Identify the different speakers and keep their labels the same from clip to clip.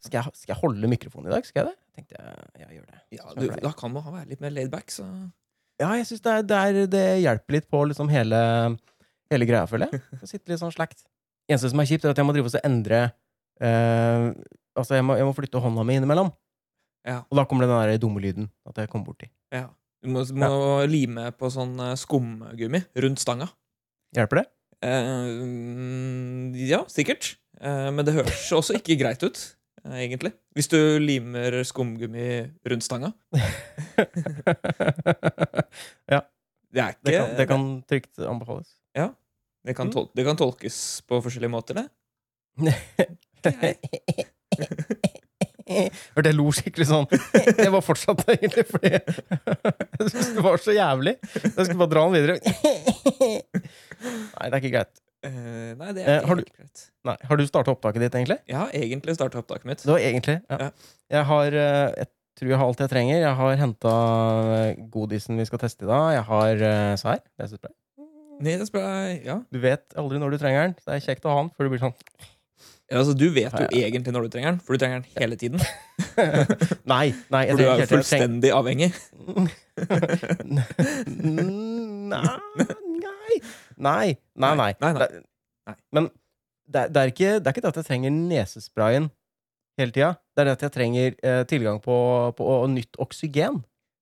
Speaker 1: skal jeg, skal jeg holde mikrofonen i dag? Skal jeg det? Tenkte jeg, jeg gjør det.
Speaker 2: Ja,
Speaker 1: Som
Speaker 2: du,
Speaker 1: jeg pleier.
Speaker 2: da kan man være litt mer laid back, så
Speaker 1: Ja, jeg syns det, er- det, er- det hjelper litt på liksom hele, hele greia, føler jeg. Å sitte litt sånn slakt. Eneste som er kjipt, er at jeg må drive og så endre eh, Altså, jeg må, jeg må flytte hånda mi innimellom.
Speaker 2: Ja.
Speaker 1: Og da kommer den der dumme lyden at jeg kommer borti.
Speaker 2: ja. Du må, må lime på sånn eh, skumgummi rundt stanga.
Speaker 1: Hjelper det?
Speaker 2: Eh, mm, ja, sikkert. Eh, men det høres også ikke greit ut, eh, egentlig. Hvis du limer skumgummi rundt stanga. Det er ikke
Speaker 1: det, kan, det kan trygt anbefales.
Speaker 2: det kan tol det kan tolkes på forskjellige måter, det.
Speaker 1: Hørte jeg lo skikkelig sånn. Jeg var fortsatt det, egentlig, fordi jeg syntes det var så jævlig. Jeg skulle bare dra den videre. Nei, det er ikke greit.
Speaker 2: Eh, nei, det
Speaker 1: Eh,
Speaker 2: er
Speaker 1: har
Speaker 2: ikke
Speaker 1: du-
Speaker 2: helt greit.
Speaker 1: Nei, Har du starta opptaket ditt, egentlig?
Speaker 2: Jeg har egentlig starta opptaket mitt.
Speaker 1: Det var egentlig, ja.
Speaker 2: Ja.
Speaker 1: Jeg har eh, Jeg tror jeg har alt jeg trenger. Jeg har henta godisen vi skal teste i dag. Jeg har eh, Se her. Det er så bra.
Speaker 2: Nyhetsbrev, ja.
Speaker 1: Du vet aldri når du trenger den. så Det er kjekt å ha den før du blir sånn
Speaker 2: Ja, Altså, du vet
Speaker 1: Ja,
Speaker 2: jo egentlig når du trenger den, for du trenger den hele tiden.
Speaker 1: Nei, nei.
Speaker 2: For
Speaker 1: Jeg
Speaker 2: du
Speaker 1: trenger
Speaker 2: er jo
Speaker 1: ikke helt det. Jeg trenger-
Speaker 2: fullstendig avhengig.
Speaker 1: nei, nei. Nei, nei, nei.
Speaker 2: Nei, nei.
Speaker 1: Det-
Speaker 2: Nei.
Speaker 1: Men det, er- det, er ikke, det er ikke det at jeg trenger nesesprayen hele tida. Det er det at jeg trenger eh, tilgang på, på og nytt oksygen.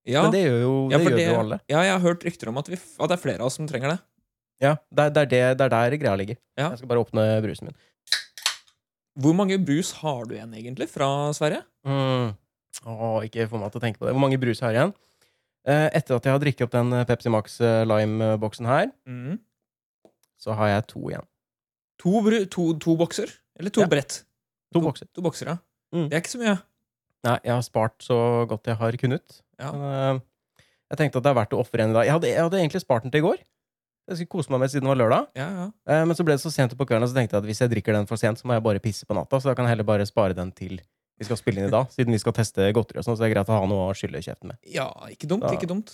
Speaker 2: Ja,
Speaker 1: Men det gjør jo,
Speaker 2: Ja,
Speaker 1: det
Speaker 2: for
Speaker 1: gjør
Speaker 2: det-
Speaker 1: jo alle.
Speaker 2: ja, jeg har hørt rykter om at, vi, f- at det er flere av oss som trenger det.
Speaker 1: Ja, det er, det er, det, det er der greia ligger.
Speaker 2: Ja.
Speaker 1: Jeg skal bare åpne brusen min.
Speaker 2: Hvor mange brus har du igjen, egentlig, fra Sverige?
Speaker 1: Mm. Åh, ikke få meg til å tenke på det. Hvor mange brus har jeg igjen? Eh, etter at jeg har drikket opp den eh, Pepsi Max eh, Lime-boksen her,
Speaker 2: Mm.
Speaker 1: så har jeg to igjen.
Speaker 2: To, bru, to, to bokser? Eller to
Speaker 1: Ja.
Speaker 2: brett?
Speaker 1: To bokser.
Speaker 2: To bokser, ja.
Speaker 1: Mm.
Speaker 2: Det er ikke så mye.
Speaker 1: Nei, jeg har spart så godt jeg har kunnet.
Speaker 2: Ja.
Speaker 1: Men, eh, jeg tenkte at det er verdt å ofre en i dag. Jeg hadde, jeg hadde egentlig spart den til i går. Jeg skulle kose meg med siden det var lørdag.
Speaker 2: Ja, ja.
Speaker 1: Eh, men så ble det så sent på kvelden, og så tenkte jeg at hvis jeg drikker den for sent, så må jeg bare pisse på natta. Så da kan jeg heller bare spare den til vi skal spille inn i dag, siden vi skal teste godteri og sånn. Så det er greit å ha noe å skylle kjeften med.
Speaker 2: ja ikke dumt,
Speaker 1: Da-
Speaker 2: ikke dumt.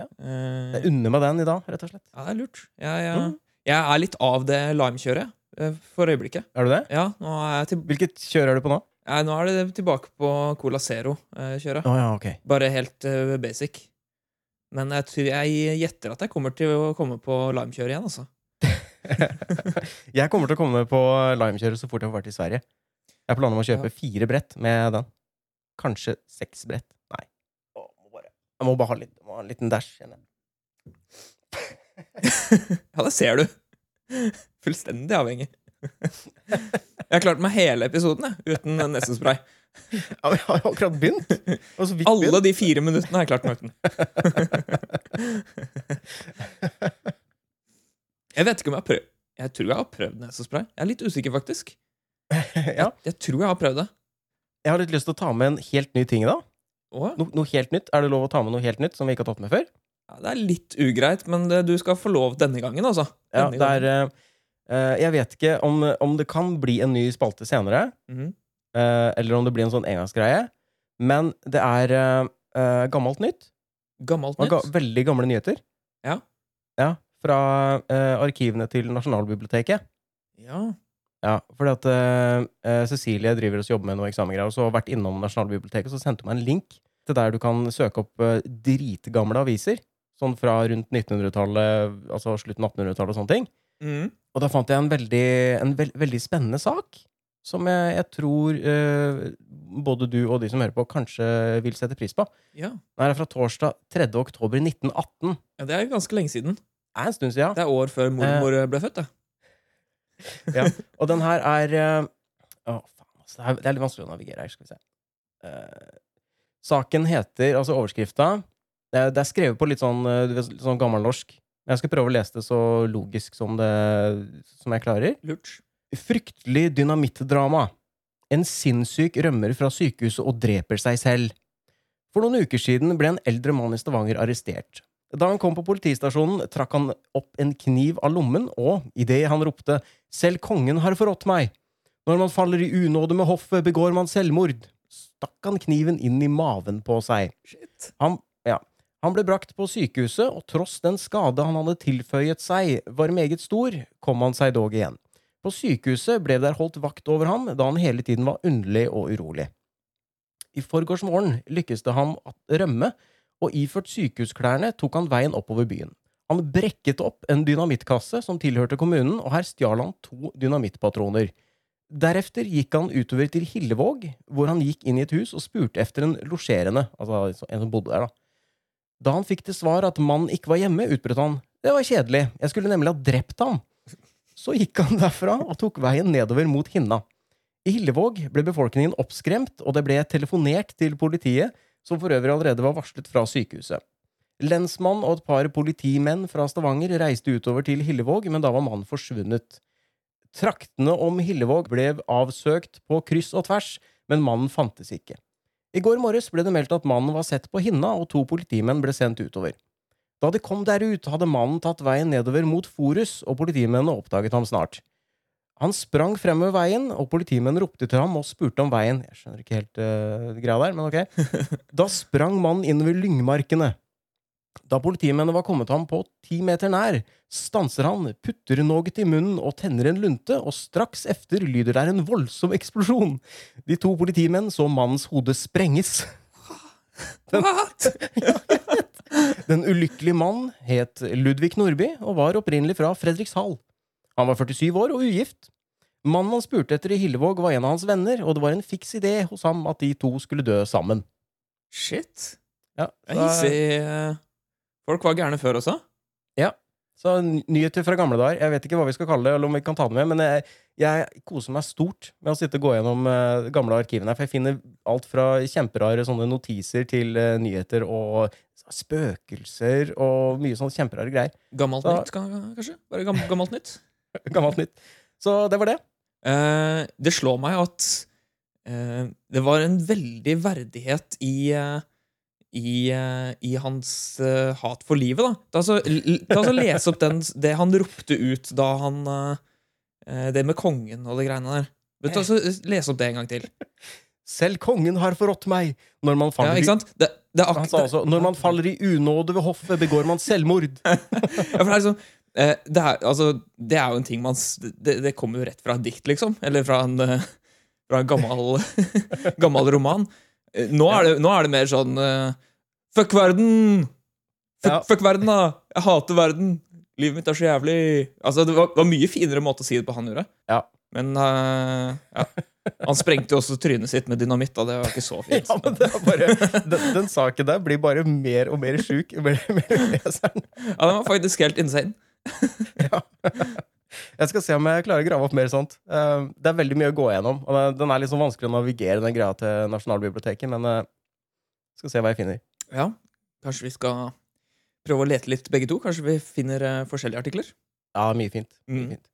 Speaker 1: Ja.
Speaker 2: Eh,
Speaker 1: Jeg unner meg den i dag, rett og slett.
Speaker 2: ja, det er lurt. Jeg, jeg,
Speaker 1: Mm.
Speaker 2: jeg er litt av det limekjøret eh, for øyeblikket.
Speaker 1: Er du det?
Speaker 2: Ja, nå er, jeg til,
Speaker 1: Hvilket kjør er du på nå?
Speaker 2: eh, nå er det tilbake på Cola Zero-kjøret.
Speaker 1: Å ja, ok.
Speaker 2: Bare helt eh, basic. Men jeg, tror, jeg gjetter at jeg kommer til å komme på limekjøret igjen, altså.
Speaker 1: Jeg kommer til å komme på limekjøret så fort jeg får vært i Sverige. Jeg har planer om å kjøpe fire brett med den. Kanskje seks brett. Nei. Å, må bare- Jeg må bare ha, litt, må ha en liten dash. kjenner jeg.
Speaker 2: Ja, det ser du. Fullstendig avhengig. Jeg har klart meg hele episoden jeg, uten nesespray.
Speaker 1: Ja, men jeg har jo akkurat begynt! Og så vidt
Speaker 2: Alle de fire minuttene har jeg klart meg uten. Jeg vet ikke om jeg har prøvd Jeg tror jeg har prøvd nesespray. Jeg er litt usikker, faktisk.
Speaker 1: begynt. Ja.
Speaker 2: Jeg tror jeg har prøvd det.
Speaker 1: Jeg har litt lyst til å ta med en helt ny ting, da.
Speaker 2: Åh,
Speaker 1: No, noe helt nytt. Er det lov å ta med noe helt nytt som vi ikke har tatt med før?
Speaker 2: ja, det er litt ugreit, men det, du skal få lov denne gangen, altså.
Speaker 1: Ja,
Speaker 2: Denne
Speaker 1: det er eh, eh, Jeg vet ikke om, om det kan bli en ny spalte senere.
Speaker 2: gangen. Mhm.
Speaker 1: Eh, eller om det blir en sånn engangsgreie. Men det er eh, eh, gammelt nytt.
Speaker 2: Gammelt
Speaker 1: Og
Speaker 2: nytt.
Speaker 1: ga veldig gamle nyheter.
Speaker 2: Ja.
Speaker 1: Ja, Fra eh, arkivene til Nasjonalbiblioteket.
Speaker 2: Ja.
Speaker 1: Ja, fordi at eh, eh, Cecilie driver og jobber med noe eksamengreier, og så har vært innom Nasjonalbiblioteket, og så sendte hun meg en link til der du kan søke opp eh, dritgamle aviser. Sånn fra rundt 1900-tallet, altså slutten av 1800-tallet og sånne ting.
Speaker 2: Mhm.
Speaker 1: Og da fant jeg en veldig, en vel- veldig spennende sak. Som jeg, jeg tror eh, både du og de som hører på, kanskje vil sette pris på.
Speaker 2: ja.
Speaker 1: Den er fra torsdag 3. oktober 1918.
Speaker 2: ja. Det er ganske lenge siden.
Speaker 1: Det er en stund siden.
Speaker 2: Det er år før mormor
Speaker 1: Eh.
Speaker 2: ble født, det.
Speaker 1: Og den her er eh, Å, faen, altså. Det er, det er litt vanskelig å navigere her. Skal vi se. Eh, saken heter Altså overskrifta det er, det er skrevet på litt sånn, eh, du vet, litt sånn gammelnorsk. Jeg skal prøve å lese det så logisk som, det, som jeg klarer.
Speaker 2: Lurt.
Speaker 1: Fryktelig dynamittdrama. En sinnssyk rømmer fra sykehuset og dreper seg selv. For noen uker siden ble en eldre mann i Stavanger arrestert. Da han kom på politistasjonen, trakk han opp en kniv av lommen, og idet han ropte 'Selv kongen har forrådt meg', når man faller i unåde med hoffet, begår man selvmord, stakk han kniven inn i maven på seg.
Speaker 2: Shit.
Speaker 1: Han ble brakt på sykehuset, og tross den skade han hadde tilføyet seg, var meget stor, kom han seg dog igjen. På sykehuset ble det holdt vakt over ham da han hele tiden var underlig og urolig. I forgårs morgen lykkes det ham å rømme, og iført sykehusklærne tok han veien oppover byen. Han brekket opp en dynamittkasse som tilhørte kommunen, og her stjal han to dynamittpatroner. Derefter gikk han utover til Hillevåg, hvor han gikk inn i et hus og spurte efter en losjerende, altså en som bodde der, da. Da han fikk til svar at mannen ikke var hjemme, utbrøt han. Det var kjedelig, jeg skulle nemlig ha drept ham. Så gikk han derfra og tok veien nedover mot Hinna. I Hillevåg ble befolkningen oppskremt, og det ble telefonert til politiet, som for øvrig allerede var varslet fra sykehuset. Lensmann og et par politimenn fra Stavanger reiste utover til Hillevåg, men da var mannen forsvunnet. Traktene om Hillevåg ble avsøkt på kryss og tvers, men mannen fantes ikke. I går morges ble det meldt at mannen var sett på Hinna, og to politimenn ble sendt utover. Da de kom der ut, hadde mannen tatt veien nedover mot Forus, og politimennene oppdaget ham snart. Han sprang fremover veien, og politimenn ropte til ham og spurte om veien. Jeg skjønner ikke helt eh, greia der, men ok. Da sprang mannen innover lyngmarkene. Da politimennene var kommet ham på ti meter nær, stanser han, putter noget i munnen og tenner en lunte, og straks efter lyder der en voldsom eksplosjon. De to politimenn så mannens hode sprenges.
Speaker 2: What?
Speaker 1: Den ulykkelige mannen het Ludvig Nordby og var opprinnelig fra Fredrikshall. Han var 47 år og ugift. Mannen han spurte etter i Hillevåg, var en av hans venner, og det var en fiks idé hos ham at de to skulle dø sammen.
Speaker 2: Shit.
Speaker 1: Ja,
Speaker 2: Det er hissig. eh, Folk var gærne før også.
Speaker 1: så ny- nyheter fra gamle dager. Jeg vet ikke hva vi skal kalle det, eller om vi kan ta det med, men jeg, jeg koser meg stort med å sitte og gå gjennom eh, gamle arkivene her, for jeg finner alt fra kjemperare sånne notiser til eh, nyheter og spøkelser og mye sånn kjemperare greier.
Speaker 2: Gammelt
Speaker 1: Da-
Speaker 2: nytt, kan- kanskje? Bare gam gammelt nytt.
Speaker 1: Gammelt nytt. Så det var det.
Speaker 2: Eh, det slår meg at eh, det var en veldig verdighet i eh, i, eh, i hans eh, hat for livet, da. Ta så, l- ta så Les opp den, det han ropte ut da han eh, eh, Det med kongen og de greiene der. Men ta så, eh, Les opp det en gang til.
Speaker 1: Selv kongen har forrådt meg! Når man
Speaker 2: Ja,
Speaker 1: faller,
Speaker 2: ikke sant? Det, det er
Speaker 1: i,
Speaker 2: ak-
Speaker 1: han sa også, når man faller i unåde ved hoffet, begår man selvmord.
Speaker 2: Ja, for det er liksom eh, det er, altså, det er jo en ting man s- det, det kommer jo rett fra et dikt, liksom. Eller fra en, eh, fra en gammel, gammel roman. Eh, Nå er, det, nå er det mer sånn eh, Fuck verden! Fuck,
Speaker 1: Ja.
Speaker 2: fuck verden, da! Jeg hater verden! Livet mitt er så jævlig Altså, Det var, var mye finere måte å si det på han gjorde.
Speaker 1: Ja.
Speaker 2: Men eh, ja. han sprengte jo også trynet sitt med dynamitt, da. Det var ikke så fint.
Speaker 1: Ja, men det er bare, den, den saken der blir bare mer og mer sjuk med leseren.
Speaker 2: Ja, Den var faktisk helt insane.
Speaker 1: Jeg skal se om jeg klarer å grave opp mer sånt. Eh, Det er veldig mye å gå gjennom. Og det- den er litt sånn vanskelig å navigere den greia til Nasjonalbiblioteket, men eh, skal se hva jeg finner.
Speaker 2: Ja, kanskje vi skal prøve å lete litt begge to? Kanskje vi finner eh, forskjellige artikler?
Speaker 1: Ja, mye fint. Mye
Speaker 2: Mm.
Speaker 1: fint.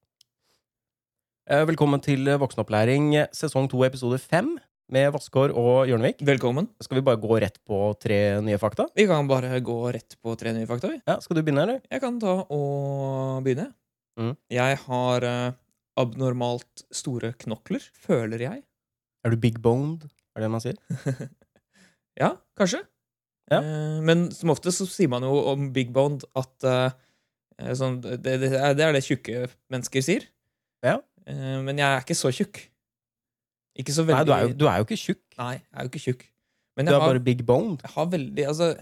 Speaker 1: Eh, Velkommen til Voksenopplæring sesong to, episode fem, med Vassgård og Hjørnevik.
Speaker 2: Velkommen.
Speaker 1: Skal vi bare gå rett på tre nye fakta?
Speaker 2: Vi kan bare gå rett på tre nye fakta. vi.
Speaker 1: Ja, Skal du begynne, eller?
Speaker 2: Jeg kan ta og begynne.
Speaker 1: Mm.
Speaker 2: Jeg har eh, abnormalt store knokler, føler jeg.
Speaker 1: Er du big boned? Er det det man sier?
Speaker 2: Ja, kanskje.
Speaker 1: Ja.
Speaker 2: Eh, men som ofte så sier man jo om big boned at eh, eh, sånn, det, det, er- det er det tjukke mennesker sier.
Speaker 1: Ja.
Speaker 2: Eh, men jeg er ikke så tjukk. Ikke så
Speaker 1: Nei,
Speaker 2: veldig
Speaker 1: du er, jo, du er jo ikke tjukk.
Speaker 2: Nei, jeg er jo ikke tjukk. Men
Speaker 1: Du
Speaker 2: jeg
Speaker 1: er
Speaker 2: har
Speaker 1: bare big boned.
Speaker 2: jeg har veldig Altså,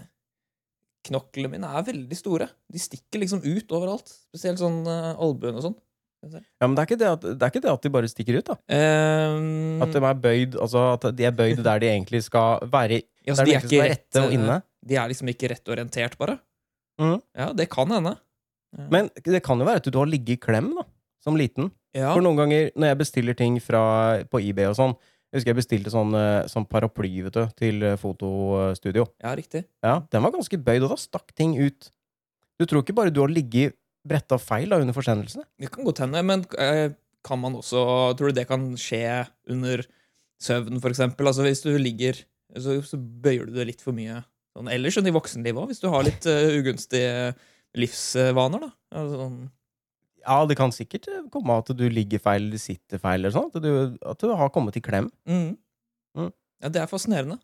Speaker 2: knoklene mine er veldig store. De stikker liksom ut overalt. Spesielt sånn uh, albuen og sånn.
Speaker 1: Ja, men det er, ikke det, at, det er ikke det at de bare stikker ut, da.
Speaker 2: Ehm,
Speaker 1: At de er bøyd, altså at de er bøyd der de egentlig skal være.
Speaker 2: ja, så
Speaker 1: Der de egentlig skal være rette og
Speaker 2: eh,
Speaker 1: inne.
Speaker 2: De er liksom ikke rett orientert, bare.
Speaker 1: Mhm.
Speaker 2: Ja, det kan hende.
Speaker 1: Men det kan jo være at du har ligget i klem, da. Som liten.
Speaker 2: Ja,
Speaker 1: For noen ganger når jeg bestiller ting fra, på eBay og sånn Jeg husker jeg bestilte sånn, eh, sånn paraply vet du, til eh, fotostudio.
Speaker 2: ja riktig.
Speaker 1: Ja, Den var ganske bøyd, og da stakk ting ut. Du tror ikke bare du har ligget bretta feil da, under forsendelsene?
Speaker 2: Det kan godt hende, men eh, kan man også Tror du det kan skje under søvn, for eksempel? Altså, hvis du ligger så, så bøyer du det litt for mye sånn ellers enn i voksenlivet òg, hvis du har litt eh, ugunstige livsvaner, da. Altså, sånn
Speaker 1: Ja, det kan sikkert eh, komme at du ligger feil, eller sitter feil, eller sånn. At du, at du har kommet i klem.
Speaker 2: Mm.
Speaker 1: Mm.
Speaker 2: Ja, det er fascinerende.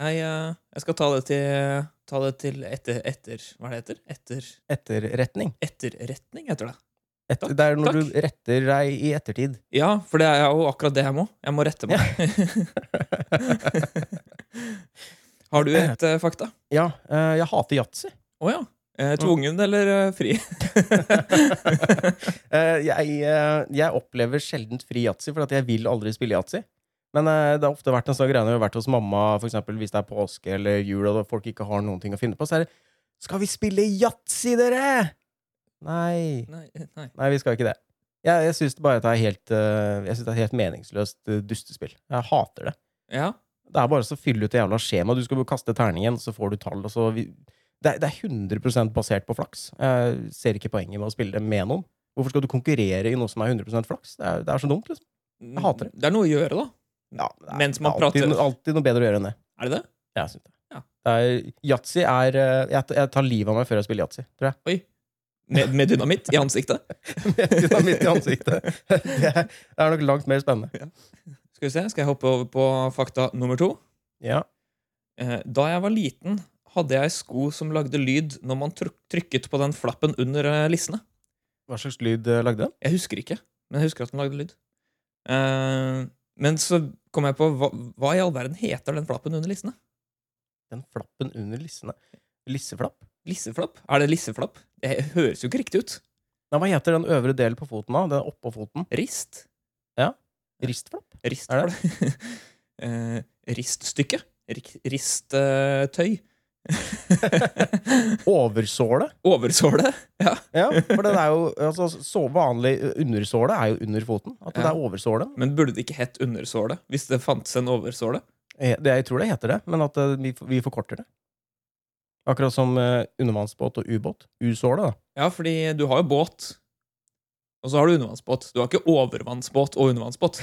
Speaker 2: Jeg, eh, jeg skal ta det til, ta det til etter, etter Hva er det heter? Etter,
Speaker 1: Etterretning.
Speaker 2: etterretning, heter det.
Speaker 1: Et,
Speaker 2: Takk,
Speaker 1: det er når
Speaker 2: takk.
Speaker 1: du retter deg i ettertid.
Speaker 2: Ja, for det er jo akkurat det jeg må. Jeg må rette meg. Har du et eh, fakta?
Speaker 1: Ja, eh, jeg hater yatzy.
Speaker 2: Å ja. Eh, tvungen eller eh, fri?
Speaker 1: Eh, jeg, eh, jeg opplever sjelden fri yatzy, for at jeg vil aldri spille yatzy. Men eh, det har ofte vært en sånn greie når vi har vært hos mamma for eksempel, hvis det er påske eller jul og folk ikke har noen ting å finne på. Så er det 'Skal vi spille yatzy, dere?' Nei.
Speaker 2: Nei, nei.
Speaker 1: Nei, vi skal ikke det. Jeg, jeg syns bare at det er helt, eh, jeg synes det er helt meningsløst eh, dustespill. Jeg hater det.
Speaker 2: Ja.
Speaker 1: Det er bare så å fylle ut det jævla skjemaet. Du skal bare kaste terningen, så får du tall. Og så vi... det, er, det er 100 basert på flaks. Jeg ser ikke poenget med å spille det med noen. Hvorfor skal du konkurrere i noe som er 100 flaks? Det er, det er så dumt, liksom. Jeg hater det.
Speaker 2: Det er noe å gjøre, da.
Speaker 1: det er,
Speaker 2: Mens man
Speaker 1: det er alltid,
Speaker 2: prater.
Speaker 1: no- alltid noe bedre å gjøre enn det.
Speaker 2: Er det det?
Speaker 1: Jeg synes det.
Speaker 2: Ja.
Speaker 1: Det er, yatzy er eh, jeg, t- jeg tar livet av meg før jeg spiller yatzy, tror jeg.
Speaker 2: Med, med dynamitt i ansiktet?
Speaker 1: Med Dynamitt i ansiktet. Det er, det er nok langt mer spennende.
Speaker 2: Skal vi se, skal jeg hoppe over på fakta nummer to?
Speaker 1: Ja.
Speaker 2: Eh, Da jeg var liten, hadde jeg sko som lagde lyd når man tryk- trykket på den flappen under eh, lissene.
Speaker 1: Hva slags lyd eh, lagde den?
Speaker 2: Jeg husker ikke, men jeg husker at den lagde lyd. Eh, Men så kom jeg på hva, hva i all verden heter den flappen under lissene?
Speaker 1: Den flappen under lissene. Lisseflapp?
Speaker 2: Lisseflapp? Er det lisseflapp? Det høres jo ikke riktig ut.
Speaker 1: Nei, hva heter den øvre delen på foten da? Den oppå foten?
Speaker 2: Rist?
Speaker 1: Ristflapp?
Speaker 2: Rist for
Speaker 1: Er
Speaker 2: det? Eh, Riststykke? Risttøy?
Speaker 1: Oversåle?
Speaker 2: Oversåle? Ja.
Speaker 1: Ja, for den er jo altså, så vanlig undersåle er jo under foten. At det
Speaker 2: Ja.
Speaker 1: er oversålen.
Speaker 2: Men burde det ikke hett undersåle hvis det fantes en oversåle?
Speaker 1: Eh, det- Jeg tror det heter det, men at eh, vi, vi forkorter det. Akkurat som eh, undervannsbåt og ubåt. Usåle, da.
Speaker 2: Ja, fordi du har jo båt, og så har du undervannsbåt. Du har ikke overvannsbåt og undervannsbåt.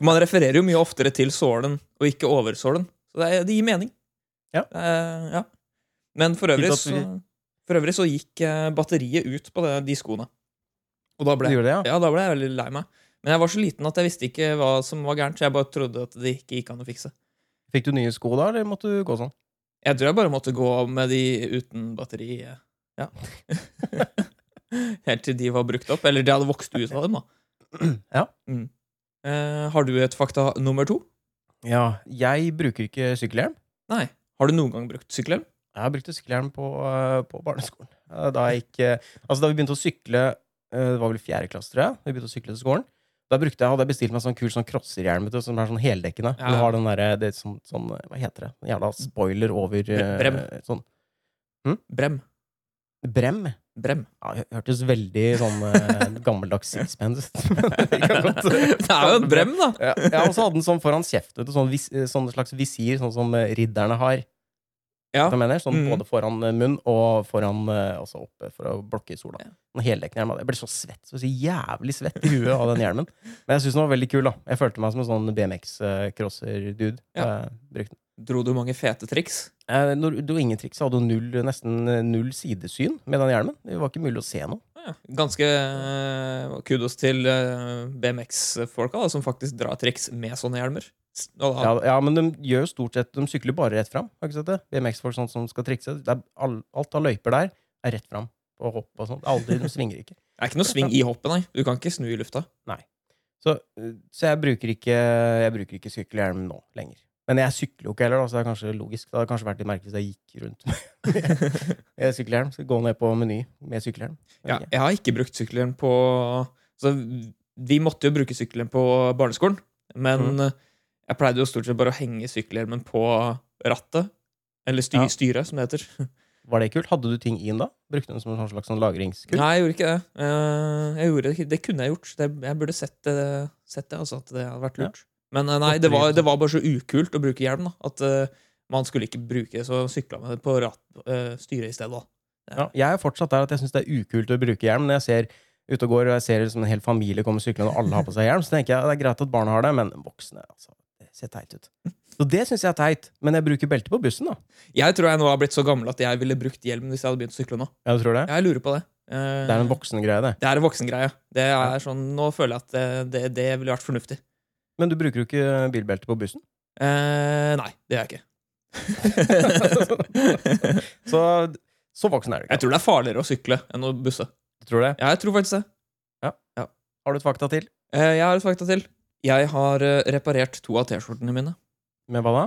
Speaker 2: Man refererer jo mye oftere til sålen og ikke oversålen. Så det, er, det gir mening.
Speaker 1: Ja.
Speaker 2: Eh, ja. Men for øvrig,
Speaker 1: Kult at
Speaker 2: så,
Speaker 1: vi-
Speaker 2: for øvrig så gikk eh, batteriet ut på det, de skoene. Og da ble,
Speaker 1: Gjorde det, ja.
Speaker 2: ja, da ble jeg veldig lei meg. Men jeg var så liten at jeg visste ikke hva som var gærent. Så jeg bare trodde at det ikke gikk an å fikse.
Speaker 1: Fikk du nye sko da, eller måtte du gå sånn?
Speaker 2: Jeg tror jeg bare måtte gå med de uten batteri. eh, Ja. Helt til de var brukt opp. Eller de hadde vokst ut av dem, da.
Speaker 1: Ja.
Speaker 2: Eh, har du et fakta nummer to?
Speaker 1: ja. Jeg bruker ikke sykkelhjelm.
Speaker 2: Nei. Har du noen gang brukt sykkelhjelm?
Speaker 1: Jeg brukte sykkelhjelm på, eh, på barneskolen. Eh, Da, jeg gikk, eh, altså da vi begynte å sykle eh, Det var vel i fjerde klasse, tror jeg. da Vi begynte å sykle til skolen Da brukte jeg, hadde jeg bestilt meg sånn kul sånn crosserhjelm vet du, som er sånn heldekkende.
Speaker 2: Ja.
Speaker 1: Du har den derre det er sånn, sånn eh, Hva heter det? En jævla spoiler over eh,
Speaker 2: Brem.
Speaker 1: Sånn.
Speaker 2: Brem.
Speaker 1: Brem.
Speaker 2: Brem.
Speaker 1: Ja, det hørtes veldig sånn eh, gammeldags sixpence ut. Men vi kan godt, eh,
Speaker 2: Det er jo en brem, da!
Speaker 1: Ja, ja, og så hadde den sånn foran kjeft, vet du, sånn, vis, eh, sånn slags visir, sånn som eh, ridderne har.
Speaker 2: Ja.
Speaker 1: Vet du hva jeg mener? Sånn
Speaker 2: Mm.
Speaker 1: både foran eh, munn og foran eh, også oppe for å blokke sola.
Speaker 2: Ja.
Speaker 1: En heldekkende hjelm. Jeg ble så svett, så jævlig svett i huet av den hjelmen. Men jeg syns den var veldig kul, da. Jeg følte meg som en sånn BMX-crosser-dude.
Speaker 2: Ja.
Speaker 1: Eh, brukte den.
Speaker 2: Dro du mange fete triks?
Speaker 1: Eh, når du ingen triks, så hadde du null, nesten eh, null sidesyn med den hjelmen. Det var ikke mulig å se noe.
Speaker 2: Ja, ganske eh, kudos til eh, BMX-folka, da, som faktisk drar triks med sånne hjelmer. S- Og da,
Speaker 1: Ja, ja, men de gjør jo stort sett De sykler bare rett fram. Har du ikke sett det? BMX-folk sånn som skal trikse. Det er all, alt av løyper der er rett fram. Og hopp og sånt. Aldri, De svinger ikke.
Speaker 2: Det er ikke noe sving i hoppet, nei. Du kan ikke snu i lufta.
Speaker 1: Så, øh, så jeg bruker ikke Jeg bruker ikke sykkelhjelm nå lenger. Men jeg sykler jo ikke heller, da, så det er kanskje logisk. Det hadde kanskje vært litt merkelig hvis jeg gikk rundt med- med sykkelhjelm. Skal gå ned på Meny med sykkelhjelm.
Speaker 2: Ja, jeg har ikke brukt sykkelhjelm på Så vi måtte jo bruke sykkelhjelm på barneskolen, men eh,
Speaker 1: Mhm.
Speaker 2: jeg pleide jo stort sett bare å henge sykkelhjelmen på rattet. Eller sty
Speaker 1: Ja.
Speaker 2: styret, som det heter.
Speaker 1: Var det kult? Hadde du ting i den da? Brukte du den som en sånn slags sånn lagringskull?
Speaker 2: Nei, jeg gjorde ikke det. Eh, jeg gjorde det, ikke. det kunne jeg gjort. Det, jeg burde sett det, sett det altså, at det hadde vært lurt. Men eh, nei, det var, det var bare så ukult å bruke hjelm. da At eh, man skulle ikke bruke det, så sykla man på ratt, eh, styret i stedet. da
Speaker 1: Ja, jeg er fortsatt der at jeg syns det er ukult å bruke hjelm. Når jeg ser ute og går, og jeg ser liksom en hel familie komme syklende, og alle har på seg hjelm, så tenker jeg det er greit at barna har det, men voksne altså, Det ser teit ut. Så det syns jeg er teit. Men jeg bruker belte på bussen, da.
Speaker 2: Jeg tror jeg nå har blitt så gammel at jeg ville brukt hjelm hvis jeg hadde begynt å sykle nå.
Speaker 1: Jeg tror det.
Speaker 2: Jeg lurer på det. Eh,
Speaker 1: Det er en voksengreie, det.
Speaker 2: Det er en voksengreie. Det er sånn, nå føler jeg at det, det, det ville vært fornuftig.
Speaker 1: Men du bruker jo ikke bilbelte på bussen.
Speaker 2: Eh, nei, det gjør jeg ikke.
Speaker 1: Så, så voksen er
Speaker 2: jeg
Speaker 1: du ikke.
Speaker 2: tror det er farligere å sykle enn å busse.
Speaker 1: Du tror det?
Speaker 2: Ja, jeg tror faktisk det.
Speaker 1: Har du et fakta til?
Speaker 2: Eh, Jeg har et fakta til. Jeg har eh, reparert to av T-skjortene mine.
Speaker 1: Med hva da?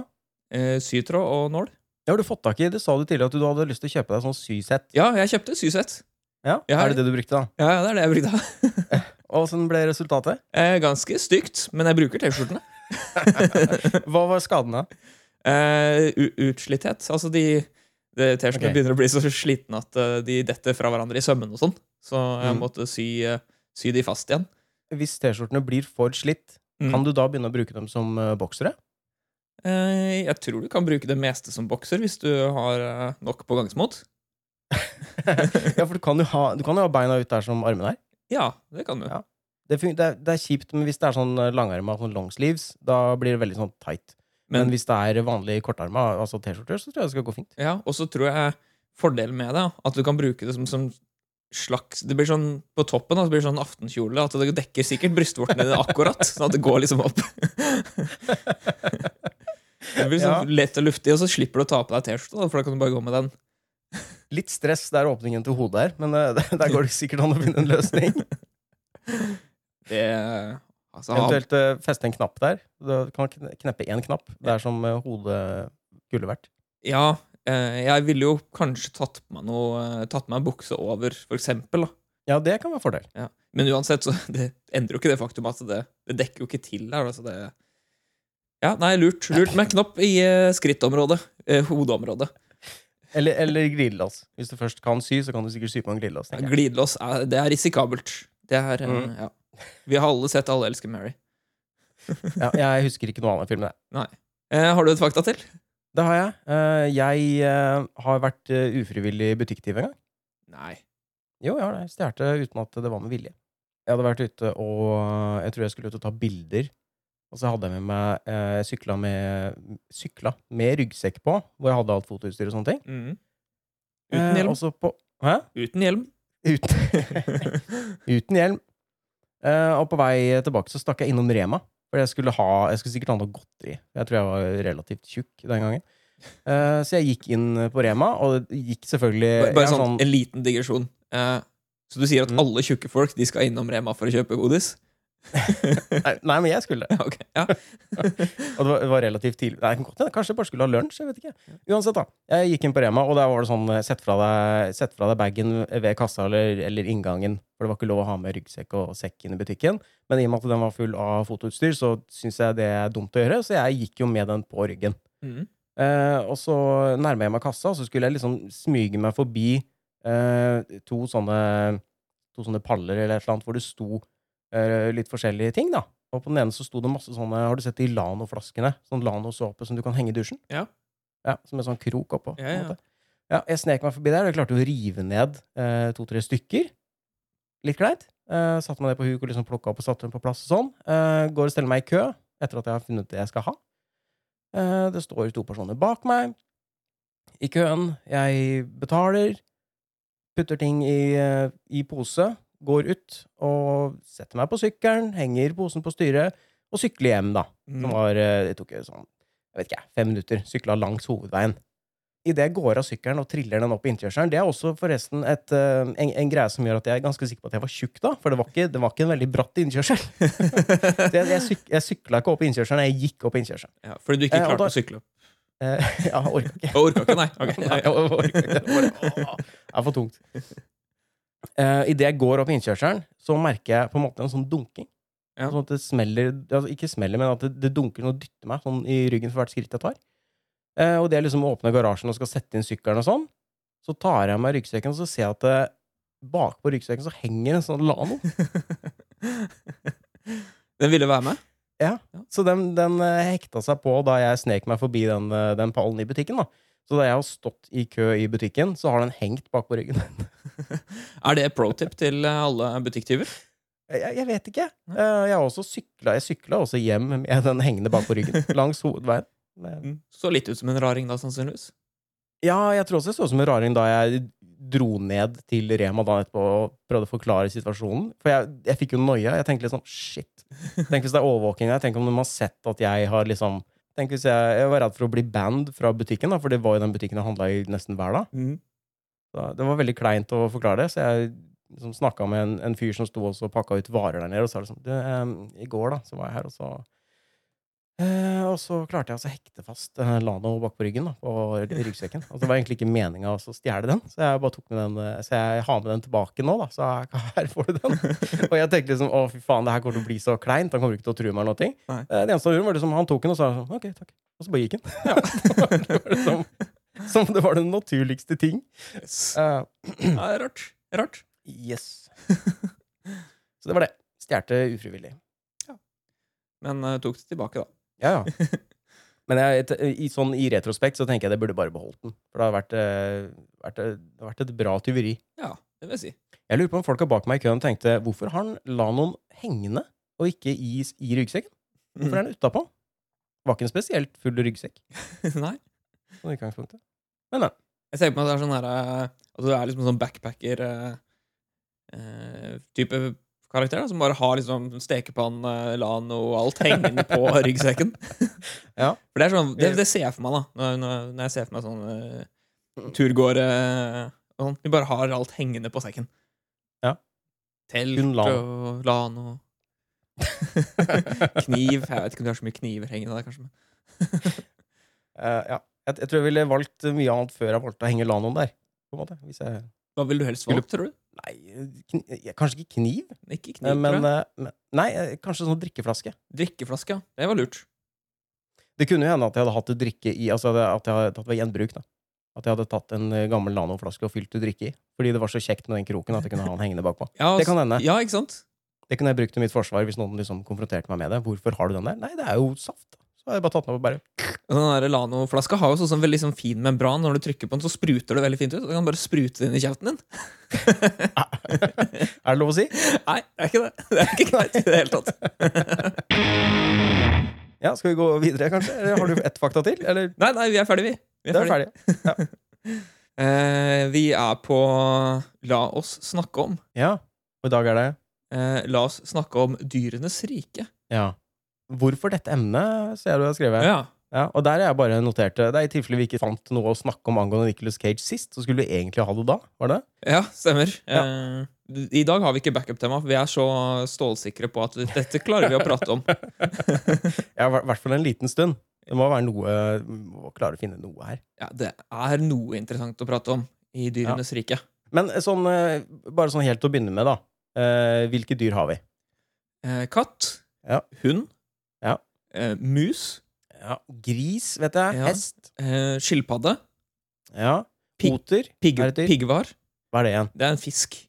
Speaker 2: Eh, Sytråd og nål.
Speaker 1: Det har du fått tak i. Det sa du tidligere at du hadde lyst til å kjøpe deg sånn sysett.
Speaker 2: Ja, jeg kjøpte sysett.
Speaker 1: Ja,
Speaker 2: Ja.
Speaker 1: Er det det du brukte, da?
Speaker 2: Ja, ja, det er det jeg brukte.
Speaker 1: Og Åssen ble resultatet?
Speaker 2: Eh, Ganske stygt, men jeg bruker T-skjortene.
Speaker 1: Hva var skaden, da?
Speaker 2: Eh, u- Utslitthet. Altså, de, de T-skjortene
Speaker 1: Ok.
Speaker 2: begynner å bli så slitne at eh, de detter fra hverandre i sømmen og sånn. Så jeg
Speaker 1: Mm.
Speaker 2: måtte sy, eh, sy de fast igjen.
Speaker 1: Hvis T-skjortene blir for slitt,
Speaker 2: Mm.
Speaker 1: kan du da begynne å bruke dem som eh, boksere?
Speaker 2: Eh, Jeg tror du kan bruke det meste som bokser hvis du har eh, nok pågangsmot.
Speaker 1: ja, for du kan, jo ha, du kan jo ha beina ut der som armene er.
Speaker 2: Ja, det kan du.
Speaker 1: Ja. Det, fun- det, er- det er kjipt, men hvis det er sånn eh, langarma, sånn longsleeves, da blir det veldig sånn tight. Men,
Speaker 2: Men,
Speaker 1: hvis det er vanlig kortarma, altså T-skjorter, så tror jeg det skal gå fint.
Speaker 2: ja, og så tror jeg fordelen med det, at du kan bruke det som, som slags Det blir sånn på toppen, da, så blir det sånn aftenkjole, at det dekker sikkert brystvortene dine akkurat, sånn at det går liksom opp. Det blir sånn lett og luftig, og så slipper du å ta på deg T-skjorta, da, for da kan du bare gå med den.
Speaker 1: Litt stress, det er åpningen til hodet her, men eh, der går det sikkert an å finne en løsning.
Speaker 2: Det, altså, ha,
Speaker 1: Eventuelt eh, feste en knapp der. Du kan kn- kneppe én knapp. Det er som eh, hodet skulle vært.
Speaker 2: ja, eh, jeg ville jo kanskje tatt på meg noe eh, Tatt på meg en bukse over, for eksempel. Da.
Speaker 1: Ja, det kan være fordel.
Speaker 2: Ja. Men uansett, så det endrer jo ikke det faktum at det, det dekker jo ikke til der. Altså det, ja, nei, lurt. Lurt med en knapp i eh, skrittområdet. Eh, hodeområdet.
Speaker 1: Eller, eller glidelås. Hvis du først kan sy, så kan du sikkert sy på en glidelås. tenker jeg.
Speaker 2: Glidelås er, det er risikabelt. Det er, eh,
Speaker 1: Mm.
Speaker 2: ja. Vi har alle sett Alle elsker Mary.
Speaker 1: Ja, jeg husker ikke noe annet film. Det.
Speaker 2: Eh, har du et fakta til?
Speaker 1: det har jeg. Eh, jeg eh, har vært eh, ufrivillig butikktyv en gang.
Speaker 2: Nei.
Speaker 1: Jo, jeg har det. Stjal det uten at det var med vilje. Jeg hadde vært ute og eh, Jeg tror jeg skulle ut og ta bilder. Og så hadde jeg med meg eh, sykla, med, sykla med ryggsekk på, hvor jeg hadde alt fotoutstyr og sånne ting.
Speaker 2: Mm. Uten
Speaker 1: Eh,
Speaker 2: hjelm.
Speaker 1: og så på, hæ?
Speaker 2: Uten hjelm.
Speaker 1: Uten, uten hjelm. Eh, og på vei tilbake så stakk jeg innom Rema. For jeg skulle, ha, jeg skulle sikkert ha noe godteri. Jeg tror jeg var relativt tjukk den gangen. Eh, så jeg gikk inn på Rema, og det gikk selvfølgelig
Speaker 2: Bare
Speaker 1: jeg
Speaker 2: bare
Speaker 1: er
Speaker 2: sånn, en liten digresjon. Eh, så du sier at
Speaker 1: Mm.
Speaker 2: alle tjukke folk de skal innom Rema for å kjøpe godis?
Speaker 1: nei, eh, nei, men jeg skulle det.
Speaker 2: Ja, ok. Ja.
Speaker 1: Og det var, det var relativt tidlig. Nei, det kan godt hende. Kanskje jeg bare skulle ha lunsj? Jeg vet ikke. Uansett, da. Jeg gikk inn på Rema, og der var det sånn eh, Sett fra deg, sett fra deg bagen ved kassa eller, eller inngangen. For det var ikke lov å ha med ryggsekk og sekk inn i butikken. Men i og med at den var full av fotoutstyr, så syns jeg det er dumt å gjøre. Så jeg gikk jo med den på ryggen.
Speaker 2: Mm.
Speaker 1: Eh, og så nærma jeg meg kassa, og så skulle jeg liksom smyge meg forbi eh, to, sånne, to sånne paller eller et eller annet, hvor det sto eh, litt forskjellige ting, da. Og på den ene så sto det masse sånne Har du sett de Lano-flaskene? Sånn Lano-såpe som du kan henge i dusjen?
Speaker 2: Ja.
Speaker 1: ja som en sånn krok oppå. på en
Speaker 2: Ja, ja.
Speaker 1: måte. ja, jeg snek meg forbi der, og jeg klarte å rive ned eh, to-tre stykker. Litt kleint. Eh, satte meg ned på huk og liksom plukka opp og satte dem på plass og sånn. Eh, går og steller meg i kø etter at jeg har funnet det jeg skal ha. Eh, Det står to personer bak meg i køen. Jeg betaler, putter ting i, eh, i pose, går ut og setter meg på sykkelen, henger posen på styret og sykler hjem, da.
Speaker 2: Mm.
Speaker 1: Som var, eh, det tok eh, sånn, jeg vet ikke, fem minutter. Sykla langs hovedveien. Idet jeg går av sykkelen og triller den opp i innkjørselen Det er også forresten et, eh, en, en greie som gjør at jeg er ganske sikker på at jeg var tjukk da, for det var ikke, det var ikke en veldig bratt innkjørsel. Så Jeg, jeg, syk, jeg sykla ikke opp innkjørselen, jeg gikk opp innkjørselen.
Speaker 2: Ja, fordi du ikke
Speaker 1: Eh, og
Speaker 2: klarte
Speaker 1: da-
Speaker 2: å sykle opp?
Speaker 1: Eh, ja, jeg orka ikke.
Speaker 2: Jeg orka ikke, nei. Ok.
Speaker 1: Nei, jeg orker ikke. Det var- Åh, det er for tungt. Uh, Idet jeg går opp innkjørselen, så merker jeg på en måte en sånn dunking.
Speaker 2: Ja.
Speaker 1: Sånn at det smeller altså Ikke smeller, men at det, det dunker noe og dytter meg sånn i ryggen for hvert skritt jeg tar. Eh, og det jeg liksom åpner garasjen og skal sette inn sykkelen og sånn, så tar jeg av meg ryggsekken, og så ser jeg at det, bakpå ryggsekken så henger en sånn Lano.
Speaker 2: Den ville være med?
Speaker 1: Så den, den eh, hekta seg på da jeg snek meg forbi den, eh, den pallen i butikken. da Så da jeg har stått i kø i butikken, så har den hengt bakpå ryggen.
Speaker 2: Er det pro tip til alle butikktyver?
Speaker 1: Jeg, jeg vet ikke.
Speaker 2: Nei.
Speaker 1: Eh, Jeg har også sykla Jeg sykla også hjem med den hengende bak på ryggen. langs hovedveien. Men-
Speaker 2: Så litt ut som en raring, da, sannsynligvis.
Speaker 1: Ja, jeg tror også jeg så ut som en raring da jeg dro ned til Rema dagen etterpå og prøvde å forklare situasjonen. For jeg, jeg fikk jo noia. Jeg tenkte litt sånn shit. Tenk hvis det er overvåking her. Tenk om de har sett at jeg har liksom Tenk hvis jeg, jeg var redd for å bli banned fra butikken, da, for det var jo den butikken jeg handla i nesten hver dag. Så Det var veldig kleint å forklare det, så jeg liksom snakka med en, en fyr som sto også og pakka ut varer der nede, og sa liksom du, eh, I går da, så var jeg her, og så eh, Og så klarte jeg altså å hekte fast eh, Lano bak på ryggen, da, på ryggsekken. Og det var egentlig ikke meninga å stjele den, så jeg bare tok med den, eh, så jeg har med den tilbake nå, da. Så her får du den. Og jeg tenkte liksom å, fy faen, det her kommer til å bli så kleint, han kommer ikke til å true meg eller noe.
Speaker 2: Nei.
Speaker 1: Eh, Det eneste han gjorde, var liksom han tok den og sa sånn OK, takk. Og så bare gikk han. det var liksom, som det var den naturligste ting.
Speaker 2: Yes.
Speaker 1: Eh,
Speaker 2: Ja, det er rart. Det er rart.
Speaker 1: Yes. så det var det. Stjerte ufrivillig.
Speaker 2: Men eh, tok det tilbake, da.
Speaker 1: Ja, ja. Men jeg, et- i, sånn, i retrospekt så tenker jeg det burde bare beholdt den. For det har vært, eh, vært, eh, det har vært et bra tyveri.
Speaker 2: Ja, det vil jeg si.
Speaker 1: Jeg lurer på om folka bak meg i køen tenkte hvorfor har han Lanoen hengende og ikke i, s- i ryggsekken? Hvorfor er den utapå? Var ikke en spesielt full ryggsekk.
Speaker 2: Nei.
Speaker 1: Sånn i utgangspunktet.
Speaker 2: Jeg ser på meg at det er sånn her eh, At du er liksom en sånn backpacker-type karakter, da, som bare har liksom stekepanne, lan og alt hengende på ryggsekken.
Speaker 1: Ja. Eh.
Speaker 2: For det er sånn Det, det ser jeg for meg, da. Når, når, når jeg ser for meg sånn uh, turgåere og sånn. De bare har alt hengende på sekken.
Speaker 1: Ja.
Speaker 2: Telt
Speaker 1: Kun lan.
Speaker 2: og lan og kniv. Jeg vet ikke om de har så mye kniver hengende der, kanskje. Men.
Speaker 1: Eh, ja. jeg, jeg tror jeg ville valgt mye annet før jeg valgte å henge Lanoen der. På en måte. Hvis jeg,
Speaker 2: Hva ville du helst
Speaker 1: Skulle-
Speaker 2: valgt, tror du?
Speaker 1: nei, kn jeg- kanskje ikke kniv.
Speaker 2: Ikke kniv,
Speaker 1: Eh, Men,
Speaker 2: tror jeg.
Speaker 1: eh, men Nei, eh, kanskje sånn drikkeflaske.
Speaker 2: Drikkeflaske, ja. Det var lurt.
Speaker 1: Det kunne jo hende at jeg hadde hatt det drikke i Altså at jeg hadde tatt ved gjenbruk, da. At jeg hadde tatt en eh, gammel Lano-flaske og fylt det drikke i. Fordi det var så kjekt med den kroken at jeg kunne ha den hengende bakpå.
Speaker 2: Ja,
Speaker 1: Det kan hende.
Speaker 2: Ja, ikke sant?
Speaker 1: Det kunne jeg brukt til mitt forsvar hvis noen liksom konfronterte meg med det. Hvorfor har du den der? Nei, det er jo saft. da. Så har jeg bare tatt den opp og bare
Speaker 2: Den der Lano-flaska har jo sånn, sånn veldig sånn fin membran. Når du trykker på den, så spruter det veldig fint ut. Du kan bare sprute det inn i kjeften din.
Speaker 1: Er det lov å si?
Speaker 2: Nei, det er ikke det. Det er ikke greit i det hele tatt.
Speaker 1: Ja, skal vi gå videre, kanskje? Eller har du ett fakta til? Eller
Speaker 2: Nei, nei, vi er ferdige, vi. Vi
Speaker 1: Det er ferdig.
Speaker 2: Eh, vi er på La oss snakke om.
Speaker 1: Ja. Og i dag er det
Speaker 2: Eh, la oss snakke om dyrenes rike.
Speaker 1: Ja. Hvorfor dette emnet, ser jeg du har skrevet.
Speaker 2: Ja.
Speaker 1: Ja, og der er jeg bare notert Det er i tilfelle vi ikke fant noe å snakke om angående Nicolas Cage sist, så skulle vi egentlig ha det da, var det?
Speaker 2: Ja, stemmer. Eh, I dag har vi ikke backup-tema, for vi er så stålsikre på at dette klarer vi å prate om.
Speaker 1: Ja, I hver- hvert fall en liten stund. Det må være noe vi Må klare å finne noe her.
Speaker 2: Ja, det er noe interessant å prate om i dyrenes rike.
Speaker 1: Men eh, sånn, eh, bare sånn helt til å begynne med, da. Eh, hvilke dyr har vi?
Speaker 2: Eh, katt.
Speaker 1: Ja.
Speaker 2: Hund.
Speaker 1: Ja.
Speaker 2: Eh, mus.
Speaker 1: Ja, Gris, vet jeg.
Speaker 2: Ja.
Speaker 1: Hest.
Speaker 2: Eh, skilpadde.
Speaker 1: Ja.
Speaker 2: Pig-
Speaker 1: Oter.
Speaker 2: Pig,
Speaker 1: Er det dyr?
Speaker 2: piggvar.
Speaker 1: Hva er det igjen?
Speaker 2: Det er en fisk.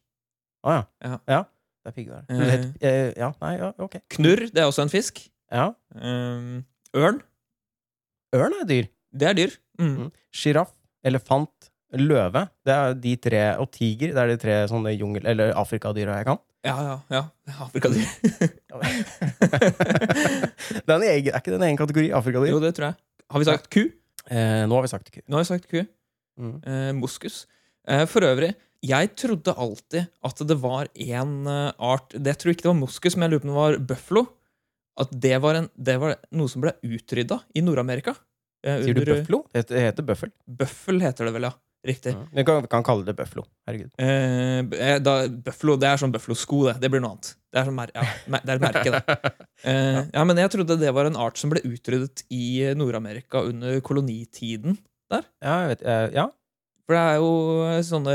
Speaker 1: Å ja.
Speaker 2: Ja.
Speaker 1: Det er piggvar.
Speaker 2: Eh.
Speaker 1: Lett- eh, Ja, nei, ja, ok.
Speaker 2: Knurr, det er også en fisk.
Speaker 1: Ja.
Speaker 2: Eh, ørn.
Speaker 1: Ørn er dyr.
Speaker 2: Det er dyr. Mm.
Speaker 1: Mm. Sjiraff, elefant, løve. Det er de tre, og tiger. Det er de tre sånne jungel- eller afrikadyra jeg kan.
Speaker 2: Ja, ja, ja. Afrikadyr.
Speaker 1: det er, en egen, er ikke det en egen kategori? Afrikadyr?
Speaker 2: jo, det tror jeg. Har vi sagt ku?
Speaker 1: Eh, nå har vi sagt ku.
Speaker 2: Nå har vi sagt ku.
Speaker 1: Mm.
Speaker 2: Eh, moskus. Eh, for øvrig, jeg trodde alltid at det var en eh, art Det tror jeg ikke det var moskus, men jeg lurer på om det var bøflo. At det var, en, det var noe som ble utrydda i Nord-Amerika. Eh,
Speaker 1: Sier du
Speaker 2: under-
Speaker 1: bøflo? Det heter- det heter bøffel.
Speaker 2: Bøffel heter det vel, ja. Riktig.
Speaker 1: Vi kan, vi kan kalle det bøflo. Herregud.
Speaker 2: Eh, b- eh, da, bøfflo, det er sånn bøflosko, det. Det blir noe annet. Det er, sånn mer, ja, mer, det er et merke, det. Eh, ja. Men jeg trodde det var en art som ble utryddet i Nord-Amerika under kolonitiden.
Speaker 1: Ja, jeg vet, eh, ja.
Speaker 2: For det er jo eh, sånne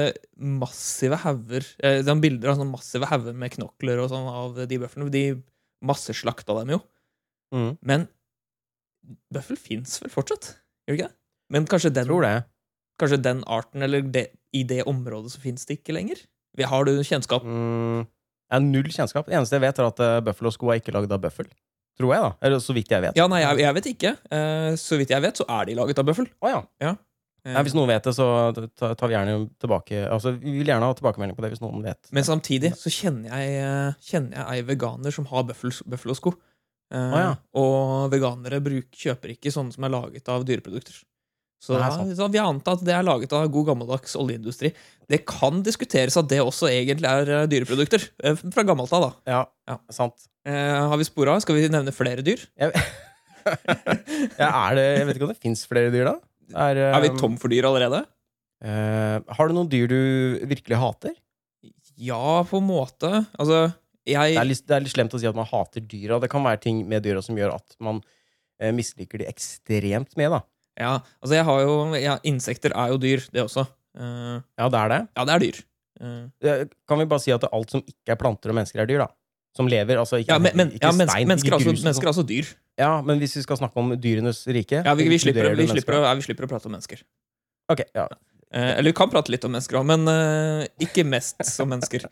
Speaker 2: massive hauger eh, Det er bilder av sånne massive hauger med knokler og sånn av de bøflene. De masseslakta dem jo.
Speaker 1: Mm.
Speaker 2: Men bøffel fins vel fortsatt? Gjør det ikke det? Men kanskje den,
Speaker 1: Tror det.
Speaker 2: kanskje den arten, eller det, i det området, så fins det ikke lenger? Vi har du kjennskap?
Speaker 1: Mm. Jeg har null kjennskap. Det eneste jeg vet, er at eh, bøffelosko er ikke lagd av bøffel. Tror jeg, da. Eller så vidt jeg vet.
Speaker 2: Ja, nei, jeg, jeg vet ikke. Eh, så vidt jeg vet, så er de laget av bøffel.
Speaker 1: Å, ja.
Speaker 2: Eh,
Speaker 1: Nei, hvis noen vet det, så ta- tar vi gjerne tilbake Altså, Vi vil gjerne ha tilbakemelding på det hvis noen vet.
Speaker 2: Men samtidig så kjenner jeg, eh, kjenner jeg ei veganer som har bøffels- bøffelosko. Eh,
Speaker 1: Å,
Speaker 2: Og veganere bruk, kjøper ikke sånne som er laget av dyreprodukter. Så
Speaker 1: Nei,
Speaker 2: da,
Speaker 1: sant.
Speaker 2: så vi antar at det er laget av god gammeldags oljeindustri. Det kan diskuteres at det også egentlig er eh, dyreprodukter. eh, Fra gammelt av, da.
Speaker 1: Ja,
Speaker 2: Ja.
Speaker 1: sant.
Speaker 2: Eh, har vi spora? Skal vi nevne flere dyr?
Speaker 1: Ja, er det, jeg vet ikke om det fins flere dyr, da? Er, eh,
Speaker 2: Um, Er vi tom for dyr allerede?
Speaker 1: eh, har du noen dyr du virkelig hater?
Speaker 2: Ja, på en måte. Altså,
Speaker 1: Det er,
Speaker 2: jeg
Speaker 1: litt, det er litt slemt å si at man hater dyra. Det kan være ting med dyra som gjør at man eh, misliker de ekstremt mye, da.
Speaker 2: Ja, altså, jeg har jo ja, Insekter er jo dyr, det også. Eh,
Speaker 1: Ja, det er det.
Speaker 2: ja, det er dyr. Eh,
Speaker 1: Eh, Kan vi bare si at alt som ikke er planter og mennesker, er dyr, da? Som lever, altså ikke,
Speaker 2: ja, men, men,
Speaker 1: ikke
Speaker 2: ja, mens,
Speaker 1: stein,
Speaker 2: mennesker,
Speaker 1: ikke
Speaker 2: er
Speaker 1: grus.
Speaker 2: altså,
Speaker 1: og sånt.
Speaker 2: mennesker er altså dyr.
Speaker 1: Ja, men hvis vi skal snakke om dyrenes rike
Speaker 2: Ja, vi, vi, slipper,
Speaker 1: inkluderer
Speaker 2: vi,
Speaker 1: det
Speaker 2: slipper,
Speaker 1: mennesker.
Speaker 2: å- ja, vi slipper å prate om mennesker.
Speaker 1: Ok, ja.
Speaker 2: Eh, eller vi kan prate litt om mennesker òg, men eh, ikke mest som mennesker.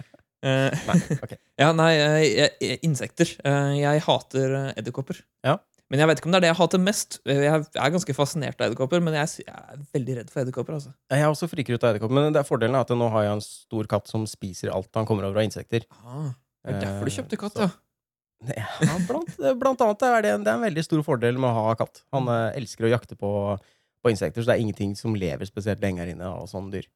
Speaker 2: Eh,
Speaker 1: Nei, ok.
Speaker 2: ja, nei, eh, jeg- insekter. Eh, jeg hater eh, edderkopper.
Speaker 1: Ja.
Speaker 2: Men jeg vet ikke om det er det jeg hater mest. Eh, Jeg er ganske fascinert av edderkopper, men jeg, sy- jeg er veldig redd for edderkopper. Altså.
Speaker 1: Ja, Jeg er også friker ut av edderkopp, men det er fordelen er at nå har jeg en stor katt som spiser alt han kommer over av insekter.
Speaker 2: Ah, det er derfor du
Speaker 1: Eh,
Speaker 2: kjøpte katt,
Speaker 1: så-
Speaker 2: ja.
Speaker 1: Ja, blant, blant annet er det, en, det er en veldig stor fordel med å ha katt. Han eh, elsker å jakte på, på insekter, så det er ingenting som lever spesielt lenge her inne av sånne dyr.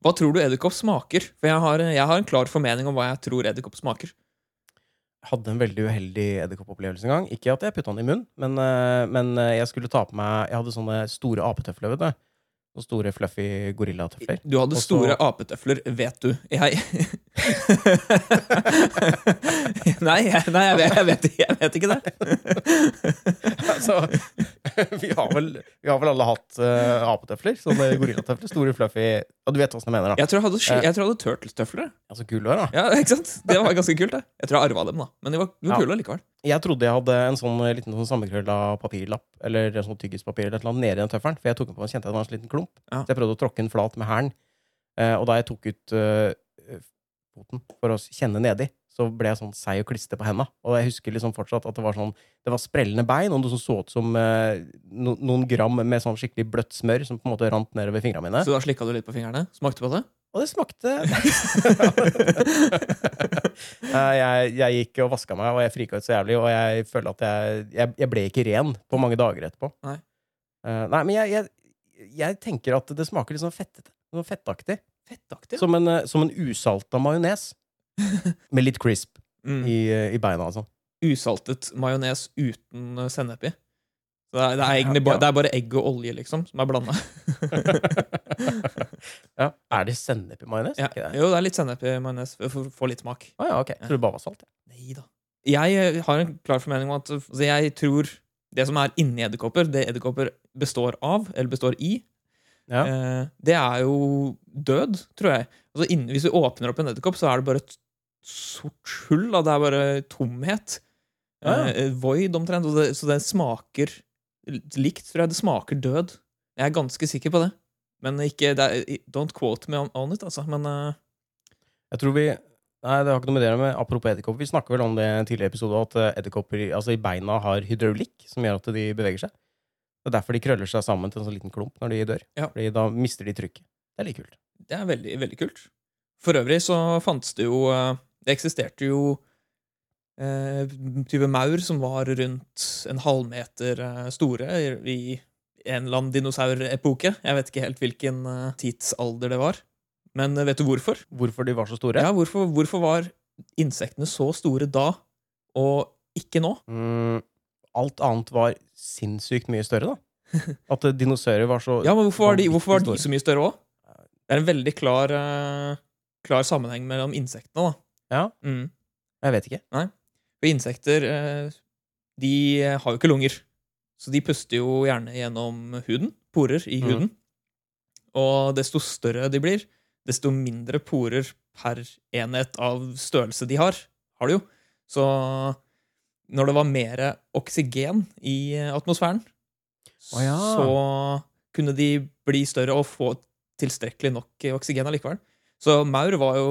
Speaker 2: Hva tror du edderkopp smaker? For jeg har, jeg har en klar formening om hva jeg tror edderkopp smaker.
Speaker 1: Jeg hadde en veldig uheldig edderkoppopplevelse en gang. Ikke at jeg putta den i munnen, men, eh, men eh, jeg skulle ta på meg Jeg hadde sånne store apetøfler, vet du. Og store fluffy gorillatøfler.
Speaker 2: Du hadde
Speaker 1: Og så-
Speaker 2: store apetøfler, vet du. Jeg Nei, jeg, nei jeg, vet, jeg, vet, jeg vet ikke det.
Speaker 1: Så vi har vel, vi har vel alle hatt eh, apetøfler. Sånne gorillatøfler. Store fluffy Og du vet åssen jeg mener, da.
Speaker 2: Jeg tror jeg hadde, sky- jeg tror jeg hadde turtlestøfler. jeg.
Speaker 1: Altså gullhår, da.
Speaker 2: Ja, ikke sant? Det var ganske kult. det Jeg tror jeg arva dem, da. Men de var, de var
Speaker 1: Ja.
Speaker 2: kule likevel.
Speaker 1: Jeg trodde jeg hadde en sånn eh, liten sånn sammenkrølla papirlapp eller en sånn tyggispapir eller et eller annet nede i den tøffelen. For jeg tok den på meg, kjente jeg det var en sånn liten klump.
Speaker 2: Ja.
Speaker 1: Så jeg prøvde å tråkke den flat med hælen. Eh, og da jeg tok ut eh, foten for å s- kjenne nedi, så ble jeg sånn seig og klister på henda. Og jeg husker liksom fortsatt at det var sånn Det var sprellende bein og noe som så ut som eh, no, noen gram med sånn skikkelig bløtt smør som på en måte rant nedover fingra mine.
Speaker 2: Så da slikka du litt på fingrene? Smakte på det?
Speaker 1: Og det smakte Eh, jeg, jeg gikk og vaska meg, og jeg frika ut så jævlig. Og jeg føler at jeg, jeg, jeg ble ikke ren på mange dager etterpå.
Speaker 2: Nei.
Speaker 1: Eh, nei men jeg, jeg, jeg tenker at det smaker litt sånn fettete. Sånn fettaktig.
Speaker 2: Fettaktig.
Speaker 1: Som en, eh, som en usalta majones. Med litt crisp
Speaker 2: Mm.
Speaker 1: i, eh, i beina, altså.
Speaker 2: Usaltet majones uten eh, sennep i. Så det, er, det, er egentlig
Speaker 1: Ja,
Speaker 2: bare,
Speaker 1: ja.
Speaker 2: det er bare egg og olje, liksom, som er blanda.
Speaker 1: ja. Er det sennep i majones?
Speaker 2: Ja.
Speaker 1: Ikke det?
Speaker 2: Jo, det er litt sennep i majones for å få litt smak.
Speaker 1: Ah, ja, ok. Tror det bare var salt. jeg.
Speaker 2: Nei da. Jeg eh, har en klar formening om at eh, altså, jeg tror det som er inni edderkopper, det edderkopper består av, eller består i,
Speaker 1: Ja.
Speaker 2: eh, det er jo død, tror jeg. Altså, inni, hvis du åpner opp en edderkopp, så er det bare et sort hull. Da. Det er bare tomhet.
Speaker 1: Ja, ja.
Speaker 2: Eh, void, omtrent. Og det, så det smaker likt, tror jeg. Det smaker død. Jeg er ganske sikker på det. Men ikke, det er, Don't quote me on, on it, altså. Men eh,
Speaker 1: Jeg tror vi Nei, det har ikke noe med det å gjøre, men apropos edderkopper. Vi snakker vel om det i en tidligere episode at eh, edderkopper i- altså i beina har hydraulikk som gjør at de beveger seg. Det er derfor de krøller seg sammen til en sånn liten klump når de dør.
Speaker 2: Ja.
Speaker 1: Fordi da mister de trykket. Det er litt kult.
Speaker 2: Det er veldig, veldig kult. For øvrig så fantes det jo eh, Det eksisterte jo eh, type maur som var rundt en halvmeter eh, store i i en eller annen dinosaurepoke. Jeg vet ikke helt hvilken eh, tidsalder det var. Men eh, vet du hvorfor?
Speaker 1: Hvorfor de var så store?
Speaker 2: Ja, hvorfor, hvorfor var insektene så store da, og ikke nå?
Speaker 1: Mm, alt annet var sinnssykt mye større, da. At eh, dinosaurer var så
Speaker 2: Ja, men hvorfor var de, hvorfor var de
Speaker 1: Vanvittig
Speaker 2: så mye større òg? Det er en veldig klar, eh, klar sammenheng mellom insektene, da.
Speaker 1: Ja.
Speaker 2: Mm.
Speaker 1: Jeg vet ikke.
Speaker 2: For insekter eh, de har jo ikke lunger, så de puster jo gjerne gjennom huden. Porer i
Speaker 1: Mhm.
Speaker 2: huden. Og desto større de blir, desto mindre porer per enhet av størrelse de har. har de jo. Så når det var mer oksygen i atmosfæren,
Speaker 1: Å ja.
Speaker 2: så kunne de bli større og få tilstrekkelig nok oksygen allikevel. Så maur var jo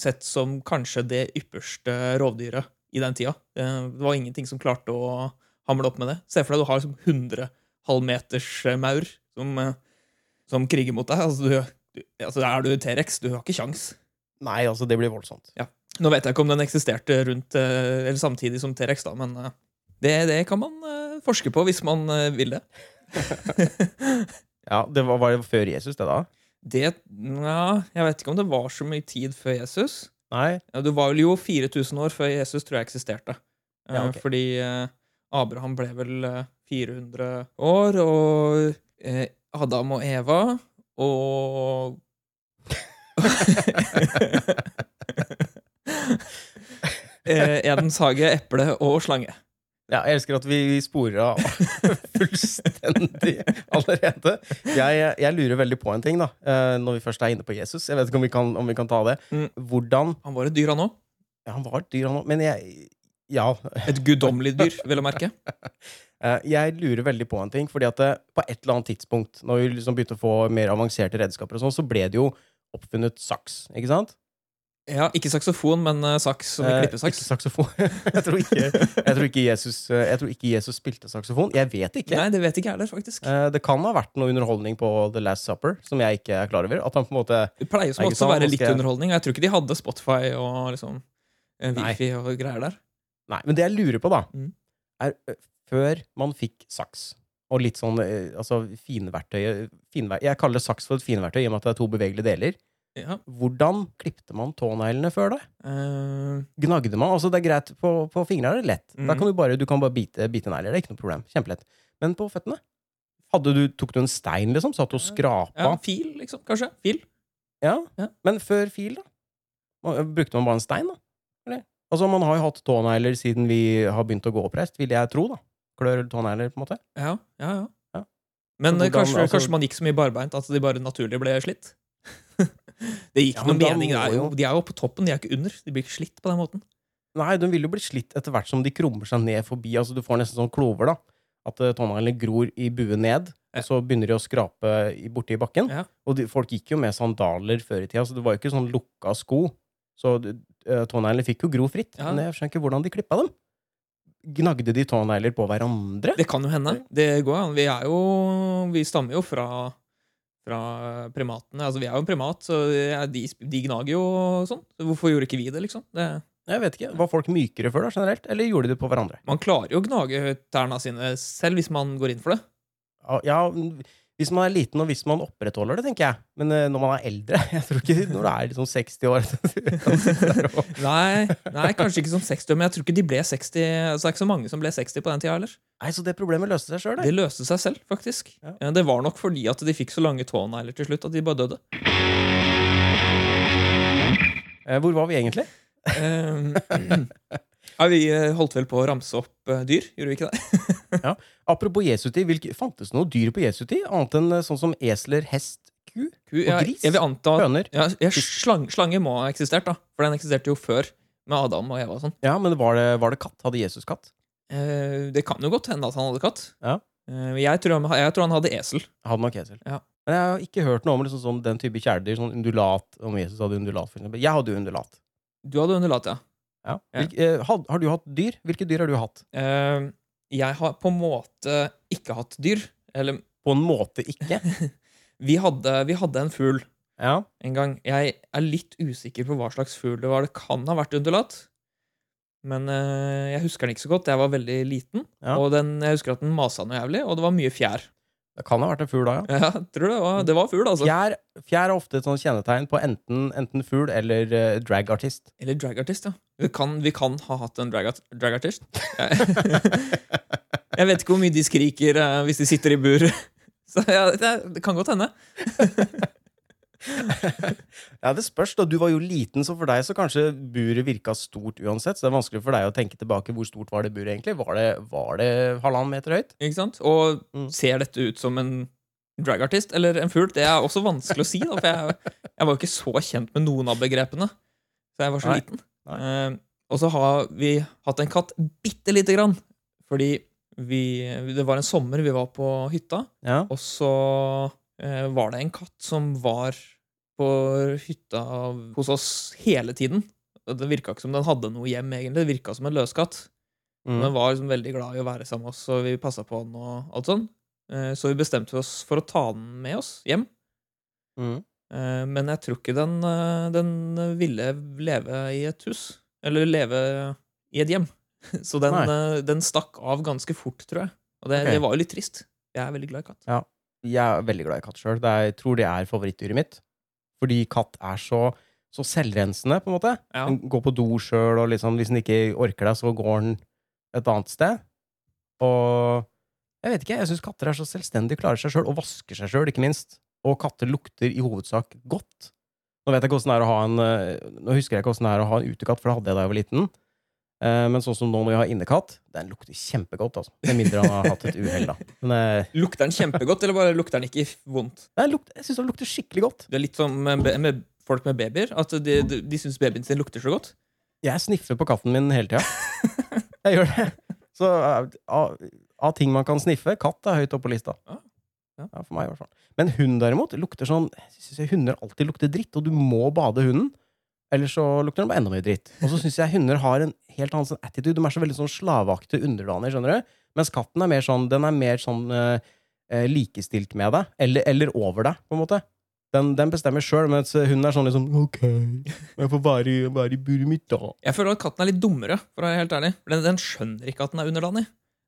Speaker 2: sett som kanskje det ypperste rovdyret i den tida. Eh, Det var ingenting som klarte å hamle opp med det. Se for deg du har liksom 100 halvmeters eh, maur som, eh, som kriger mot deg. Altså, du, du, altså Er du T-rex, du har ikke kjangs.
Speaker 1: Nei, altså, det blir voldsomt.
Speaker 2: Nå vet jeg ikke om den eksisterte rundt, eh, eller samtidig som T-rex, da, men eh, det, det kan man eh, forske på hvis man eh, vil det.
Speaker 1: Ja, det var, var det før Jesus, det da?
Speaker 2: Det Nja, jeg vet ikke om det var så mye tid før Jesus.
Speaker 1: Nei?
Speaker 2: Ja, det var vel jo 4000 år før Jesus tror jeg eksisterte. Eh,
Speaker 1: Ja, ok.
Speaker 2: Fordi eh, Abraham ble vel eh, 400 år, og eh, Adam og Eva og eh, Edens hage, eple og slange.
Speaker 1: Ja, jeg elsker at vi sporer av fullstendig allerede. Jeg, jeg lurer veldig på en ting, da, eh, når vi først er inne på Jesus. Jeg vet ikke om vi kan, om vi kan ta det.
Speaker 2: Mm.
Speaker 1: Hvordan
Speaker 2: Han var et dyr, han òg.
Speaker 1: ja, Han var et dyr, han òg, men jeg Ja.
Speaker 2: Et guddommelig dyr, vel å merke.
Speaker 1: eh, Jeg lurer veldig på en ting, fordi at eh, på et eller annet tidspunkt, når vi liksom begynte å få mer avanserte redskaper og sånn, så ble det jo oppfunnet saks, ikke sant?
Speaker 2: Ja, Ikke saksofon, men eh, saks som i
Speaker 1: Eh,
Speaker 2: klippesaks.
Speaker 1: Ikke saksofon. jeg, tror ikke, jeg, tror ikke Jesus, eh, jeg tror ikke Jesus spilte saksofon. Jeg vet ikke.
Speaker 2: Nei, det vet ikke jeg heller, faktisk.
Speaker 1: Eh, Det kan ha vært noe underholdning på The Last Supper som jeg ikke er klar over. At han på en måte
Speaker 2: Det pleier som
Speaker 1: Nei, ikke
Speaker 2: også å
Speaker 1: sant,
Speaker 2: være
Speaker 1: nå
Speaker 2: litt
Speaker 1: skal jeg-
Speaker 2: underholdning. og Jeg tror ikke de hadde Spotify og liksom eh,
Speaker 1: Nei.
Speaker 2: Wifi og greier der.
Speaker 1: Nei, men det jeg lurer på, da,
Speaker 2: Mm.
Speaker 1: er ø, før man fikk saks og litt sånn eh, altså finverktøy finver Jeg kaller det saks for et finverktøy i og med at det er to bevegelige deler.
Speaker 2: Ja.
Speaker 1: Hvordan klipte man tåneglene før det?
Speaker 2: eh,
Speaker 1: Gnagde man? Altså, det er greit, på, på fingrene er det lett.
Speaker 2: Mm.
Speaker 1: Da kan du bare, du kan bare bite, bite negler. Det er ikke noe problem. Kjempelett. Men på føttene? Hadde du, tok du en stein, liksom? Satt og
Speaker 2: ja,
Speaker 1: skrapa?
Speaker 2: fil, liksom. Kanskje. Fil.
Speaker 1: Ja.
Speaker 2: Ja.
Speaker 1: Men før fil, da? Man- Brukte man bare en stein, da? Eller? Altså, Man har jo hatt tånegler siden vi har begynt å gå oppreist, vil jeg tro. da Klør eller tånegler, på en måte.
Speaker 2: Ja, ja, ja.
Speaker 1: Ja.
Speaker 2: Men eh,
Speaker 1: Så hvordan,
Speaker 2: kanskje,
Speaker 1: altså-
Speaker 2: kanskje man gikk så mye barbeint at de bare naturlig ble slitt? det gikk
Speaker 1: Ja,
Speaker 2: noen
Speaker 1: men da
Speaker 2: mening. Det
Speaker 1: må
Speaker 2: er jo,
Speaker 1: jo-
Speaker 2: de er jo på toppen, de er ikke under. De blir ikke slitt på den måten.
Speaker 1: Nei, de vil jo bli slitt etter hvert som de krummer seg ned forbi. altså Du får nesten sånn klover, da. At eh, tåneglene gror i bue ned,
Speaker 2: Ja.
Speaker 1: og så begynner de å skrape i- borti bakken.
Speaker 2: Ja.
Speaker 1: Og de, folk gikk jo med sandaler før i tida, så det var jo ikke sånn lukka sko. Så eh, tåneglene fikk jo gro fritt.
Speaker 2: Ja.
Speaker 1: Men jeg skjønner ikke hvordan de klippa dem. Gnagde de tånegler på hverandre?
Speaker 2: Det kan jo hende. Det går an. Vi er jo Vi stammer jo fra fra primatene. Altså, vi er jo en primat, så ja, de, sp- de gnager jo og sånn. Så hvorfor gjorde ikke vi det, liksom? Det,
Speaker 1: Jeg vet ikke, Var folk mykere før, da, generelt? Eller gjorde de det på hverandre?
Speaker 2: man klarer jo å gnage tærne sine selv hvis man går inn for det.
Speaker 1: Ja, Hvis man er liten, og hvis man opprettholder det, tenker jeg. Men eh, når man er eldre Jeg tror ikke når du er liksom 60 år du kan sitte der og-
Speaker 2: Nei, nei kanskje ikke som 60, men jeg tror ikke de ble 60. Altså, det er ikke så mange som ble 60 på den tida heller.
Speaker 1: Nei, Så det problemet løste seg sjøl, det.
Speaker 2: Det løste seg selv, faktisk.
Speaker 1: Ja.
Speaker 2: Eh, Det var nok fordi at de fikk så lange tånegler til slutt at de bare døde.
Speaker 1: Eh, Hvor var vi egentlig?
Speaker 2: Eh, ja, vi eh, holdt vel på å ramse opp eh, dyr, gjorde vi ikke det?
Speaker 1: Apropos Jesu tid, hvilke, fantes det noe dyr på Jesu tid? Annet enn eh, sånn som esler, hest, ku,
Speaker 2: Ku, jeg,
Speaker 1: gris.
Speaker 2: jeg vil anta at
Speaker 1: høner?
Speaker 2: ja, ja, slang, Slange må ha eksistert, da. For den eksisterte jo før med Adam og Eva og sånn.
Speaker 1: Ja, men var det, var det katt? Hadde Jesus katt?
Speaker 2: Eh, det kan jo godt hende at han hadde katt.
Speaker 1: Ja.
Speaker 2: Eh, jeg, tror han, jeg tror han hadde esel.
Speaker 1: Hadde nok esel.
Speaker 2: Ja.
Speaker 1: Men jeg har ikke hørt noe om liksom, sånn, den type kjæledyr, sånn undulat, om Jesus hadde undulat. For eksempel. jeg hadde jo undulat.
Speaker 2: Du hadde underlatt, ja.
Speaker 1: Ja.
Speaker 2: Ja.
Speaker 1: Hvilke, eh, had, har du hatt dyr? Hvilke dyr har du hatt?
Speaker 2: Eh, jeg har på en måte ikke hatt dyr. Eller
Speaker 1: På en måte ikke.
Speaker 2: vi hadde, vi hadde en fugl
Speaker 1: Ja.
Speaker 2: en gang. Jeg er litt usikker på hva slags fugl det var. Det kan ha vært undulat. Men eh, jeg husker den ikke så godt. Jeg var veldig liten.
Speaker 1: Ja.
Speaker 2: Og den, jeg husker at den masa noe jævlig, og det var mye fjær.
Speaker 1: Det kan ha vært en fugl da, ja.
Speaker 2: Ja, jeg tror det var, det var fugl, altså.
Speaker 1: Fjær, fjær er ofte et sånt kjennetegn på enten, enten fugl eller eh, dragartist.
Speaker 2: Eller dragartist, ja. Vi kan, vi kan ha hatt en dragart- dragartist. jeg vet ikke hvor mye de skriker eh, hvis de sitter i bur. Så ja, det, det kan godt hende.
Speaker 1: Ja, det spørs, da. Du var jo liten, så for deg så kanskje buret virka stort uansett. Så det er vanskelig for deg å tenke tilbake. Hvor stort var det buret egentlig? Var det, var det halvannen meter høyt?
Speaker 2: Ikke sant? Og
Speaker 1: Mm.
Speaker 2: ser dette ut som en dragartist eller en fugl? Det er også vanskelig å si, da, for jeg, jeg var jo ikke så kjent med noen av begrepene. Så jeg var så
Speaker 1: Nei.
Speaker 2: liten. Eh, og så har vi hatt en katt bitte lite grann. Fordi vi, det var en sommer vi var på hytta,
Speaker 1: Ja.
Speaker 2: og så eh, var det en katt som var på hytta hos oss hele tiden. Og Det virka ikke som den hadde noe hjem, egentlig. Det virka som en løskatt. Men
Speaker 1: Mm.
Speaker 2: var liksom veldig glad i å være sammen med oss, og vi passa på han og alt sånn. Eh, Så vi bestemte oss for å ta den med oss hjem.
Speaker 1: Mm.
Speaker 2: Eh, Men jeg tror ikke den, eh, den ville leve i et hus. Eller leve i et hjem. Så den, eh, den stakk av ganske fort, tror jeg. Og det,
Speaker 1: Ok.
Speaker 2: det var jo litt trist. Jeg er veldig glad i katt.
Speaker 1: Jeg er veldig glad i katt sjøl. Jeg tror det er favorittdyret mitt. Fordi katt er så, så selvrensende, på en måte.
Speaker 2: Ja.
Speaker 1: Den går på do sjøl, og liksom, hvis den ikke orker deg, så går den et annet sted. Og jeg vet ikke, jeg syns katter er så selvstendige, klarer seg sjøl, og vasker seg sjøl, ikke minst. Og katter lukter i hovedsak godt. Nå vet jeg ikke hvordan det er å ha en eh, Nå husker jeg ikke hvordan det er å ha en utekatt, for det hadde jeg da jeg var liten. Eh, Men sånn som nå når vi har innekatt, den lukter kjempegodt. altså. Med mindre han har hatt et uhell, da. Men eh,
Speaker 2: Lukter den kjempegodt, eller bare lukter den ikke vondt?
Speaker 1: den lukter- jeg syns den lukter skikkelig godt.
Speaker 2: Det er litt som med, be- med folk med babyer. At de, de, de syns babyen sin lukter så godt.
Speaker 1: Jeg sniffer på katten min hele tida. Jeg gjør det. Så eh, av, av ting man kan sniffe, katt er høyt oppe på lista.
Speaker 2: Ja. Ja.
Speaker 1: Ja, for meg i hvert fall. Men hund derimot lukter sånn jeg synes Hunder alltid lukter dritt, og du må bade hunden. Eller så lukter den bare enda mer dritt. Og så syns jeg hunder har en helt annen sånn attitude. De er så veldig sånn slaveaktige underdaner, skjønner du. Mens katten er mer sånn, den er mer sånn eh, eh, likestilt med deg. Eller, eller over deg, på en måte. Den, den bestemmer sjøl, mens hunden er sånn liksom OK, jeg får være, i- være i buret mitt, da.
Speaker 2: Jeg føler at katten er litt dummere, for å være helt ærlig. For Den, den skjønner ikke at den er underdanig.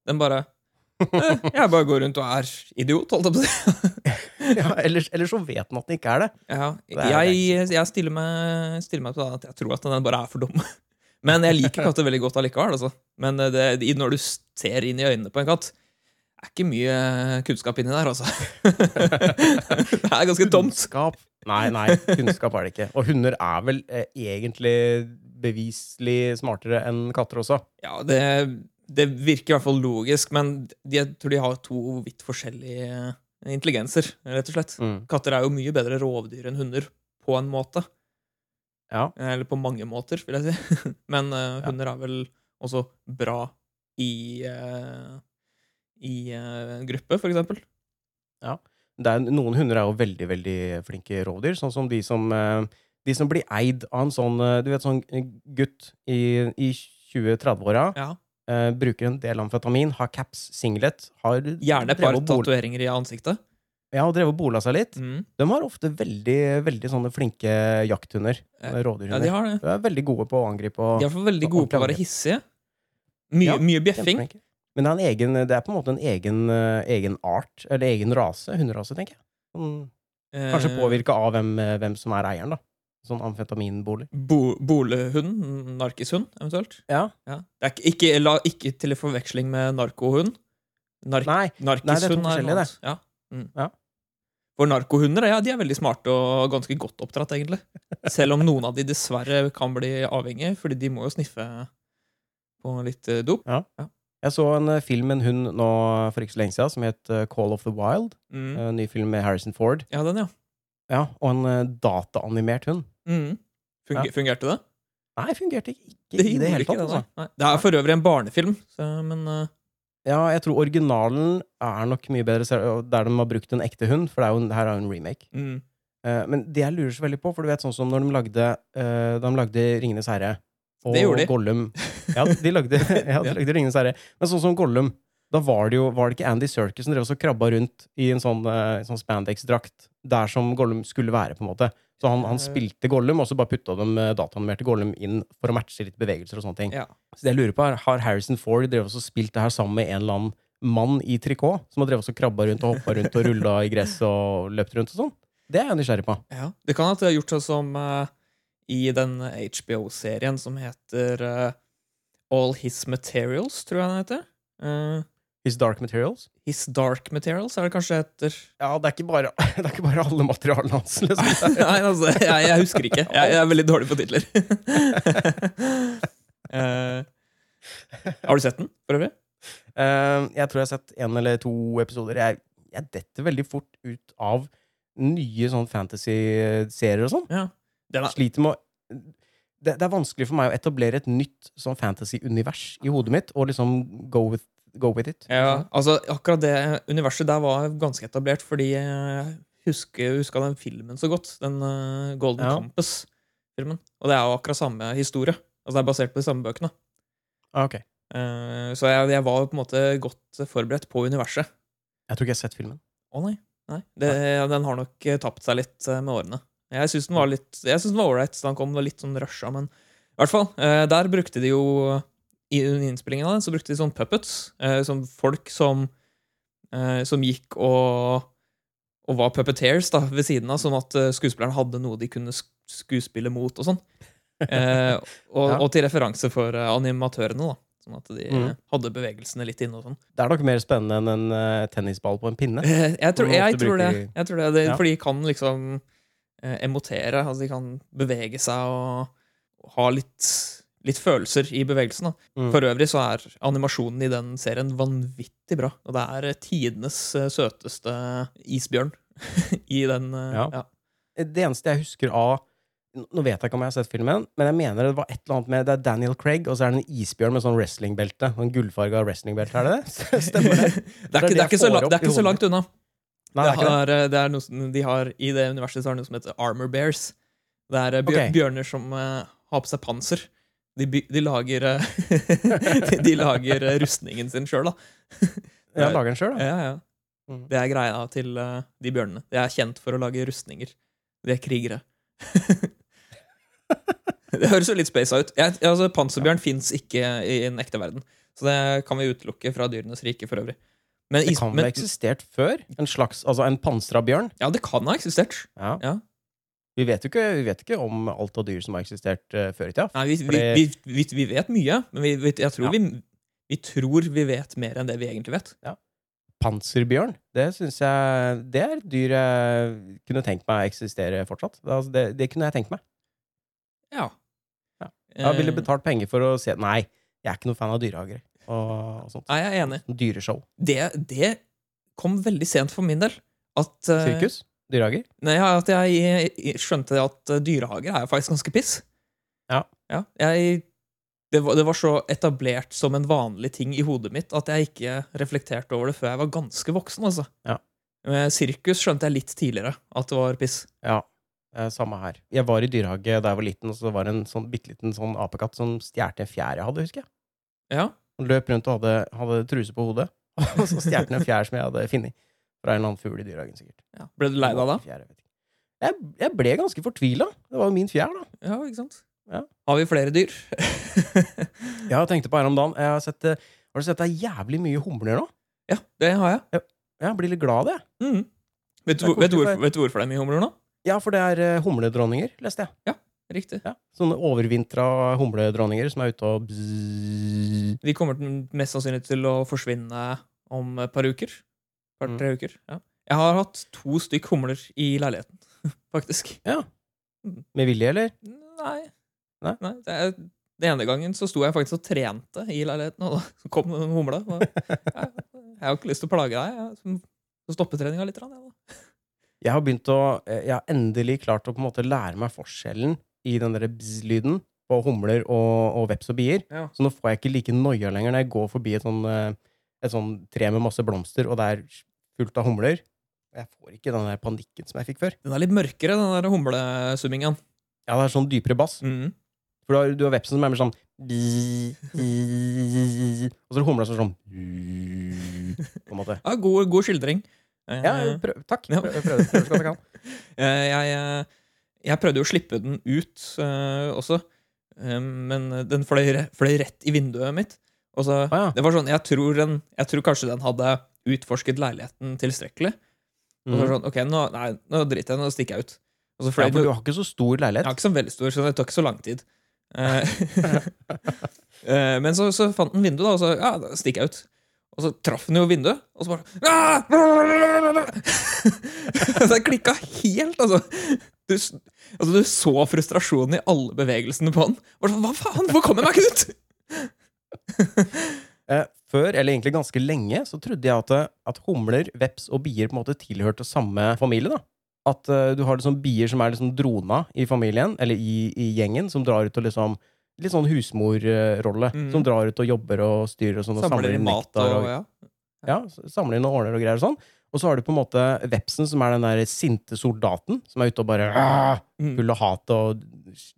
Speaker 2: Den bare eh, Jeg bare går rundt og er idiot, holdt jeg på å si.
Speaker 1: Ja, ellers, ellers så vet den at den ikke er det.
Speaker 2: Ja,
Speaker 1: Det er
Speaker 2: jeg, jeg stiller meg, stiller meg på det at jeg tror at den bare er for dum. Men jeg liker katter veldig godt allikevel. Altså. Men det, i- når du ser inn i øynene på en katt, er ikke mye kunnskap inni der, altså. det er ganske tomt.
Speaker 1: Kunnskap. Nei, nei, kunnskap er det ikke. Og hunder er vel eh, egentlig beviselig smartere enn katter også.
Speaker 2: Ja, det, det virker i hvert fall logisk, men de, jeg tror de har to vidt forskjellige intelligenser, rett og slett. Katter er jo mye bedre rovdyr enn hunder, på en måte. Eh,
Speaker 1: Ja.
Speaker 2: Eller på mange måter, vil jeg si. Men eh, hunder er vel også bra i, eh, i eh, gruppe, for eksempel.
Speaker 1: Det er, noen hunder er jo veldig, veldig flinke rovdyr, sånn som de som, eh, de som blir eid av en sånn, eh, du vet, sånn gutt i, i 20-30-åra,
Speaker 2: Ja.
Speaker 1: eh, bruker en del amfetamin, har caps, singlet, har
Speaker 2: Gjerne et
Speaker 1: drevet
Speaker 2: par
Speaker 1: og bol-
Speaker 2: tatoveringer i ansiktet.
Speaker 1: Ja, og drevet og bola seg litt.
Speaker 2: Mm.
Speaker 1: De har ofte veldig, veldig sånne flinke jakthunder, eh,
Speaker 2: Ja. Ja,
Speaker 1: rådyrhunder.
Speaker 2: de har det.
Speaker 1: De er veldig gode på å angripe og
Speaker 2: De er i hvert fall veldig
Speaker 1: Og
Speaker 2: gode på å
Speaker 1: ordentlig
Speaker 2: være hissige. Mye,
Speaker 1: Ja,
Speaker 2: mye bjeffing.
Speaker 1: Kjempeflinke. Men det er, en egen, det er på en måte en egen, eh, egen art, eller egen rase, hunderase, tenker jeg. Sånn, kanskje
Speaker 2: Eh,
Speaker 1: påvirka av hvem, eh, hvem som er eieren, da. Sånn amfetaminbolig.
Speaker 2: Bo, Bolehund? Narkishund, eventuelt?
Speaker 1: Ja.
Speaker 2: Ja. Det er ikke, ikke, la, ikke til forveksling med narkohund. Nark,
Speaker 1: Nei,
Speaker 2: narkishund
Speaker 1: nei, det er to
Speaker 2: noe
Speaker 1: forskjellige,
Speaker 2: annet. Ja. Mm.
Speaker 1: Ja.
Speaker 2: For narkohunder ja, de er veldig smarte og ganske godt oppdratt, egentlig. Selv om noen av de dessverre kan bli avhengige, fordi de må jo sniffe på litt eh, dop.
Speaker 1: jeg så en eh, film med en hund nå for ikke så lenge siden som het eh, Call of the Wild.
Speaker 2: Mm.
Speaker 1: En ny film med Harrison Ford.
Speaker 2: Ja, den, ja.
Speaker 1: Ja, Og en eh, dataanimert hund.
Speaker 2: Mm. Funge,
Speaker 1: Ja. Fungerte
Speaker 2: Fungerte det?
Speaker 1: Nei, fungerte ikke, ikke i det
Speaker 2: gjorde
Speaker 1: hele
Speaker 2: ikke
Speaker 1: tatt.
Speaker 2: det,
Speaker 1: Altså.
Speaker 2: nei. Nei. Det er for øvrig en barnefilm, så, men eh,
Speaker 1: Ja, jeg tror originalen er nok mye bedre selv- der de har brukt en ekte hund, for det er jo, en- her er jo en remake.
Speaker 2: mm.
Speaker 1: Eh, men det jeg lurer så veldig på, for du vet sånn som når de lagde, eh, de lagde Ringenes herre og
Speaker 2: Det gjorde de.
Speaker 1: Gollum Ja, de lagde, ja, de
Speaker 2: Ja.
Speaker 1: lagde Ringenes herre. Men sånn som Gollum, da var det jo var det ikke Andy Serkis som drev og så krabba rundt i en sånn, eh, sånn spandex-drakt der som Gollum skulle være, på en måte. Så han, han
Speaker 2: Eh.
Speaker 1: spilte Gollum, og så bare putta de eh, dataanimerte Gollum inn for å matche litt bevegelser og sånne ting.
Speaker 2: Ja.
Speaker 1: Så det jeg lurer på er, Har Harrison Ford drevet og spilt det her sammen med en eller annen mann i trikot? Som har drevet og krabba rundt og hoppa rundt og rulla i gresset og løpt rundt og sånn? Det er jeg nysgjerrig på.
Speaker 2: Ja, Det kan at det har gjort seg som eh, i den HBO-serien som heter eh, All His Materials, tror jeg den heter. Eh,
Speaker 1: His Dark Materials?
Speaker 2: His Dark Materials er det kanskje heter.
Speaker 1: Ja, det er ikke bare, det er ikke bare alle materialene hans. Liksom.
Speaker 2: Nei, altså, jeg, jeg husker ikke. Jeg, jeg er veldig dårlig på titler. Eh, har du sett den, for øvrig?
Speaker 1: Eh, jeg tror jeg har sett en eller to episoder. Jeg, jeg detter veldig fort ut av nye sånn fantasy-serier og sånn.
Speaker 2: Ja. Den er,
Speaker 1: Sliter med å det, det er vanskelig for meg å etablere et nytt sånn fantasy-univers i hodet mitt, og liksom go with, go with it.
Speaker 2: ja, altså, akkurat det universet der var ganske etablert, fordi jeg husker, husker den filmen så godt. Den eh, Golden
Speaker 1: Ja.
Speaker 2: Campus-filmen. Og det er jo akkurat samme historie. Altså, det er basert på de samme bøkene.
Speaker 1: Ah, ok.
Speaker 2: Eh, så jeg, jeg var jo på en måte godt forberedt på universet.
Speaker 1: Jeg tror ikke jeg har sett filmen.
Speaker 2: Å nei. nei. Det, Den har nok eh, tapt seg litt eh, med årene. Jeg syns den var litt Jeg synes den var ålreit. så Den kom litt sånn rusha, men i hvert fall. eh, Der brukte de jo I innspillingen av den så brukte de sånn puppets. eh, Sånn folk som eh, Som gikk og og var puppeteers da, ved siden av, sånn at eh, skuespillerne hadde noe de kunne sk- skuespille mot. og sånn. Eh, og,
Speaker 1: Ja.
Speaker 2: og til referanse for eh, animatørene, da. Sånn at de eh,
Speaker 1: Mm.
Speaker 2: hadde bevegelsene litt inne og sånn.
Speaker 1: Det er nok mer spennende enn en eh, tennisball på en pinne.
Speaker 2: Eh, Jeg tror,
Speaker 1: Som man
Speaker 2: jeg
Speaker 1: ofte
Speaker 2: tror det.
Speaker 1: bruker i-
Speaker 2: Jeg tror det, det
Speaker 1: Ja.
Speaker 2: For de kan liksom eh, emotere. Altså de kan bevege seg og, og ha litt, litt følelser i bevegelsen. Da.
Speaker 1: Mm.
Speaker 2: For øvrig så er animasjonen i den serien vanvittig bra. Og det er tidenes eh, søteste isbjørn i den. eh,
Speaker 1: Ja.
Speaker 2: Ja.
Speaker 1: Det eneste jeg husker av Nå vet jeg ikke om jeg har sett filmen, men jeg mener det var et eller annet med Det er Daniel Craig, og så er det en isbjørn med sånn wrestlingbelte. Sånn gullfarga wrestlingbelte, er det det? Stemmer det?
Speaker 2: Det er ikke, det er ikke, så,
Speaker 1: jeg får
Speaker 2: langt, det
Speaker 1: opp
Speaker 2: er ikke så
Speaker 1: i hodet
Speaker 2: langt unna.
Speaker 1: Nei, det er
Speaker 2: det
Speaker 1: ikke det.
Speaker 2: er, eh, det er noe som de har, I det universet så er det noe som heter armor bears. Det er eh, bjør,
Speaker 1: Ok.
Speaker 2: bjørner som eh, har på seg panser. De, by- de lager, eh, de, de lager eh, rustningen sin sjøl, da.
Speaker 1: Jeg lager den sjøl, da.
Speaker 2: Ja, ja.
Speaker 1: Mm.
Speaker 2: Det er greia til eh, de bjørnene. De er kjent for å lage rustninger. De er krigere. det høres jo litt space ut. Jeg, altså, panserbjørn fins ikke i den ekte verden. Så det kan vi utelukke fra dyrenes rike for øvrig. Men
Speaker 1: Det
Speaker 2: is-
Speaker 1: kan vel
Speaker 2: men-
Speaker 1: ha eksistert før? En slags, altså en pansra bjørn?
Speaker 2: Ja, det kan ha eksistert.
Speaker 1: Ja.
Speaker 2: Ja.
Speaker 1: Vi, vet jo ikke, vi vet ikke om alt av dyr som har eksistert eh, før i tida.
Speaker 2: Nei, vi, vi,
Speaker 1: Fordi-
Speaker 2: vi, vi, vi vet mye, men vi, vi, jeg tror
Speaker 1: Ja.
Speaker 2: vi, vi tror vi vet mer enn det vi egentlig vet.
Speaker 1: Panserbjørn, det syns jeg Det er et dyr jeg kunne tenkt meg eksistere fortsatt. Det, altså, det, det kunne jeg tenkt meg.
Speaker 2: Ja.
Speaker 1: Ja.
Speaker 2: Eh,
Speaker 1: Jeg ville betalt penger for å se Nei, jeg er ikke noe fan av dyrehager og, og sånt.
Speaker 2: Nei, jeg er
Speaker 1: Eh.
Speaker 2: enig.
Speaker 1: Dyreshow.
Speaker 2: Det, det kom veldig sent for min del. At, eh,
Speaker 1: Sirkus? Dyrehager?
Speaker 2: Nei, ja, at jeg eh, skjønte at eh, dyrehager er jo faktisk ganske piss.
Speaker 1: Ja.
Speaker 2: jeg, det, var, det var så etablert som en vanlig ting i hodet mitt at jeg ikke reflekterte over det før jeg var ganske voksen. altså.
Speaker 1: Ja.
Speaker 2: Men sirkus skjønte jeg litt tidligere at det var piss.
Speaker 1: Ja. eh, Samme her. Jeg var i dyrehage da jeg var liten, og så var det en sånn bitte liten sånn apekatt som stjal en fjær jeg hadde, husker jeg.
Speaker 2: Ja,
Speaker 1: Han løp rundt og hadde, hadde truse på hodet. Og så stjal han en fjær som jeg hadde funnet. Fra en eller annen fugl i dyrehagen, sikkert.
Speaker 2: ja. Ble du lei deg da?
Speaker 1: Fjær, jeg, vet ikke. jeg, jeg ble ganske fortvila. Det var jo min fjær, da.
Speaker 2: Ja, ikke sant?
Speaker 1: Ja.
Speaker 2: Har vi flere dyr?
Speaker 1: Ja, Jeg tenkte på her om dagen jeg har, sett, eh, har du sett det er jævlig mye humler nå?
Speaker 2: ja, det har jeg.
Speaker 1: Jeg blir litt glad av det.
Speaker 2: Mhm. Vet, du,
Speaker 1: Det er
Speaker 2: vet, du
Speaker 1: koselig,
Speaker 2: hvorfor, vet du hvorfor det er mye humler nå?
Speaker 1: Ja, for det er eh, humledronninger, leste jeg.
Speaker 2: Riktig.
Speaker 1: Ja. Sånne overvintra humledronninger som er ute og bzzz.
Speaker 2: De kommer til- mest sannsynlig til å forsvinne om et par uker. Par,
Speaker 1: Mm.
Speaker 2: tre uker. Ja. Jeg har hatt to stykk humler i leiligheten, faktisk.
Speaker 1: Med vilje, eller?
Speaker 2: Nei.
Speaker 1: Nei?
Speaker 2: det er, den ene gangen så sto jeg faktisk og trente i leiligheten, og da kom den humla. Og, ja, jeg har jo ikke lyst til å plage deg. Jeg må stoppe treninga litt. grann, jeg, da.
Speaker 1: Jeg har begynt å eh, Jeg har endelig klart å på en måte lære meg forskjellen i den der bzz-lyden på humler og, og veps og bier.
Speaker 2: Ja.
Speaker 1: Så nå får jeg ikke like noia lenger når jeg går forbi et sånn, eh, et sånn tre med masse blomster, og det er fullt av humler. Jeg får ikke den der panikken som jeg fikk før.
Speaker 2: Den er litt mørkere, den der humlesumminga.
Speaker 1: Ja, det er sånn dypere bass.
Speaker 2: Mm.
Speaker 1: For du har, du har vepsen som er mer sånn bzz, bzz, Og så er det humla som er sånn På en måte.
Speaker 2: Ja, god, god skildring. Eh,
Speaker 1: Ja, prøv, takk.
Speaker 2: Ja.
Speaker 1: Prøv, prøv, prøv så godt jeg kan.
Speaker 2: eh, jeg, eh, jeg prøvde jo å slippe den ut eh, også, eh, men den fløy, re- fløy rett i vinduet mitt. Og så,
Speaker 1: Ah, ja.
Speaker 2: det var sånn, jeg tror, den, jeg tror kanskje den hadde utforsket leiligheten tilstrekkelig. Og så var det sånn, ok, nå, nei, nå driter jeg, nå stikker jeg ut. Og så
Speaker 1: Ja,
Speaker 2: fløy
Speaker 1: Mm. for
Speaker 2: den
Speaker 1: du har ikke så stor
Speaker 2: Jeg
Speaker 1: leilighet.
Speaker 2: er ikke så veldig stor, så det tok ikke så lang tid. Eh, eh, Men så, så fant den vinduet, da, og så ja, da stikker jeg ut. Og så traff den jo vinduet, og så bare «Ah!» Det klikka helt, altså. Du, s- altså. du så frustrasjonen i alle bevegelsene på den. Bare sånn, Hva faen, hvorfor kommer jeg meg ikke ut?!
Speaker 1: Eh, før, eller egentlig ganske lenge, så trodde jeg at, eh, at humler, veps og bier på en måte tilhørte samme familie. da. At eh, du har liksom bier som er liksom drona i familien, eller i, i gjengen, som drar ut og liksom Litt sånn husmorrolle.
Speaker 2: Mm.
Speaker 1: Som drar ut og jobber og styrer og sånn. Og
Speaker 2: Samler inn mat
Speaker 1: nektar
Speaker 2: og ja.
Speaker 1: ja, s- samler inn og ordner og greier og sånn. Og så har du på en måte vepsen, som er den der sinte soldaten, som er ute og bare «Ah!»
Speaker 2: Mm.
Speaker 1: full av hat og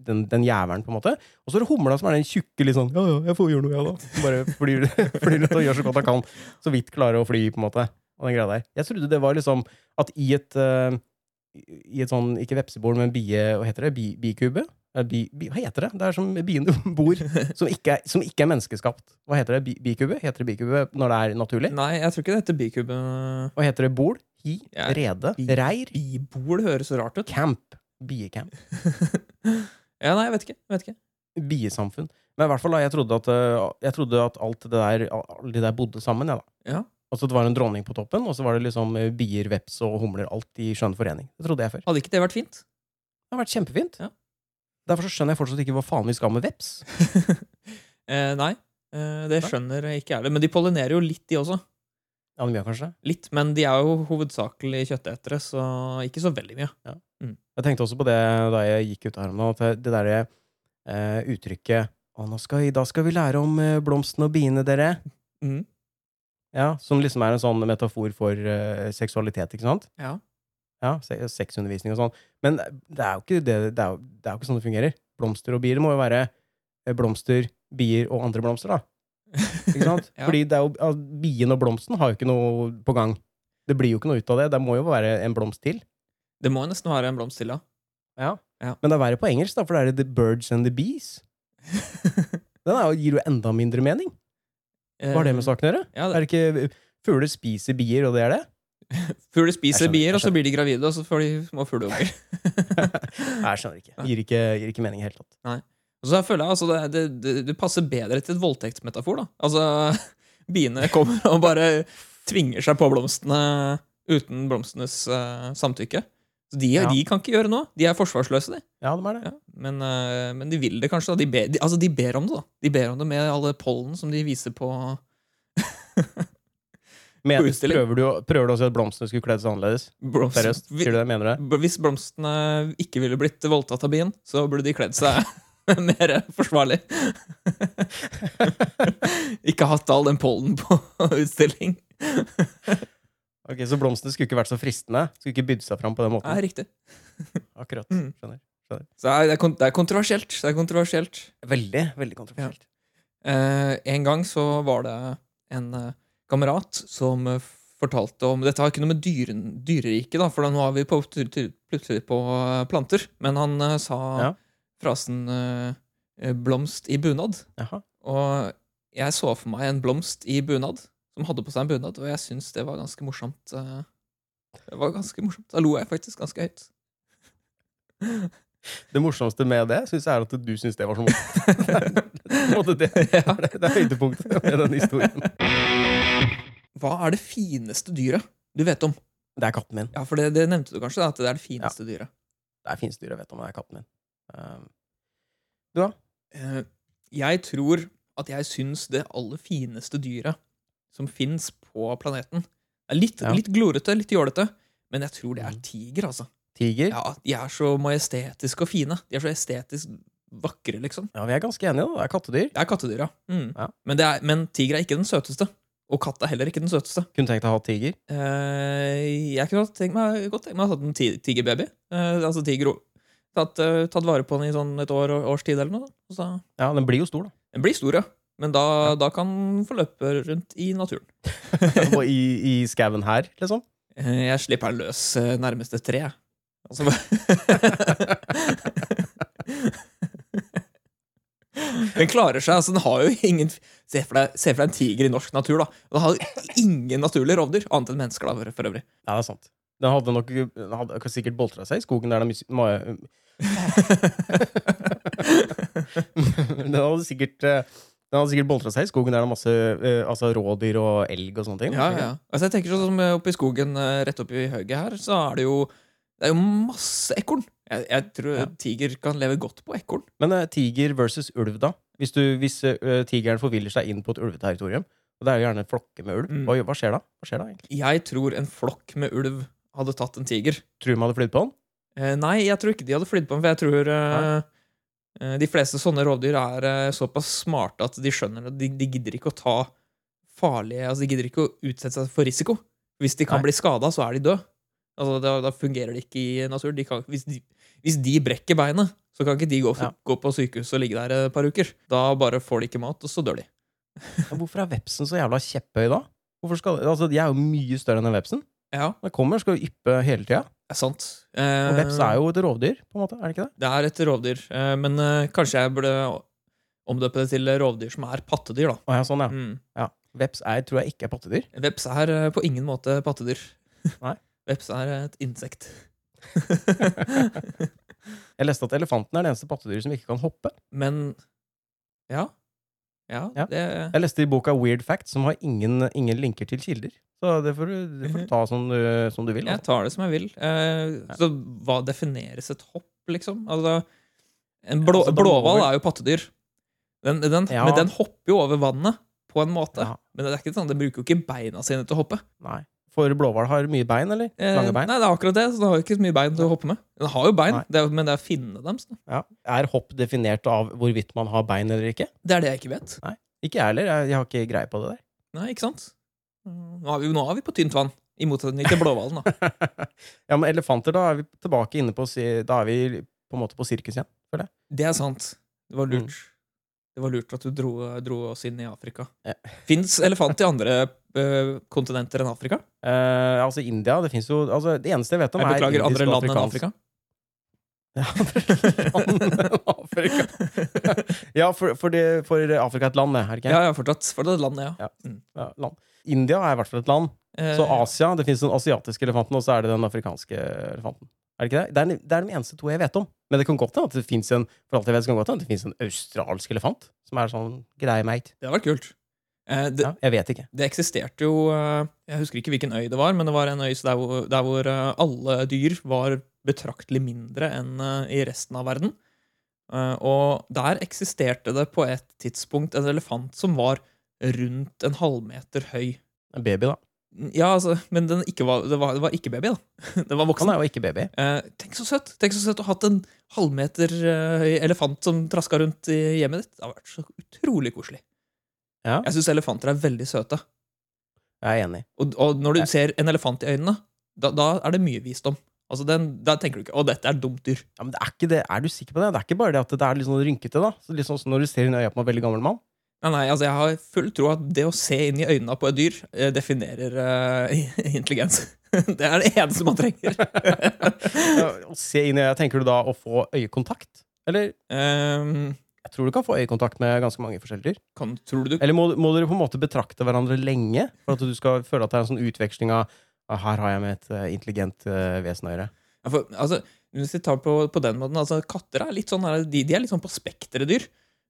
Speaker 1: den, den jævelen, på en måte. Og så er det humla, som er den tjukke litt sånn Ja, ja, jeg får gjøre noe, jeg, da. Som Bare flyr, flyr rundt og gjør så godt han kan. Så vidt klarer å fly, på en måte. Og den greia der. Jeg trodde det var liksom at i et eh, I et sånn, ikke vepsebol, men bie... Hva heter det? Bi, bikube? Eh, Bi, bi, hva heter det? Det er som bien du bor, som ikke, er, som ikke er menneskeskapt. Hva heter det? Bi, bikube? Heter det bikube når det er naturlig?
Speaker 2: Nei, jeg tror ikke eh, det heter bikube.
Speaker 1: Hva heter det? Bol? Hi?
Speaker 2: Ja,
Speaker 1: Rede?
Speaker 2: bi-
Speaker 1: Reir?
Speaker 2: Bibol høres så rart ut.
Speaker 1: Camp? Biecamp?
Speaker 2: Ja, nei, jeg vet ikke. Jeg vet ikke.
Speaker 1: biesamfunn. Men i hvert fall da, jeg trodde at, eh, jeg trodde at alt det der, alle de der bodde sammen, jeg da.
Speaker 2: Ja.
Speaker 1: Altså det var en dronning på toppen, og så var det liksom eh, bier, veps og humler, alt i skjønn forening. Det trodde jeg før.
Speaker 2: Hadde ikke det vært fint?
Speaker 1: Det har vært kjempefint.
Speaker 2: Ja.
Speaker 1: Derfor så skjønner jeg fortsatt ikke hva faen vi skal med veps.
Speaker 2: Eh, nei, eh, det
Speaker 1: Nei.
Speaker 2: skjønner jeg ikke jeg heller. Men de pollinerer jo litt, de også.
Speaker 1: Ja, men vi har kanskje det.
Speaker 2: Litt, men de er jo hovedsakelig kjøttetere, så ikke så veldig mye.
Speaker 1: Jeg tenkte også på det da jeg gikk ut her om dagen, at det derre eh, uttrykket å, nå skal, vi- 'Da skal vi lære om eh, blomstene og biene, dere', Mm.
Speaker 2: Mhm.
Speaker 1: ja, som liksom er en sånn metafor for eh, seksualitet, ikke sant?
Speaker 2: Ja.
Speaker 1: Ja, se- Sexundervisning og sånn. Men det er jo ikke, det, det er jo, det er jo ikke sånn det fungerer. Blomster og bier det må jo være eh, blomster, bier og andre blomster, da. Ikke sant?
Speaker 2: Ja.
Speaker 1: Fordi det er jo, al- bien og blomsten har jo ikke noe på gang. Det blir jo ikke noe ut av det. Det må jo være en blomst til.
Speaker 2: Det må jo nesten være en blomst til, da. Ja.
Speaker 1: Men det er verre på engelsk, da, for det er The Birds and the Bees. Den er jo, gir jo enda mindre mening. Hva har det med saken å gjøre?
Speaker 2: Eh, Ja,
Speaker 1: Er det ikke fugler spiser bier, og det er det?
Speaker 2: Fugler
Speaker 1: Jeg
Speaker 2: spiser
Speaker 1: skjønner, jeg
Speaker 2: bier, og så blir de gravide, og så får de små fugleunger.
Speaker 1: Nei, jeg skjønner ikke. Gir ikke, gir ikke mening i det hele tatt.
Speaker 2: Og så føler jeg altså, det, det, det, det passer bedre til et voldtektsmetafor, da. Altså, biene kommer og bare tvinger seg på blomstene uten blomstenes eh, samtykke. Så de,
Speaker 1: Ja.
Speaker 2: de kan ikke gjøre noe. De er forsvarsløse, de.
Speaker 1: Ja, de er det.
Speaker 2: Ja, men, eh, men de vil det kanskje, da. De ber, de, altså, de ber om det, da. De ber om det med alle pollen som de viser på
Speaker 1: Men,
Speaker 2: Utstilling.
Speaker 1: prøver, du, å- prøver du også at blomstene skulle kledd seg annerledes?
Speaker 2: blomstene.
Speaker 1: Seriøst, sier du det? Mener du det?
Speaker 2: Hvis blomstene ikke ville blitt voldtatt av bien, så burde de kledd seg mer forsvarlig. ikke hatt all den pollen på utstilling.
Speaker 1: Ok, Så blomstene skulle ikke vært så fristende? Skulle ikke bydd seg fram på den
Speaker 2: Ja,
Speaker 1: måten?
Speaker 2: riktig.
Speaker 1: Akkurat.
Speaker 2: Mm.
Speaker 1: Skjønner.
Speaker 2: Så det er- det er, kon- det er kontroversielt. Det er kontroversielt.
Speaker 1: Veldig, veldig kontroversielt.
Speaker 2: Eh, en gang så var det en eh, kamerat som eh, fortalte om Dette har ikke noe med dyren, dyreriket, da, for nå er vi på, tur- tur- plutselig på eh, planter. Men han eh, sa
Speaker 1: Ja.
Speaker 2: frasen eh, eh, 'blomst i bunad'.
Speaker 1: Jaha.
Speaker 2: Og jeg så for meg en blomst i bunad, som hadde på seg en bunad, og jeg syns det var ganske morsomt. eh. Det var ganske morsomt. Da lo jeg faktisk ganske høyt.
Speaker 1: Det morsomste med det syns jeg er at du syns det var så morsomt. På en måte, det,
Speaker 2: Ja.
Speaker 1: det er høydepunktet med den historien.
Speaker 2: Hva er det fineste dyret du vet om?
Speaker 1: Det er katten min.
Speaker 2: Ja, for det, det nevnte du kanskje, da, at det er det fineste dyret.
Speaker 1: Det er fineste dyr jeg vet om. Det er katten min. Um,
Speaker 2: Eh, Jeg tror at jeg syns det aller fineste dyret som fins på planeten er litt,
Speaker 1: Ja. Mm.
Speaker 2: litt glorete, litt jålete, men jeg tror det er tiger, altså.
Speaker 1: tiger? Ja.
Speaker 2: Ja, De er så majestetiske og fine. De er så estetisk vakre, liksom.
Speaker 1: vi er ganske enige, da. Det er kattedyr.
Speaker 2: Det er kattedyr, ja. Mm.
Speaker 1: Ja.
Speaker 2: Men, det er, men tiger er ikke den søteste. Og katt er heller ikke den søteste.
Speaker 1: Kunne tenkt deg å ha tiger.
Speaker 2: Eh, jeg kunne godt tenkt meg, godt tenkt meg å ha hatt en ti- tigerbaby. Eh, altså tiger tatt, eh, tatt vare på den i sånn et år, års tid eller noe. da. Og så,
Speaker 1: Ja, Den blir jo stor, da.
Speaker 2: den blir stor, ja. Men da, da kan den få løpe rundt i naturen.
Speaker 1: Og I, i skauen her, liksom.
Speaker 2: Eh, jeg slipper den løs eh, nærmeste tre. jeg. Altså, Den klarer seg. altså Den har jo ingen Se for deg, se for deg en tiger i norsk natur. da Den har jo ingen naturlige rovdyr, annet enn mennesker. da for- for øvrig
Speaker 1: Ja, det er sant. Den hadde nok den hadde sikkert boltra seg i skogen der den mis- ma- Den hadde sikkert eh, Den hadde sikkert boltra seg i skogen der det er masse eh, altså, rådyr og elg og sånne ting.
Speaker 2: Ja, ja. Altså jeg tenker sånn som eh, Oppe i skogen eh, rett oppi høyet her, så er det jo Det er jo masse ekorn. Jeg, jeg tror
Speaker 1: Ja.
Speaker 2: tiger kan leve godt på ekorn.
Speaker 1: Men eh, tiger versus ulv, da? Hvis, du, hvis eh, tigeren forviller seg inn på et ulveterritorium, og det er jo gjerne en flokke med ulv,
Speaker 2: Mm.
Speaker 1: hva, gjør- hva skjer da? Hva skjer da egentlig?
Speaker 2: Jeg tror en flokk med ulv hadde tatt en tiger.
Speaker 1: Tror du man hadde flydd på den?
Speaker 2: Eh, nei, jeg tror ikke de hadde flydd på den, for jeg tror eh, eh, de fleste sånne rovdyr er eh, såpass smarte at de skjønner at de, de gidder ikke å ta farlige Altså, de gidder ikke å utsette seg for risiko. Hvis de kan
Speaker 1: Nei.
Speaker 2: bli skada, så er de døde. Altså, da, da fungerer de ikke i naturen. De kan, hvis, de, hvis de brekker beinet, så kan ikke de gå,
Speaker 1: Ja.
Speaker 2: gå på sykehus og ligge der et par uker. Da bare får de ikke mat, og så dør de.
Speaker 1: Ja, Hvorfor er vepsen så jævla kjepphøy da? Hvorfor skal, altså, jeg er jo mye større enn en vepsen.
Speaker 2: Ja,
Speaker 1: Den kommer og skal jo yppe hele tida.
Speaker 2: det er sant.
Speaker 1: Og veps
Speaker 2: Eh,
Speaker 1: er jo et rovdyr, på en måte. er det ikke det?
Speaker 2: Det er et rovdyr, eh, men eh, kanskje jeg burde omdøpe det til rovdyr som er pattedyr, da.
Speaker 1: Å, ja, sånn, ja.
Speaker 2: Mm.
Speaker 1: Veps er, tror jeg ikke er pattedyr.
Speaker 2: Veps er eh, på ingen måte pattedyr.
Speaker 1: Nei.
Speaker 2: Veps er et insekt.
Speaker 1: Jeg leste at elefanten er det eneste pattedyret som ikke kan hoppe.
Speaker 2: Men ja. Ja,
Speaker 1: Ja.
Speaker 2: det
Speaker 1: Jeg leste i boka Weird Facts, som har ingen, ingen linker til kilder. Så det får du, det
Speaker 2: Mhm.
Speaker 1: får du ta som du, som du vil.
Speaker 2: Jeg
Speaker 1: Altså.
Speaker 2: tar det som jeg vil. Eh, Så hva defineres et hopp, liksom? Altså, En blå,
Speaker 1: altså, de
Speaker 2: blåhval
Speaker 1: må vel-
Speaker 2: er jo pattedyr. Den, den,
Speaker 1: Ja.
Speaker 2: Men den hopper jo over vannet på en måte.
Speaker 1: Ja.
Speaker 2: Men det er ikke sånn, den bruker jo ikke beina sine til å hoppe.
Speaker 1: Nei. For blåhval har mye bein, eller?
Speaker 2: Eh,
Speaker 1: Lange bein?
Speaker 2: Nei, det er akkurat det, så den har jo ikke så mye bein til å hoppe med. Den har jo bein,
Speaker 1: Nei.
Speaker 2: det er, men det er finnene deres. da.
Speaker 1: Ja. Er hopp definert av hvorvidt man har bein eller ikke?
Speaker 2: Det er det jeg ikke vet.
Speaker 1: Ikke jeg heller. Jeg, jeg har ikke greie på det der.
Speaker 2: Nei, ikke sant? Mm, Nå er vi, nå er vi på tynt vann, i motsetning til blåhvalen. da.
Speaker 1: ja, Men elefanter, da er vi tilbake inne på si- Da er vi på en måte på sirkus igjen.
Speaker 2: Det er sant. Det var lurt.
Speaker 1: Mm.
Speaker 2: Det var lurt at du dro, dro oss inn i Afrika.
Speaker 1: Ja.
Speaker 2: Fins elefant i andre eh, kontinenter enn Afrika?
Speaker 1: Eh, altså India, det fins jo altså, Det eneste jeg vet om,
Speaker 2: Jeg
Speaker 1: er
Speaker 2: beklager,
Speaker 1: indisk
Speaker 2: andre
Speaker 1: og
Speaker 2: land enn Afrika.
Speaker 1: afrikansk. Ja, andre land enn Afrika. ja for, for, det, for Afrika er et land, det, er det ikke?
Speaker 2: Ja, ja, fortsatt. Fortsatt et land, ja.
Speaker 1: Ja.
Speaker 2: Mm.
Speaker 1: Ja, land. India er i hvert fall et land.
Speaker 2: Eh,
Speaker 1: Så Asia, det fins den asiatiske elefanten, og så er det den afrikanske elefanten. Er det ikke det? Det er, det er de eneste to jeg vet om. Men det kan godt hende at det fins en For alt jeg vet, så kan det godt hende at det finnes en australsk elefant. Som er sånn greie mate.
Speaker 2: Det hadde vært kult. Eh, det,
Speaker 1: Ja, jeg vet ikke.
Speaker 2: det eksisterte jo eh, Jeg husker ikke hvilken øy det var, men det var en øy så der hvor, der hvor eh, alle dyr var betraktelig mindre enn eh, i resten av verden. Eh, og der eksisterte det på et tidspunkt en elefant som var rundt en halvmeter høy.
Speaker 1: En baby, da.
Speaker 2: Ja, altså, men den ikke var, det, var, det var ikke baby, da. Den var voksen.
Speaker 1: Han er jo ikke baby.
Speaker 2: Eh, tenk så søtt Tenk så søtt å ha hatt en halvmeter eh, høy elefant som traska rundt i hjemmet ditt. Det har vært så utrolig koselig.
Speaker 1: Ja.
Speaker 2: Jeg syns elefanter er veldig søte.
Speaker 1: Jeg er enig.
Speaker 2: Og, og når du ser en elefant i øynene, da, da er det mye visdom. Altså, den, Da tenker du ikke 'Å, dette er et dumt dyr'.
Speaker 1: Ja, men det er, ikke det. er du sikker på det? Det er ikke bare det at det er litt sånn rynkete, da. Så litt sånn som når du ser inn i øya på en veldig gammel mann.
Speaker 2: Nei, nei, altså, Jeg har full tro at det å se inn i øynene på et dyr eh, definerer eh, intelligens. det er det eneste man trenger.
Speaker 1: Ja, Å se inn i øya, tenker du da å få øyekontakt? Eller
Speaker 2: Ehm,
Speaker 1: jeg tror du kan få øyekontakt med ganske mange forskjellige dyr.
Speaker 2: kan, tror du
Speaker 1: Eller må, må dere på en måte betrakte hverandre lenge for at du skal føle at det er en sånn utveksling av «Ah, her har jeg med et eh, intelligent eh, vesen å gjøre.
Speaker 2: Ja, for, altså, hvis vi tar på, på den måten, altså, katter er litt sånn, her- de, de er litt sånn på spekteret dyr.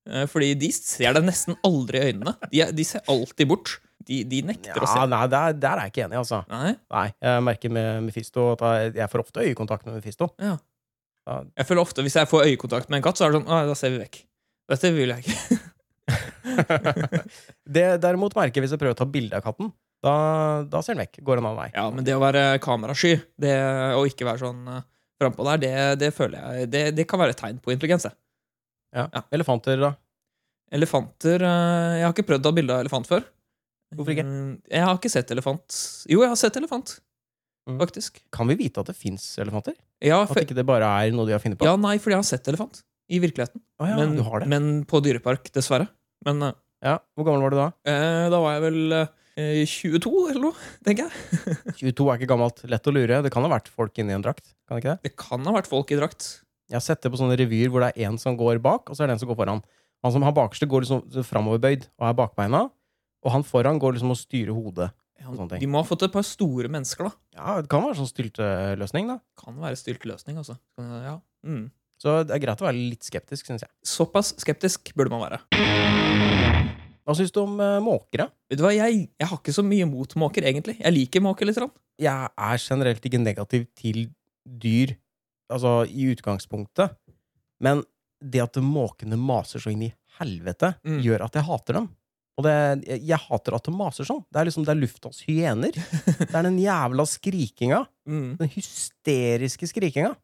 Speaker 2: Eh, Fordi de ser deg nesten aldri i øynene. De, er, de ser alltid bort. De, de nekter å
Speaker 1: Ja,
Speaker 2: se.
Speaker 1: nei, der, der er jeg ikke enig, altså.
Speaker 2: Nei,
Speaker 1: Nei, Jeg merker med Mefisto at jeg- jeg får ofte øyekontakt med Mefisto.
Speaker 2: Ja.
Speaker 1: Ja.
Speaker 2: jeg føler ofte Hvis jeg får øyekontakt med en katt, så er det sånn «Nei, Da ser vi vekk. Dette vil jeg ikke.
Speaker 1: det derimot merker jeg hvis jeg prøver å ta bilde av katten. Da, da ser den vekk. Går en annen vei.
Speaker 2: Ja, Men det å være kamerasky det, og ikke være sånn eh, frampå der, det, det føler jeg det, det kan være et tegn på intelligens. det.
Speaker 1: Ja.
Speaker 2: Ja.
Speaker 1: Elefanter, da?
Speaker 2: Elefanter eh, Jeg har ikke prøvd å ha bilde av elefant før.
Speaker 1: Hvorfor ikke?
Speaker 2: Mm, Jeg har ikke sett elefant. Jo, jeg har sett elefant,
Speaker 1: Mm.
Speaker 2: faktisk.
Speaker 1: Kan vi vite at det fins elefanter?
Speaker 2: Ja,
Speaker 1: At ikke det bare er noe de har funnet på?
Speaker 2: Ja, nei, fordi jeg har sett elefant i virkeligheten.
Speaker 1: Å ja,
Speaker 2: men,
Speaker 1: du har det.
Speaker 2: men på dyrepark, dessverre. Men eh,
Speaker 1: Ja. Hvor gammel var du da?
Speaker 2: da var jeg vel eh, 22 eller noe, tenker jeg.
Speaker 1: 22 er ikke gammelt. Lett å lure. Det kan ha vært folk inni en drakt. Kan det ikke det?
Speaker 2: Det kan ha vært folk i drakt.
Speaker 1: Jeg har sett det på sånne revyer hvor det er én som går bak, og så er det en som går foran. Han som har bakerste, går liksom framoverbøyd og er bakbeina. Og han foran går liksom og styrer hodet.
Speaker 2: Ja,
Speaker 1: Sånne ting.
Speaker 2: de må ha fått et par store mennesker, da.
Speaker 1: Ja, Det kan være sånn stylteløsning, da.
Speaker 2: Kan være styrt løsning, altså. Kan- Ja. Mm.
Speaker 1: Så det er greit å være litt skeptisk, syns jeg.
Speaker 2: Såpass skeptisk burde man være.
Speaker 1: Hva syns du om uh, måkere?
Speaker 2: Vet du hva, jeg, jeg har ikke så mye mot måker, egentlig. Jeg liker måker litt. Rann.
Speaker 1: Jeg er generelt ikke negativ til dyr, altså i utgangspunktet. Men det at måkene maser så inn i helvete,
Speaker 2: Mm.
Speaker 1: gjør at jeg hater dem. Og det, jeg, jeg hater at de maser sånn. Det er liksom det er luftas hyener. Det er den jævla skrikinga.
Speaker 2: Mm.
Speaker 1: Den hysteriske skrikinga.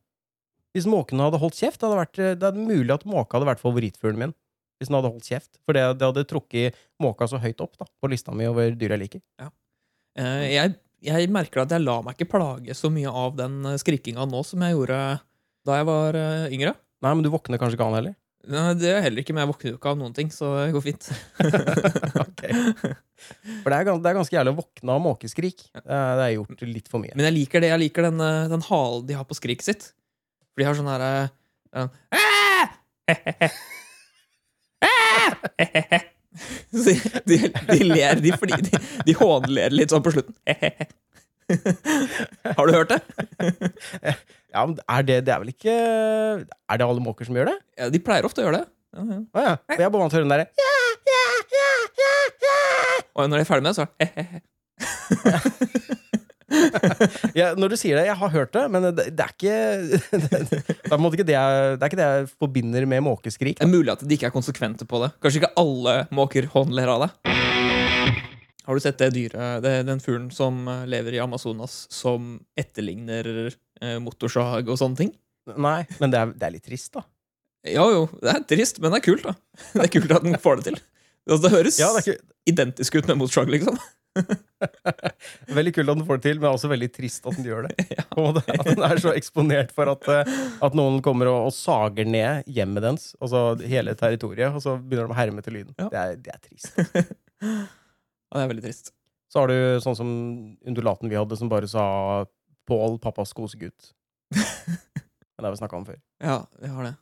Speaker 1: Hvis måkene hadde holdt kjeft, hadde vært, eh, det er mulig at måka hadde vært favorittfuglen min. Hvis den hadde holdt kjeft. For det, det hadde trukket måka så høyt opp da, på lista mi over dyr jeg liker.
Speaker 2: Eh, jeg, jeg merker at jeg lar meg ikke plage så mye av den eh, skrikinga nå som jeg gjorde da jeg var eh, yngre.
Speaker 1: Nei, men du våkner kanskje ikke av den heller?
Speaker 2: Nei, det gjør jeg heller ikke, men jeg våkner jo ikke av noen ting, så det går fint.
Speaker 1: For det er, gans- det er ganske jævlig å våkne av måkeskrik. Eh, Det er gjort litt for mye.
Speaker 2: Men jeg liker det. Jeg liker den, eh, den halen de har på skriket sitt. For de har sånn herre sånn, Så de, de ler, de, fordi de, de hånler litt sånn på slutten. Har du hørt det?
Speaker 1: Ja, men er det, det er vel ikke Er det alle måker som gjør det?
Speaker 2: Ja, de pleier ofte å gjøre det. Ja, ja.
Speaker 1: Å ja. Jeg er bare vant til å høre den derre ja, ja, ja, ja, ja.
Speaker 2: Og når de er ferdig med det, så er det
Speaker 1: Ja, når du sier det, jeg har hørt det, men det, det er ikke det, det, er på en måte ikke det, jeg, det er ikke det jeg forbinder med måkeskrik.
Speaker 2: Det er mulig at de ikke er konsekvente på det. Kanskje ikke alle måker håndler av det. Har du sett det dyret, det, den fuglen som eh, lever i Amazonas, som etterligner eh, motorsag og sånne ting?
Speaker 1: Nei, men det er, det er litt trist, da.
Speaker 2: Jo, jo, det er trist, men det er kult, da. Det er kult at den får det til. Altså, det høres
Speaker 1: Ja, det er ikke,
Speaker 2: identisk ut med motorsag, liksom.
Speaker 1: Veldig kult at den får det til, men også veldig trist at den gjør det. På en måte, At den er så eksponert for at, eh, at noen kommer og, og sager ned hjemmet dens, altså hele territoriet, og så begynner de å herme til lyden.
Speaker 2: Ja.
Speaker 1: Det, er, det er trist.
Speaker 2: Ja, det er veldig trist.
Speaker 1: Så har du sånn som undulaten vi hadde, som bare sa 'Pål, pappas kosegutt'. Men det har vi snakka om før.
Speaker 2: Ja, jeg har det.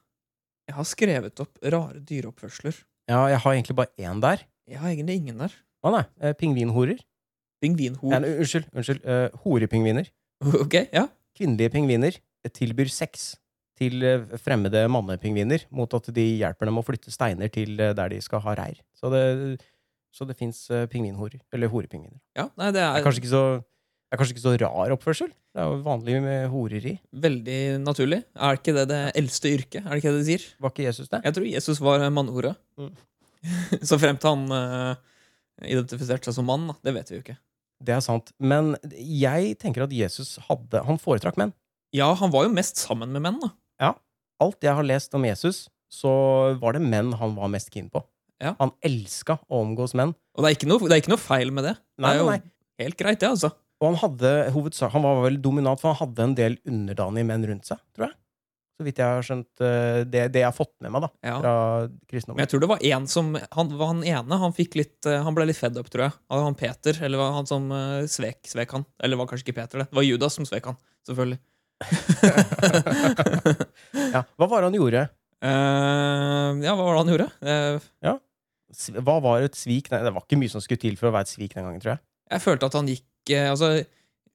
Speaker 2: Jeg har skrevet opp rare dyreoppførsler.
Speaker 1: Ja, jeg har egentlig bare én der.
Speaker 2: Jeg har egentlig ingen der.
Speaker 1: Å nei, eh, pingvinhorer. Nei,
Speaker 2: Pingvinhor.
Speaker 1: nei, unnskyld. unnskyld eh, horepingviner.
Speaker 2: Ok, ja.
Speaker 1: Kvinnelige pingviner tilbyr sex til eh, fremmede mannepingviner mot at de hjelper dem å flytte steiner til eh, der de skal ha reir. Så det, så det fins pingvinhorer. Eller horepingviner.
Speaker 2: ja. Nei, det
Speaker 1: Det er
Speaker 2: er
Speaker 1: kanskje ikke så det er kanskje ikke så rar oppførsel. Det er jo vanlig med horeri.
Speaker 2: veldig naturlig. Er ikke det det eldste yrket? Er det ikke det de sier?
Speaker 1: Var ikke Jesus det?
Speaker 2: Jeg tror Jesus var mannhore.
Speaker 1: Mm.
Speaker 2: Så frem til han eh, identifiserte seg som mann, da. Det vet vi jo ikke.
Speaker 1: Det er sant. Men jeg tenker at Jesus hadde Han foretrakk menn.
Speaker 2: Ja, han var jo mest sammen med menn, da.
Speaker 1: Alt jeg har lest om Jesus, så var det menn han var mest keen på.
Speaker 2: Ja.
Speaker 1: Han elska å omgås menn.
Speaker 2: Og det er ikke noe, det er ikke noe feil med det. det
Speaker 1: Nei,
Speaker 2: er jo
Speaker 1: nei, nei.
Speaker 2: helt greit, det, altså.
Speaker 1: Og han hadde hovedsak, Han var vel dominant, for han hadde en del underdanige menn rundt seg, tror jeg. Så vidt jeg har skjønt eh, det, det jeg har fått med meg da,
Speaker 2: Ja.
Speaker 1: fra
Speaker 2: Men
Speaker 1: kristendommen.
Speaker 2: jeg tror det var en som Han, var han ene han fikk litt eh, Han ble litt fed up, tror jeg. Av han Peter, eller var han som eh, svek, svek han. Eller var kanskje ikke Peter, det. Det var Judas som svek han, selvfølgelig.
Speaker 1: Ja. Hva var det han gjorde?
Speaker 2: Eh, ja, hva var det han gjorde? Eh,
Speaker 1: Sv- Hva var et svik? Nei, det var ikke mye som skulle til for å være et svik den gangen, tror jeg.
Speaker 2: jeg følte at han gikk eh, Altså,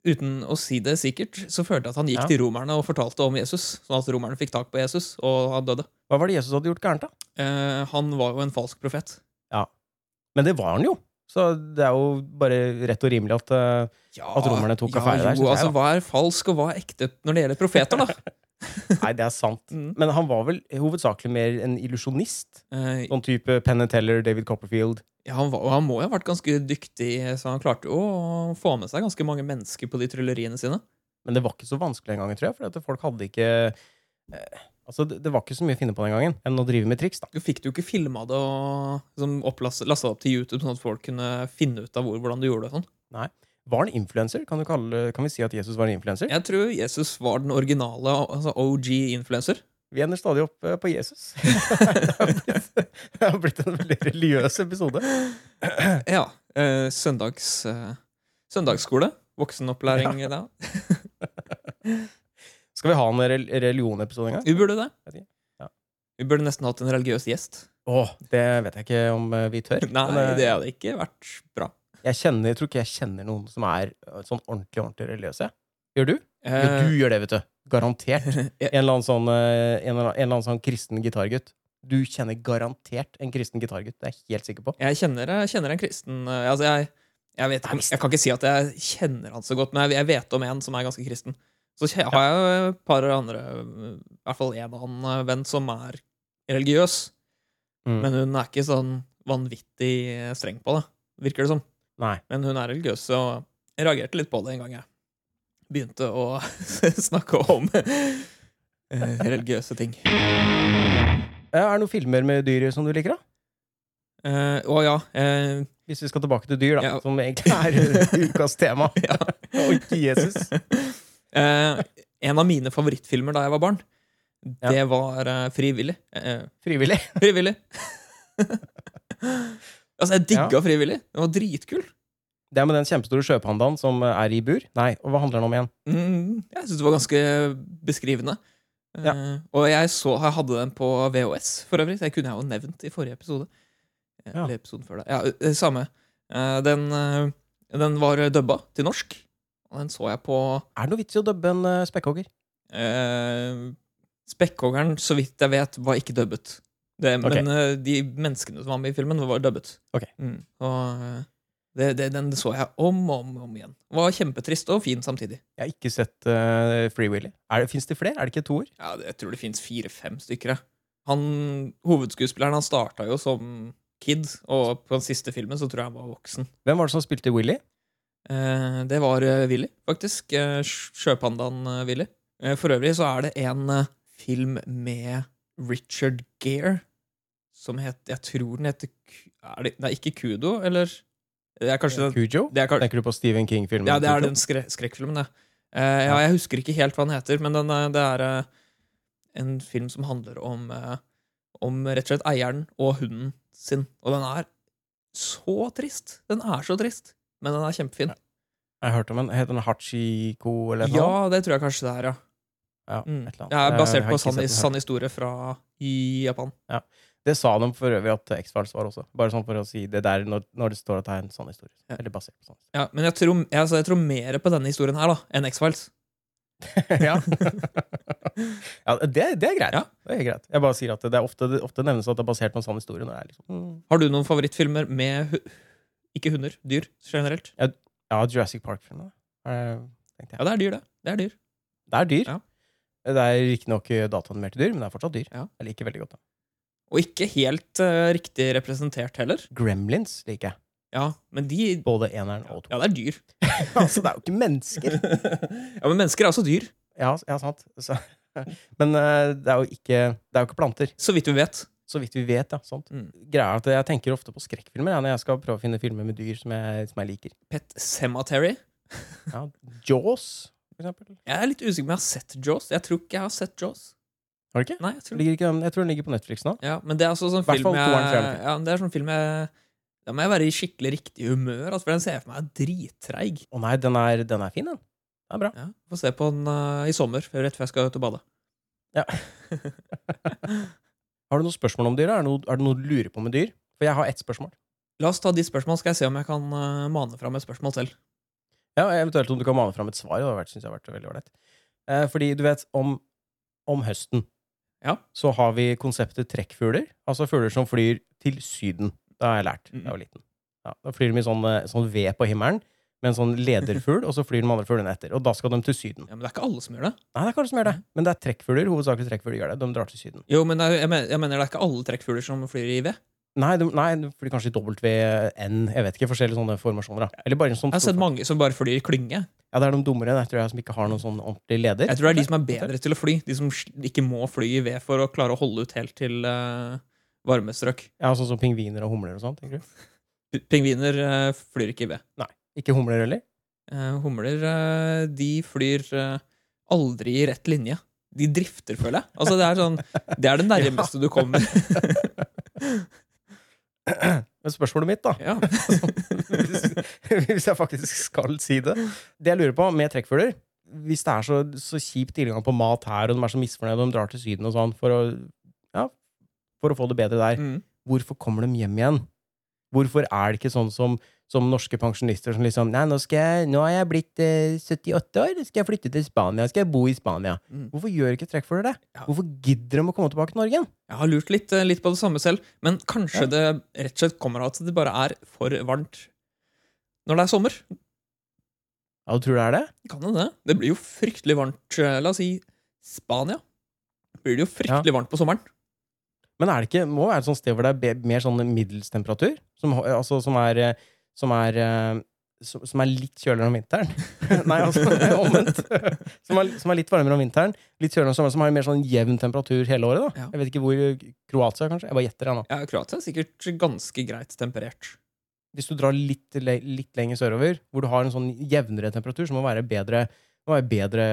Speaker 2: uten å si det sikkert, så følte jeg at han gikk
Speaker 1: Ja.
Speaker 2: til romerne og fortalte om Jesus. Sånn at romerne fikk tak på Jesus, og han døde.
Speaker 1: Hva var det Jesus hadde gjort gærent, da?
Speaker 2: Eh, han var jo en falsk profet.
Speaker 1: Men det var han jo! Så det er jo bare rett og rimelig at eh,
Speaker 2: Ja,
Speaker 1: At romerne tok affære der,
Speaker 2: Jo,
Speaker 1: synes jeg,
Speaker 2: altså,
Speaker 1: da.
Speaker 2: hva er falsk, og hva er ekte når det gjelder profeter, da?
Speaker 1: Nei, det er sant.
Speaker 2: Mm.
Speaker 1: Men han var vel hovedsakelig mer en illusjonist?
Speaker 2: Eh,
Speaker 1: Sånn type Penn and Teller, David Copperfield.
Speaker 2: Ja, han, var, han må jo ha vært ganske dyktig, så han klarte jo å få med seg ganske mange mennesker på de trylleriene sine.
Speaker 1: Men det var ikke så vanskelig den gangen, tror jeg. For at folk hadde ikke eh, Altså, det det var ikke så mye å finne på den gangen enn å drive med triks, da.
Speaker 2: Du fikk det jo ikke filma det og liksom, opplass- lasta det opp til YouTube, sånn at folk kunne finne ut av hvor, hvordan du gjorde det. og sånn.
Speaker 1: Var han influenser? Kan, du kalle- kan vi si at Jesus var en influenser?
Speaker 2: Jeg tror Jesus var den originale altså OG-influenser.
Speaker 1: Vi ender stadig opp eh, på Jesus. det har blitt, det har blitt en veldig religiøs episode.
Speaker 2: Ja. Eh, søndags, eh, søndagsskole. Voksenopplæring. da.
Speaker 1: Skal vi ha en rel- religionepisode en gang?
Speaker 2: Vi burde det.
Speaker 1: Vet ikke. Ja.
Speaker 2: Vi burde nesten hatt en religiøs gjest.
Speaker 1: Åh, det vet jeg ikke om eh, vi tør.
Speaker 2: Nei,
Speaker 1: men, eh,
Speaker 2: det hadde ikke vært bra.
Speaker 1: Jeg, kjenner, jeg tror ikke jeg kjenner noen som er eh, sånn ordentlig ordentlig religiøse. Gjør du? Jo,
Speaker 2: Eh,
Speaker 1: du gjør det, vet du. Garantert. En eller annen sånn, eh, en eller annen, en eller annen sånn kristen gitargutt. Du kjenner garantert en kristen gitargutt. Det er jeg helt sikker på.
Speaker 2: Jeg kjenner, jeg kjenner en kristen eh, altså jeg, jeg, vet, ikke- jeg kan ikke si at jeg kjenner han så godt, men jeg, jeg vet om en som er ganske kristen. Så kje- har jeg jo et par andre eh, I hvert fall en annen eh, venn som er religiøs.
Speaker 1: Mm.
Speaker 2: Men hun er ikke sånn vanvittig eh, streng på det, virker det som.
Speaker 1: Nei.
Speaker 2: Men hun er religiøs, og jeg reagerte litt på det en gang jeg begynte å snakke om eh, religiøse ting.
Speaker 1: Eh, Er det noen filmer med dyr som du liker, da?
Speaker 2: Eh, Å ja. eh,
Speaker 1: Hvis vi skal tilbake til dyr, da,
Speaker 2: Ja.
Speaker 1: som egentlig er eh, ukas tema.
Speaker 2: ja.
Speaker 1: Og ikke Jesus.
Speaker 2: Eh, en av mine favorittfilmer da jeg var barn, det var eh, Frivillig. Eh,
Speaker 1: Frivillig.
Speaker 2: frivillig! altså, jeg digga
Speaker 1: Ja.
Speaker 2: Frivillig. Den var dritkul.
Speaker 1: Det er med den kjempestore sjøpandaen som eh, er i bur. Nei, og hva handler den om igjen?
Speaker 2: Mm, jeg syns det var ganske beskrivende. Eh, og jeg så jeg hadde den på VHS, for øvrig. Det kunne jeg jo nevnt i forrige episode. Eh,
Speaker 1: Ja.
Speaker 2: Eller episoden før det. Ja, det samme. Eh, den, eh, den var dubba til norsk, og den så jeg på
Speaker 1: Er det noe vits i å dubbe en eh, spekkhogger?
Speaker 2: Eh, Spekkhoggeren, så vidt jeg vet, var ikke dubbet. Det, Men eh, de menneskene som var med i filmen, var dubbet.
Speaker 1: Ok.
Speaker 2: Mm. Og eh, Det, det, den så jeg om og om, og om igjen. Var kjempetrist og fin samtidig.
Speaker 1: Jeg har ikke sett eh, Free Willy. Er det- Fins det flere? Er det ikke toer?
Speaker 2: Ja, det, Jeg tror det fins fire-fem stykker. jeg. Han, hovedskuespilleren han starta jo som kid, og på den siste filmen så tror jeg han var voksen.
Speaker 1: Hvem var det som spilte Willy?
Speaker 2: Eh, det var eh, Willy, faktisk. Eh, sj- sjøpandaen eh, Willy. Eh, for øvrig så er det en eh, film med Richard Gere som het Jeg tror den heter Ku- er det, Nei, ikke Kudo, eller? Det er kanskje den,
Speaker 1: Cujo?
Speaker 2: det er, kan-
Speaker 1: Tenker du på Stephen King-filmen?
Speaker 2: ja, det er
Speaker 1: Cujo?
Speaker 2: den skre skrekkfilmen, det. Eh, ja, jeg husker ikke helt hva den heter, men den, eh, det er eh, en film som handler om, eh, om rett og slett eieren og hunden sin. Og den er så trist! Den er så trist, men den er kjempefin.
Speaker 1: Jeg har hørt om den. Heter den Hachiko eller noe?
Speaker 2: Ja, det tror jeg kanskje det er, ja.
Speaker 1: Ja,
Speaker 2: Mm.
Speaker 1: et eller annet.
Speaker 2: Det er
Speaker 1: Jeg
Speaker 2: basert
Speaker 1: har
Speaker 2: på sånn
Speaker 1: ikke sett
Speaker 2: sann,
Speaker 1: den her.
Speaker 2: sann historie fra i Japan.
Speaker 1: Det sa de for øvrig at X-Files var også. Bare sånn for å si det der når, når det står at det er en sann historie.
Speaker 2: Ja.
Speaker 1: Eller basert på sånn sann historie.
Speaker 2: Ja, men jeg tror, jeg, altså, jeg tror mer på denne historien her da enn X-Files.
Speaker 1: ja. ja det, det er greit.
Speaker 2: Ja.
Speaker 1: Det er greit. Jeg bare sier at det er ofte, det ofte nevnes at det er basert på en sann historie. Når det er liksom, mm.
Speaker 2: Har du noen favorittfilmer med hu ikke hunder, dyr generelt?
Speaker 1: Ja, Jurassic Park-filmen. er- tenkte jeg.
Speaker 2: Ja, det er dyr, det. Det er dyr.
Speaker 1: Det er dyr.
Speaker 2: Ja.
Speaker 1: Det er riktignok eh, dataanimerte dyr, men det er fortsatt dyr.
Speaker 2: Ja.
Speaker 1: Jeg liker veldig godt det.
Speaker 2: Og ikke helt eh, riktig representert heller.
Speaker 1: Gremlins liker jeg.
Speaker 2: Ja, men de
Speaker 1: Både eneren og to.
Speaker 2: Ja, det er dyr.
Speaker 1: altså, det er jo ikke mennesker!
Speaker 2: ja, men mennesker er også dyr,
Speaker 1: Ja, s- ja sant. Så, men eh, det er jo ikke, det er jo ikke planter.
Speaker 2: så vidt vi vet.
Speaker 1: Så vidt vi vet, ja. Sant?
Speaker 2: Mm.
Speaker 1: Greia er at Jeg tenker ofte på skrekkfilmer jeg, når jeg skal prøve å finne filmer med dyr som jeg, som jeg liker.
Speaker 2: Pet Cemetery.
Speaker 1: Ja, Jaws, for eksempel.
Speaker 2: Jeg er litt usikker på om jeg har sett Jaws. Jeg tror ikke jeg har sett Jaws.
Speaker 1: Har du ikke?
Speaker 2: Nei, jeg tror
Speaker 1: Ligger ikke den? Jeg tror den ligger på Netflix nå.
Speaker 2: Ja, men det er altså sånn
Speaker 1: Hvert
Speaker 2: film
Speaker 1: fall
Speaker 2: jeg,
Speaker 1: toeren, treeren.
Speaker 2: ja, men det er sånn film jeg Da må jeg være i skikkelig riktig humør, altså, for den ser jeg for meg er drittreig.
Speaker 1: Å nei, den er, den er fin, den. Den er bra.
Speaker 2: Ja, Få se på den eh, i sommer, før- rett før jeg skal ut og bade.
Speaker 1: Har du noen spørsmål om dyr? Er det noe, er det noe du lurer på med dyr? For jeg har ett spørsmål.
Speaker 2: La oss ta de spørsmål, skal jeg se om jeg kan eh, mane fram et spørsmål selv.
Speaker 1: Ja, Eventuelt om du kan mane fram et svar. Det hadde vært- synes jeg har vært veldig ålreit. Eh, fordi du vet, om, om høsten
Speaker 2: Ja.
Speaker 1: så har vi konseptet trekkfugler. Altså fugler som flyr til Syden. Det har jeg lært da jeg
Speaker 2: Mhm.
Speaker 1: var liten. Ja, da flyr de med sånn, eh, sånn ved på himmelen med en sånn lederfugl, og så flyr de andre fuglene etter. Og da skal de til Syden.
Speaker 2: Ja, Men det er ikke alle som gjør det.
Speaker 1: Nei, det er kanskje som gjør det, men det er trekkfugler. Hovedsakelig trekkfugler gjør det. De drar til Syden.
Speaker 2: Jo, men jeg, jeg, men- jeg mener det er ikke alle trekkfugler som flyr i ved.
Speaker 1: Nei, de, nei, de flyr kanskje i WN, jeg vet ikke, forskjellige sånne formasjoner. Da. Eller bare en sånn
Speaker 2: Jeg har sett
Speaker 1: stor-
Speaker 2: mange som bare flyr i klynge.
Speaker 1: Ja, det er de dummere, jeg tror jeg, som ikke har noen sånn ordentlig leder.
Speaker 2: Jeg tror det er de som er bedre til å fly. De som sl- ikke må fly i ved for å klare å holde ut helt til eh, varme strøk.
Speaker 1: Ja, sånn som pingviner og humler og sånn, tenker du?
Speaker 2: P- Pingviner eh, flyr ikke i ved.
Speaker 1: Ikke humler heller?
Speaker 2: Eh, humler eh, de flyr eh, aldri i rett linje. De drifter, føler jeg. Altså, det, er sånn, det er det nærmeste du kommer.
Speaker 1: Men spørsmålet mitt, da,
Speaker 2: Ja.
Speaker 1: hvis, hvis jeg faktisk skal si det Det jeg lurer på med trekkfugler Hvis det er så, så kjip tilgang på mat her, og de er så misfornøyde, og de drar til Syden og sånn for å, ja, for å få det bedre der,
Speaker 2: Mm.
Speaker 1: hvorfor kommer de hjem igjen? Hvorfor er det ikke sånn som, som norske pensjonister som liksom Nei, nå, skal jeg, nå er jeg blitt eh, 78 år, skal jeg flytte til Spania, skal jeg bo i Spania.
Speaker 2: Mm.
Speaker 1: Hvorfor gjør ikke trekkfugler det?
Speaker 2: Ja.
Speaker 1: Hvorfor gidder de å komme tilbake til Norge? igjen?
Speaker 2: Jeg har lurt litt, eh, litt på det samme selv, men kanskje det rett og slett kommer av at det bare er for varmt når det er sommer.
Speaker 1: Ja, du tror det er det?
Speaker 2: Kan jo det. Det blir jo fryktelig varmt. eh, La oss si Spania. Blir det jo fryktelig varmt på sommeren.
Speaker 1: Men er det ikke, må være et sånt sted hvor det er be- mer sånn middelstemperatur? Som, ho- altså, som er, eh, som er eh, som som er litt kjøligere om vinteren. Nei, altså omvendt. Som er, som er litt varmere om vinteren. Litt kjøligere om sommeren, som har en mer sånn jevn temperatur hele året. da.
Speaker 2: Ja.
Speaker 1: Jeg vet ikke hvor Kroatia, kanskje? Jeg bare gjetter. Jeg, nå.
Speaker 2: Ja, Kroatia er sikkert ganske greit temperert.
Speaker 1: Hvis du drar litt, le litt lenger sørover, hvor du har en sånn jevnere temperatur, så må det være bedre, må være bedre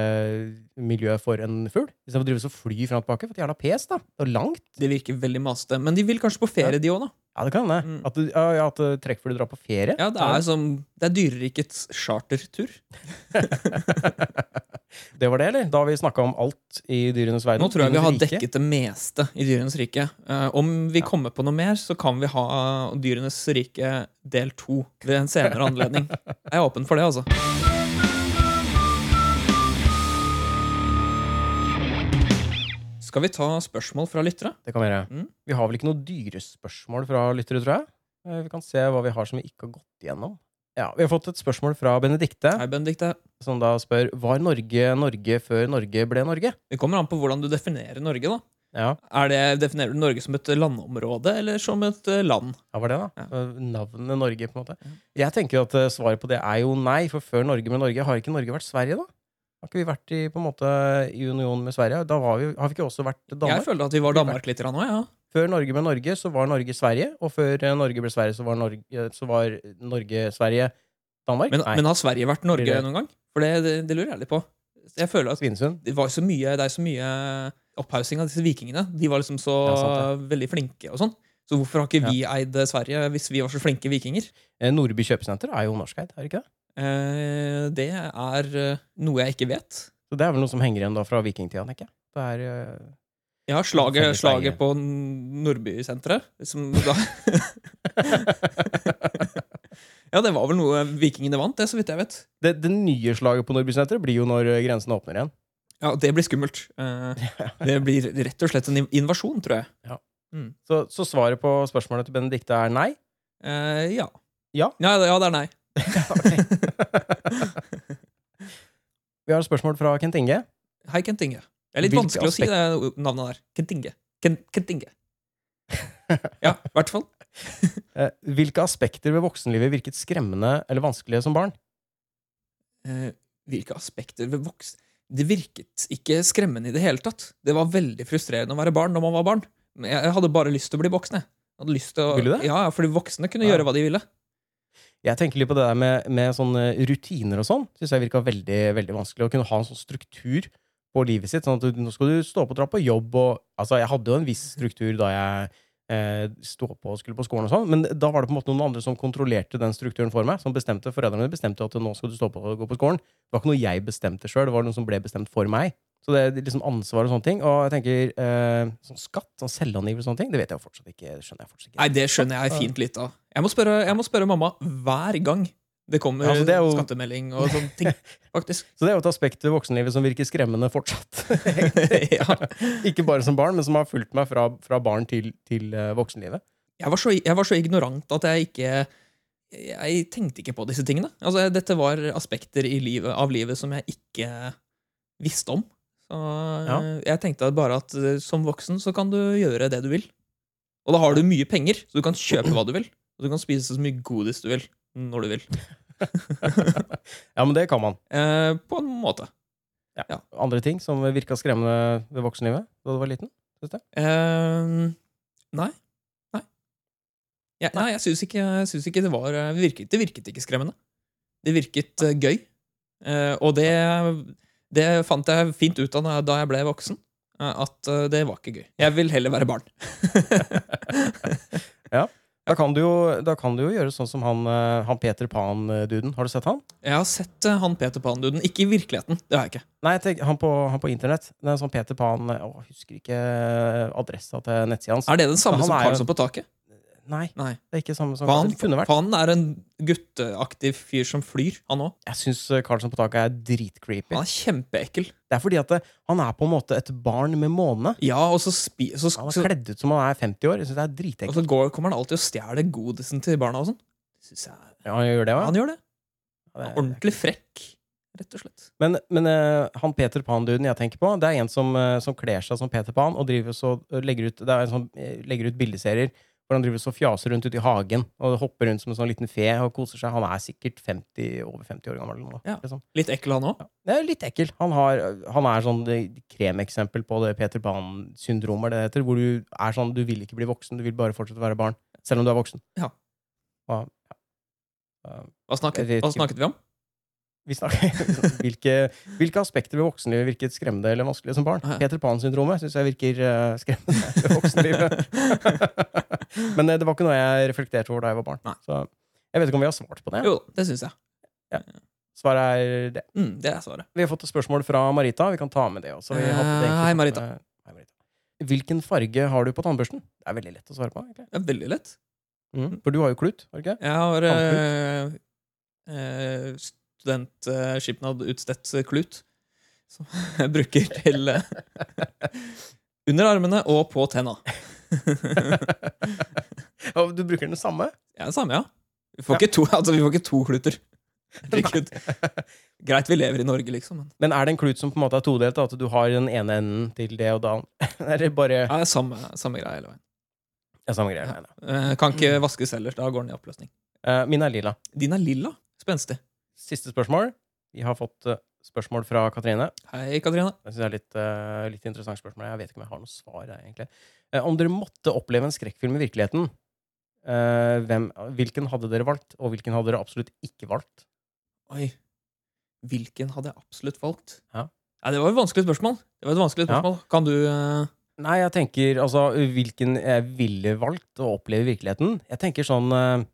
Speaker 1: miljø for en fugl. Istedenfor å drive og så fly fram og tilbake. For et jævla pes, da. Det er langt.
Speaker 2: Det virker veldig masete. Men de vil kanskje på ferie, de òg, da.
Speaker 1: Ja, det kan hende.
Speaker 2: Mm.
Speaker 1: At, du- ja, ja, at eh, trekkfugler drar på ferie.
Speaker 2: Ja, det er som Det er dyrerikets chartertur.
Speaker 1: Det var det, eller? Da har vi snakka om alt i dyrenes verden.
Speaker 2: Nå tror jeg vi har
Speaker 1: Dyrenes rike.
Speaker 2: dekket det meste i Dyrenes rike. Eh, om vi
Speaker 1: Ja.
Speaker 2: kommer på noe mer, så kan vi ha Dyrenes rike del to ved en senere anledning. Jeg er åpen for det, altså. Skal vi ta spørsmål fra lyttere?
Speaker 1: Det kan være.
Speaker 2: Mm.
Speaker 1: Vi har vel ikke noe dyrespørsmål fra lyttere, tror jeg. Eh, Vi kan se hva vi har som vi ikke har gått igjennom. Ja, vi har fått et spørsmål fra Benedikte,
Speaker 2: Hei, Benedikte.
Speaker 1: som da spør Var Norge Norge før Norge ble Norge?
Speaker 2: Det kommer an på hvordan du definerer Norge. da.
Speaker 1: Ja,
Speaker 2: Er det, definerer du Norge som et landområde eller som et eh, land?
Speaker 1: ja var det da? Eh, Navnet Norge, på en måte. Jeg tenker at eh, svaret på det er jo nei, for før Norge ble Norge, har ikke Norge vært Sverige, da? Har ikke vi vært i, på en måte, i union med Sverige? Da var vi, har vi ikke også vært
Speaker 2: Jeg
Speaker 1: Danmark?
Speaker 2: føler at vi var Danmark litt nå, ja.
Speaker 1: Før Norge ble Norge, så var Norge Sverige, og før eh, Norge ble Sverige, så var Norge, eh, så var Norge Sverige Danmark?
Speaker 2: Men,
Speaker 1: nei,
Speaker 2: men har Sverige vært Norge
Speaker 1: Blir det-
Speaker 2: noen gang? For det, det, det lurer jeg litt på. Jeg føler at
Speaker 1: Svinesund?
Speaker 2: det, var så mye, det er så mye opphaussing av disse vikingene. De var liksom så
Speaker 1: Ja, sant
Speaker 2: veldig flinke og sånn. Så hvorfor har ikke vi eid Sverige hvis vi var så flinke vikinger?
Speaker 1: Eh, Nordby kjøpesenter er jo norskeid, er det ikke det?
Speaker 2: Eh, det er eh, noe jeg ikke vet.
Speaker 1: Så det er vel noe som henger igjen da fra vikingtida, tenker jeg. Det er... eh,
Speaker 2: Ja, slaget,
Speaker 1: Felles eie.
Speaker 2: slaget på Nordbysenteret. Som da
Speaker 1: eh,
Speaker 2: Ja, det var vel noe vikingene vant, det, så vidt jeg vet.
Speaker 1: Det, det nye slaget på Nordbysenteret blir jo når eh, grensene åpner igjen.
Speaker 2: Ja, Det blir skummelt. Eh, det blir rett og slett en inv- invasjon, tror jeg.
Speaker 1: Så, så svaret på spørsmålet til Benedicte er nei.
Speaker 2: Eh, ja.
Speaker 1: Ja.
Speaker 2: ja. det- Ja, det er nei.
Speaker 1: Vi har et spørsmål fra Kent Inge.
Speaker 2: Hei, Kent Inge. Det er litt
Speaker 1: Hvilke
Speaker 2: vanskelig å si det navnet der. Kent Inge. Ken- Kent Inge. Ja, i hvert fall.
Speaker 1: Eh, Hvilke aspekter ved voksenlivet virket skremmende eller vanskelige som barn?
Speaker 2: Eh, hvilke aspekter ved voksen Det virket ikke skremmende i det hele tatt. Det var veldig frustrerende å være barn når man var barn. Men jeg jeg hadde bare lyst til å bli voksen. jeg. Jeg hadde lyst til å,
Speaker 1: Ville du det?
Speaker 2: Ja, ja, fordi voksne kunne
Speaker 1: Ja.
Speaker 2: gjøre hva de ville.
Speaker 1: Jeg tenker litt på det der med, med sånne rutiner og sånn. Synes jeg virka veldig, veldig vanskelig. Å kunne ha en sånn struktur på livet sitt. Sånn at du, nå skal du stå opp og dra på jobb og Altså, jeg hadde jo en viss struktur da jeg eh, sto opp og skulle på skolen og sånn, men da var det på en måte noen andre som kontrollerte den strukturen for meg. Som bestemte Foreldrene mine bestemte jo at nå skal du stå opp og gå på skolen. Det var ikke noe jeg bestemte sjøl, det var noe som ble bestemt for meg. Så det er liksom ansvar og sånne ting. Og jeg tenker eh, sånn skatt, sånn selvangivelse og sånne ting, det vet jeg jo fortsatt ikke. det skjønner jeg fortsatt ikke.
Speaker 2: Nei, det skjønner jeg fint litt av. Jeg må spørre, jeg må spørre mamma hver gang det kommer
Speaker 1: Ja, altså, det er jo-
Speaker 2: skattemelding og sånne ting. Faktisk.
Speaker 1: Så det er jo et aspekt ved voksenlivet som virker skremmende fortsatt.
Speaker 2: ja.
Speaker 1: Ikke bare som barn, men som har fulgt meg fra, fra barn til, til eh, voksenlivet.
Speaker 2: jeg, var så, jeg var så ignorant at jeg ikke Jeg tenkte ikke på disse tingene. Altså, jeg- dette var aspekter i livet, av livet som jeg ikke visste om. Så eh, jeg tenkte bare at eh, som voksen så kan du gjøre det du vil. Og da har du mye penger, så du kan kjøpe hva du vil. Og du kan spise så mye godis du vil. Når du vil.
Speaker 1: Ja, men det kan man.
Speaker 2: Eh, på en måte.
Speaker 1: Andre ting som virka skremmende ved voksenlivet da du var liten?
Speaker 2: Eh, nei. Nei. Ja, nei, jeg syns ikke, jeg synes ikke det var eh, det virket, det virket ikke skremmende. Det virket eh, gøy. Eh, og det, det fant jeg fint ut av da jeg- da jeg ble voksen. eh, At eh, det var ikke gøy. Jeg vil heller være barn.
Speaker 1: Da kan du jo, da kan du jo gjøre sånn som han, eh, han Peter Pan-duden. Har du sett han?
Speaker 2: Jeg har sett eh, han Peter Pan-duden. Ikke i virkeligheten. Det har jeg ikke.
Speaker 1: Nei, jeg tenker- han på, han på internett. Det er en sånn Peter Pan eh, å, Jeg husker ikke eh, adressa til nettsida hans.
Speaker 2: Er det den samme
Speaker 1: Han
Speaker 2: som
Speaker 1: er jo-
Speaker 2: Karlsson på taket?
Speaker 1: Nei,
Speaker 2: Nei.
Speaker 1: det er ikke samme som
Speaker 2: Pan,
Speaker 1: det kunne vært.
Speaker 2: Pan er en gutteaktiv fyr som flyr, han òg.
Speaker 1: Jeg syns Karlsson på taket er dritcreepy.
Speaker 2: Han er kjempeekkel.
Speaker 1: Det er fordi at eh, han er på en måte et barn med måne.
Speaker 2: Ja, og så, spi, så,
Speaker 1: Han
Speaker 2: så
Speaker 1: er kledd ut som han er 50 år. Jeg synes det er
Speaker 2: Og
Speaker 1: dritekkelt.
Speaker 2: så går, kommer han alltid og stjeler godisen til barna og sånn. Det synes jeg-
Speaker 1: Ja, han gjør det også, ja.
Speaker 2: Altså, Han gjør det.
Speaker 1: Ja,
Speaker 2: Han er
Speaker 1: det-
Speaker 2: ordentlig frekk, rett og slett.
Speaker 1: Men, men eh, han Peter Pan-duden jeg tenker på, det er en som, eh, som kler seg som Peter Pan og driver så, legger, ut, det er en som eh, legger ut bildeserier hvor han driver så fjaser rundt ute i hagen og hopper rundt som en sånn liten fe og koser seg. Han er sikkert 50, over 50 år gammel. Nå,
Speaker 2: Ja.
Speaker 1: liksom.
Speaker 2: Litt ekkel, han òg.
Speaker 1: Det er litt ekkel. Han, har, han er sånn eh, kremeksempel på det Peter Pan-syndromet det heter, hvor du er sånn du vil ikke bli voksen, du vil bare fortsette å være barn, selv om du er voksen.
Speaker 2: Ja.
Speaker 1: Og, ja. Eh,
Speaker 2: Hva, snakket-
Speaker 1: Jeg vet
Speaker 2: hva
Speaker 1: ikke.
Speaker 2: snakket vi om?
Speaker 1: vi snakker, sånn, hvilke, hvilke aspekter ved voksenlivet virket skremmende eller vanskelig som barn?
Speaker 2: Ah, ja.
Speaker 1: Peter Pan-syndromet syns jeg virker eh, skremmende ved voksenlivet. Men eh, det var ikke noe jeg reflekterte over da jeg var barn.
Speaker 2: Nei.
Speaker 1: Så jeg vet ikke om vi har svart på det.
Speaker 2: Jo, det syns jeg.
Speaker 1: Svaret er det.
Speaker 2: Mm, det er svaret.
Speaker 1: Vi har fått et spørsmål fra Marita. Vi kan ta med det også. Vi har fått det
Speaker 2: Eh,
Speaker 1: egentlig
Speaker 2: hei,
Speaker 1: sånn,
Speaker 2: Marita.
Speaker 1: eh, Hei, Marita. Hvilken farge har du på tannbørsten? Det er veldig lett å svare på. egentlig.
Speaker 2: Det er veldig lett.
Speaker 1: Mm. For du har jo klut, har du ikke det?
Speaker 2: Jeg har eh, eh, studentskipnad utstedt klut, som jeg bruker til eh, Under armene og på tenna.
Speaker 1: Og du bruker den samme?
Speaker 2: Ja, det samme, ja. Vi får, ikke, to, altså, vi får ikke to kluter. Herregud. Greit vi lever i Norge, liksom. Men.
Speaker 1: Men er det en klut som på en måte er todelt? da? At du har den ene enden til det og da Er det bare
Speaker 2: Ja, det er samme, samme greie hele veien.
Speaker 1: ja, Samme greie. nei, nei.
Speaker 2: Eh, kan
Speaker 1: Mm.
Speaker 2: ikke vaskes ellers. Da går den i oppløsning.
Speaker 1: Eh, Min er lilla.
Speaker 2: Din er lilla. Spenstig.
Speaker 1: Siste spørsmål. Vi har fått eh, spørsmål fra Katrine.
Speaker 2: Hei, Katrine.
Speaker 1: Jeg synes det er litt, eh, litt interessant spørsmål. Jeg vet ikke om jeg har noe svar. Jeg, egentlig. Eh, om dere måtte oppleve en skrekkfilm i virkeligheten, eh, hvem, hvilken hadde dere valgt, og hvilken hadde dere absolutt ikke valgt?
Speaker 2: Oi. Hvilken hadde jeg absolutt valgt?
Speaker 1: Ja.
Speaker 2: Nei, det var et vanskelig spørsmål. Det var et vanskelig
Speaker 1: Ja.
Speaker 2: spørsmål. Kan du eh,
Speaker 1: Nei, jeg tenker altså hvilken jeg ville valgt å oppleve i virkeligheten. Jeg tenker sånn eh,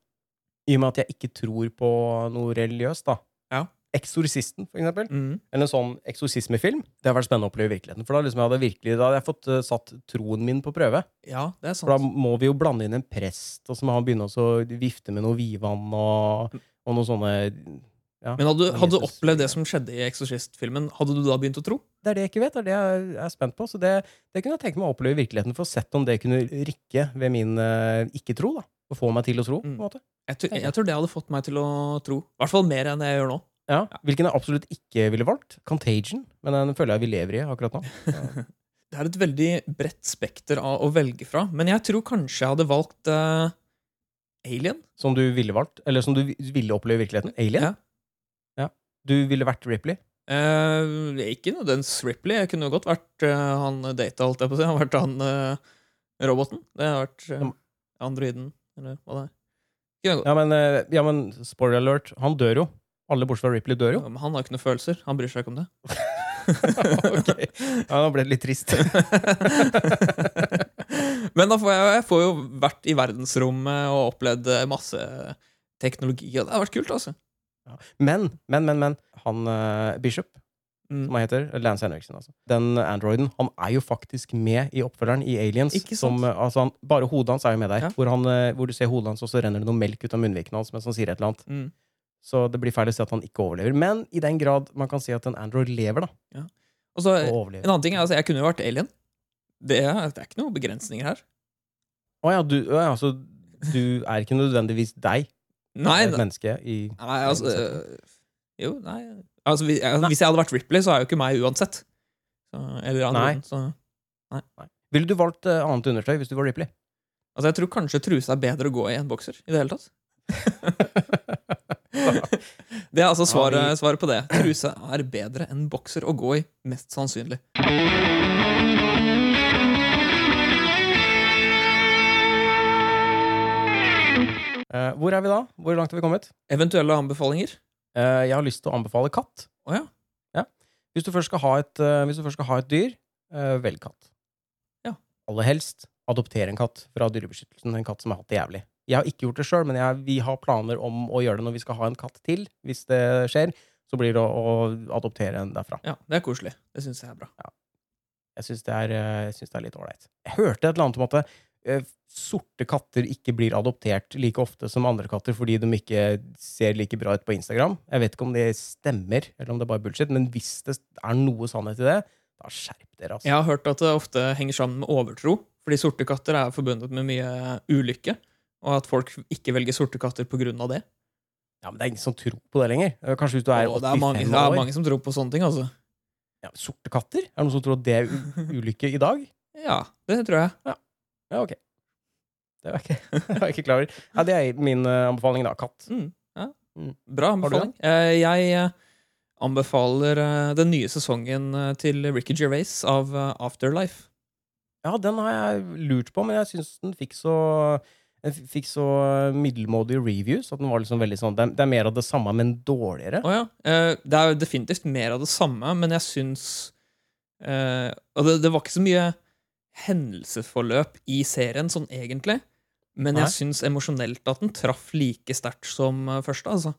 Speaker 1: I og med at jeg ikke tror på noe religiøst, da.
Speaker 2: Ja.
Speaker 1: Eksorsisten, for eksempel.
Speaker 2: mm.
Speaker 1: Eller en sånn eksorsismefilm. Det har vært spennende å oppleve i virkeligheten. For da, liksom, jeg hadde virkelig, da hadde jeg fått eh, satt troen min på prøve.
Speaker 2: Ja, det er
Speaker 1: For da
Speaker 2: sant.
Speaker 1: må vi jo blande inn en prest, og så må han begynne også å vifte med noe vidvann og, og noen sånne ja.
Speaker 2: Men hadde, du- hadde du
Speaker 1: Jesus.
Speaker 2: opplevd det som skjedde i Exorcist-filmen, hadde du da begynt å tro?
Speaker 1: Det er det jeg ikke vet, det er det jeg er spent på. Så det, det kunne jeg tenke meg å oppleve i virkeligheten, for å sett om det kunne rikke ved min eh, ikke-tro. da Og få meg til å tro. på en
Speaker 2: Mm.
Speaker 1: måte
Speaker 2: Jeg, tror-
Speaker 1: Tenker jeg.
Speaker 2: jeg tror det hadde fått meg til å tro. I hvert fall mer enn jeg gjør nå.
Speaker 1: ja. Hvilken jeg absolutt ikke ville valgt. Contagion. Men den føler jeg vi lever i akkurat nå.
Speaker 2: Det er et veldig bredt spekter av å velge fra, men jeg tror kanskje jeg hadde valgt eh, Alien.
Speaker 1: Som du ville valgt. Eller som du vi- ville oppleve i virkeligheten. Alien.
Speaker 2: Ja.
Speaker 1: Ja. Du ville vært Ripley.
Speaker 2: Eh, ikke nødvendigvis Ripley. Jeg kunne jo godt vært eh, han data, holdt jeg på å si. Han vært han eh, roboten. Det har vært eh,
Speaker 1: Ja.
Speaker 2: androiden, eller hva det er. Kunne jeg godt.
Speaker 1: Ja, men, eh, ja, men spoiler alert, han dør jo. Alle bortsett fra Ripley dør jo.
Speaker 2: Men han har ikke noen følelser. Han bryr seg ikke om det.
Speaker 1: Ok. Ja, nå ble det litt trist.
Speaker 2: Men da får jeg, jeg får jo vært i verdensrommet og opplevd eh, masse teknologi. Og det har vært kult, altså.
Speaker 1: Men, men, men, men han eh, Bishop, som
Speaker 2: Mm.
Speaker 1: han heter, Lance Henriksen, altså. Den androiden, han er jo faktisk med i oppfølgeren i Aliens.
Speaker 2: Ikke sant?
Speaker 1: Som, eh, altså, han, bare hodet hans er jo med der.
Speaker 2: Ja.
Speaker 1: Hvor, han, eh, hvor du ser hodet hans, og så renner det noe melk ut av munnvikene hans mens han sier et eller annet.
Speaker 2: Mm.
Speaker 1: Så det blir feil å si at han ikke overlever. Men i den grad man kan si at en android lever, da.
Speaker 2: Og så,
Speaker 1: Og
Speaker 2: En
Speaker 1: overlever.
Speaker 2: annen ting er altså, Jeg kunne jo vært alien. Det er, det er ikke noen begrensninger her.
Speaker 1: Å ja, du, å, ja, så du er ikke nødvendigvis deg,
Speaker 2: Nei,
Speaker 1: et
Speaker 2: nei,
Speaker 1: menneske, i
Speaker 2: nei altså øh, Jo, nei altså, hvis, altså, hvis jeg hadde vært Ripley, så er jo ikke meg uansett. Så, eller
Speaker 1: Nei.
Speaker 2: andre, så,
Speaker 1: Ville du valgt eh, annet undertøy hvis du var Ripley?
Speaker 2: altså, Jeg tror kanskje truse er bedre å gå i enn bokser. I det hele tatt Det er altså svaret,
Speaker 1: Ja,
Speaker 2: svaret på det. Truse er bedre enn bokser å gå i, mest sannsynlig.
Speaker 1: Eh, hvor er vi da? Hvor langt har vi kommet?
Speaker 2: Eventuelle anbefalinger?
Speaker 1: Eh, jeg har lyst til å anbefale katt.
Speaker 2: Å ja.
Speaker 1: Hvis du først skal ha et, eh, hvis du først skal ha et dyr, eh, velg katt.
Speaker 2: Ja.
Speaker 1: Aller helst adopter en katt fra Dyrebeskyttelsen. En katt som har hatt det jævlig. Jeg har ikke gjort det sjøl, men jeg, vi har planer om å gjøre det når vi skal ha en katt til. Hvis det skjer, så blir det å, å adoptere en derfra.
Speaker 2: ja. Det er koselig. Det syns jeg er bra.
Speaker 1: Jeg syns det, er, eh, jeg synes det er litt ålreit. Jeg hørte et eller annet om at eh, sorte katter ikke blir adoptert like ofte som andre katter fordi de ikke ser like bra ut på Instagram. Jeg vet ikke om det stemmer, eller om det er bare bullshit, men hvis det er noe sannhet i det, da skjerp dere, altså.
Speaker 2: Jeg har hørt at det ofte henger sammen med overtro, fordi sorte katter er forbundet med mye ulykke, og at folk ikke velger sorte katter pga. det.
Speaker 1: Ja, men det er ingen som tror på det lenger. Eh, Kanskje hvis du er
Speaker 2: og det er,
Speaker 1: 85
Speaker 2: mange, det er
Speaker 1: år.
Speaker 2: mange som tror på sånne ting, altså.
Speaker 1: Ja, men sorte katter? Er det noen som tror at det er u- ulykke i dag?
Speaker 2: Ja, det tror jeg.
Speaker 1: Ja, ok. Det var jeg ikke, det var jeg ikke klar over. Ja, det er min eh, anbefaling, da. Katt.
Speaker 2: Mm, ja.
Speaker 1: Mm.
Speaker 2: Bra
Speaker 1: du
Speaker 2: anbefaling. Eh, Jeg eh, anbefaler eh, den nye sesongen eh, til Ricky Gervais av eh, Afterlife.
Speaker 1: Ja, den har jeg lurt på, men jeg syns den fikk så den f- fikk så middelmådige reviews. At den var liksom veldig sånn Det er, det er mer av det samme, men dårligere.
Speaker 2: Å ja. eh, Det er jo definitivt mer av det samme, men jeg syns eh, Og det, det var ikke så mye hendelseforløp i serien, sånn egentlig. Men
Speaker 1: Nei.
Speaker 2: jeg syns emosjonelt at den traff like sterkt som eh, første. altså.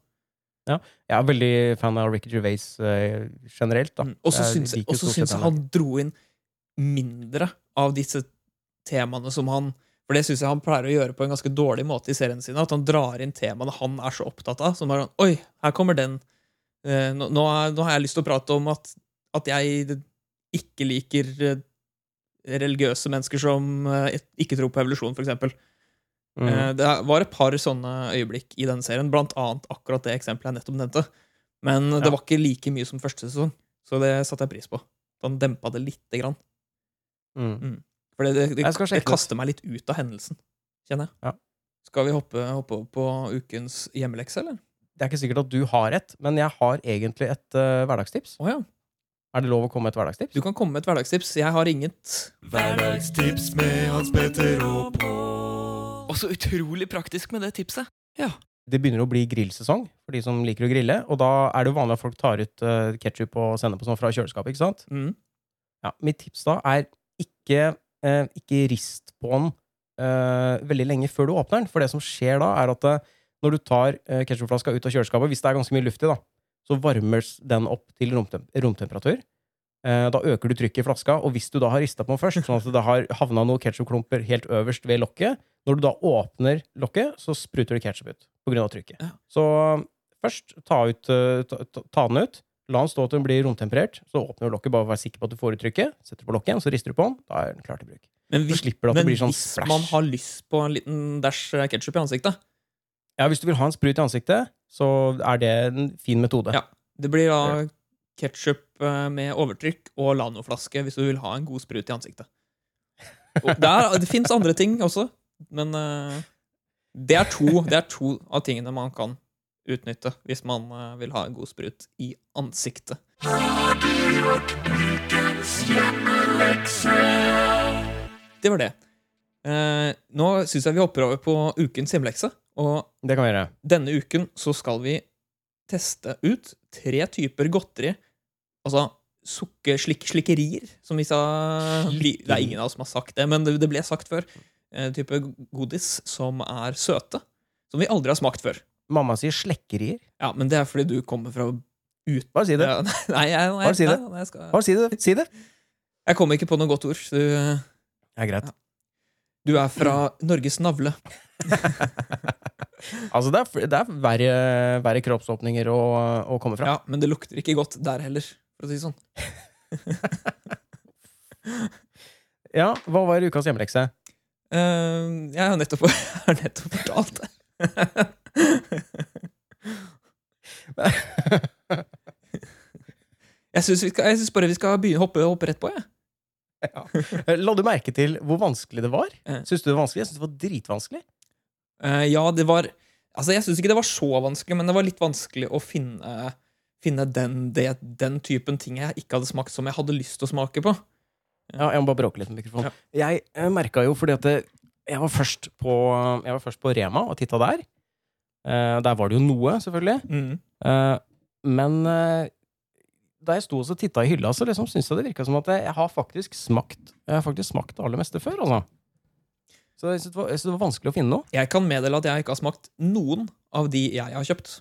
Speaker 1: Jeg er veldig fan av Ricky Gervais eh, generelt, da.
Speaker 2: Mm. Og så
Speaker 1: Jeg
Speaker 2: syns jeg,
Speaker 1: liker jo
Speaker 2: og så
Speaker 1: stort sett
Speaker 2: syns jeg han dro inn mindre av disse temaene som han For det syns jeg han pleier å gjøre på en ganske dårlig måte i serien sin. At han drar inn temaene han er så opptatt av. Som bare sånn Oi, her kommer den. Eh, Nå, nå, er, nå har jeg lyst til å prate om at, at jeg ikke liker eh, religiøse mennesker som eh, ikke tror på evolusjon, f.eks.
Speaker 1: Mm.
Speaker 2: Eh, Det var et par sånne øyeblikk i denne serien, blant annet akkurat det eksempelet jeg nettopp nevnte. Men
Speaker 1: Ja.
Speaker 2: det var ikke like mye som første sesong, så det satte jeg pris på. Den dempa det lite grann.
Speaker 1: Mm.
Speaker 2: For det, det,
Speaker 1: Jeg skal
Speaker 2: det,
Speaker 1: sjekke
Speaker 2: det kaster meg litt ut av hendelsen, kjenner jeg.
Speaker 1: Ja.
Speaker 2: Skal vi hoppe, hoppe over på ukens hjemmelekse, eller?
Speaker 1: Det er ikke sikkert at du har et, men jeg har egentlig et eh, hverdagstips.
Speaker 2: Å ja.
Speaker 1: Er det lov å komme med et hverdagstips?
Speaker 2: Du kan komme med et hverdagstips. Jeg har inget.
Speaker 3: Hverdagstips med Hans Petter og Pål.
Speaker 4: Og så utrolig praktisk med det tipset.
Speaker 1: Det begynner å bli grillsesong for de som liker å grille, og da er det jo vanlig at folk tar ut uh, ketsjup og sennep og sånn fra kjøleskapet, ikke sant?
Speaker 2: Mm.
Speaker 1: Ja, mitt tips da er ikke, eh, ikke rist på den eh, veldig lenge før du åpner den, for det som skjer da, er at eh, når du tar eh, ketsjupflaska ut av kjøleskapet, hvis det er ganske mye luft i, da, så varmer s- den opp til romtem romtemperatur. Eh, da øker du trykket i flaska, og hvis du da har rista på den først, sånn at det har havna noen ketsjupklumper helt øverst ved lokket, når du da åpner lokket, så spruter det ketsjup ut på grunn av trykket.
Speaker 2: Ja.
Speaker 1: Så eh, først ta, ut, eh, ta, ta- ta den ut, La den stå til den blir romtemperert, så åpner du lokket. Bare vær sikker på at du får ut trykket. Setter du på lokket igjen, så rister du på den. Da er den klar til bruk.
Speaker 2: Men
Speaker 1: Så
Speaker 2: hvis,
Speaker 1: slipper du at
Speaker 2: men
Speaker 1: det blir sånn
Speaker 2: hvis man
Speaker 1: splash.
Speaker 2: har lyst på en liten dæsj ketsjup i ansiktet
Speaker 1: Ja, hvis du vil ha en sprut i ansiktet, så er det en fin metode.
Speaker 2: Ja. Det blir da ketsjup med overtrykk og Lano-flaske hvis du vil ha en god sprut i ansiktet. Og det er- det fins andre ting også, men eh, det er, to, det er to av tingene man kan utnytte hvis man eh, vil ha en god sprut i ansiktet. Det var det. Eh, nå syns jeg vi hopper over på ukens hjemmelekse. Og
Speaker 1: Det kan vi gjøre.
Speaker 2: denne uken så skal vi teste ut tre typer godteri. Altså sukker, slik, slikkerier, som vi sa vi, Det er ingen av oss som har sagt det, men det, det ble sagt før. Eh, type godis som er søte. Som vi aldri har smakt før.
Speaker 1: Mamma sier slekkerier.
Speaker 2: Ja, Men det er fordi du kommer fra
Speaker 1: Bare si det.
Speaker 2: ja, Nei, jeg, nei,
Speaker 1: Bare si det.
Speaker 2: nei, nei, jeg, skal,
Speaker 1: Bare si det. Si det.
Speaker 2: jeg kom ikke på noe godt ord. så Du, eh,
Speaker 1: Ja, greit.
Speaker 2: du er fra Norges navle.
Speaker 1: Altså, det er, fl- det er verre, verre kroppsåpninger å, å komme fra.
Speaker 2: Ja, Men det lukter ikke godt der heller, for å si det sånn.
Speaker 1: Ja, hva var ukas hjemmelekse?
Speaker 2: Eh, jeg har nettopp, jeg har nettopp fortalt det. Jeg syns, vi skal, jeg synes bare vi skal begynne å hoppe, hoppe rett på. Jeg.
Speaker 1: La du merke til hvor vanskelig det var?
Speaker 2: Eh.
Speaker 1: Syns du det var vanskelig? Jeg syns det var dritvanskelig.
Speaker 2: Eh, ja, det var Altså, jeg syns ikke det var så vanskelig, men det var litt vanskelig å finne, finne den, det, den typen ting jeg ikke hadde smakt som jeg hadde lyst til å smake på.
Speaker 1: Ja, jeg må bare bråke litt med mikrofonen. Jeg eh, merka jo fordi at det, jeg, var først på, jeg var først på Rema og titta der. Eh, der var det jo noe, selvfølgelig.
Speaker 2: Mm.
Speaker 1: Eh, men eh, da jeg sto og så titta i hylla, så liksom syntes jeg det virka som at jeg har faktisk smakt Jeg har faktisk smakt det aller meste før, altså. Så jeg syntes det var, jeg syntes det var vanskelig å finne noe.
Speaker 2: Jeg kan meddele at jeg ikke har smakt noen av de jeg har kjøpt.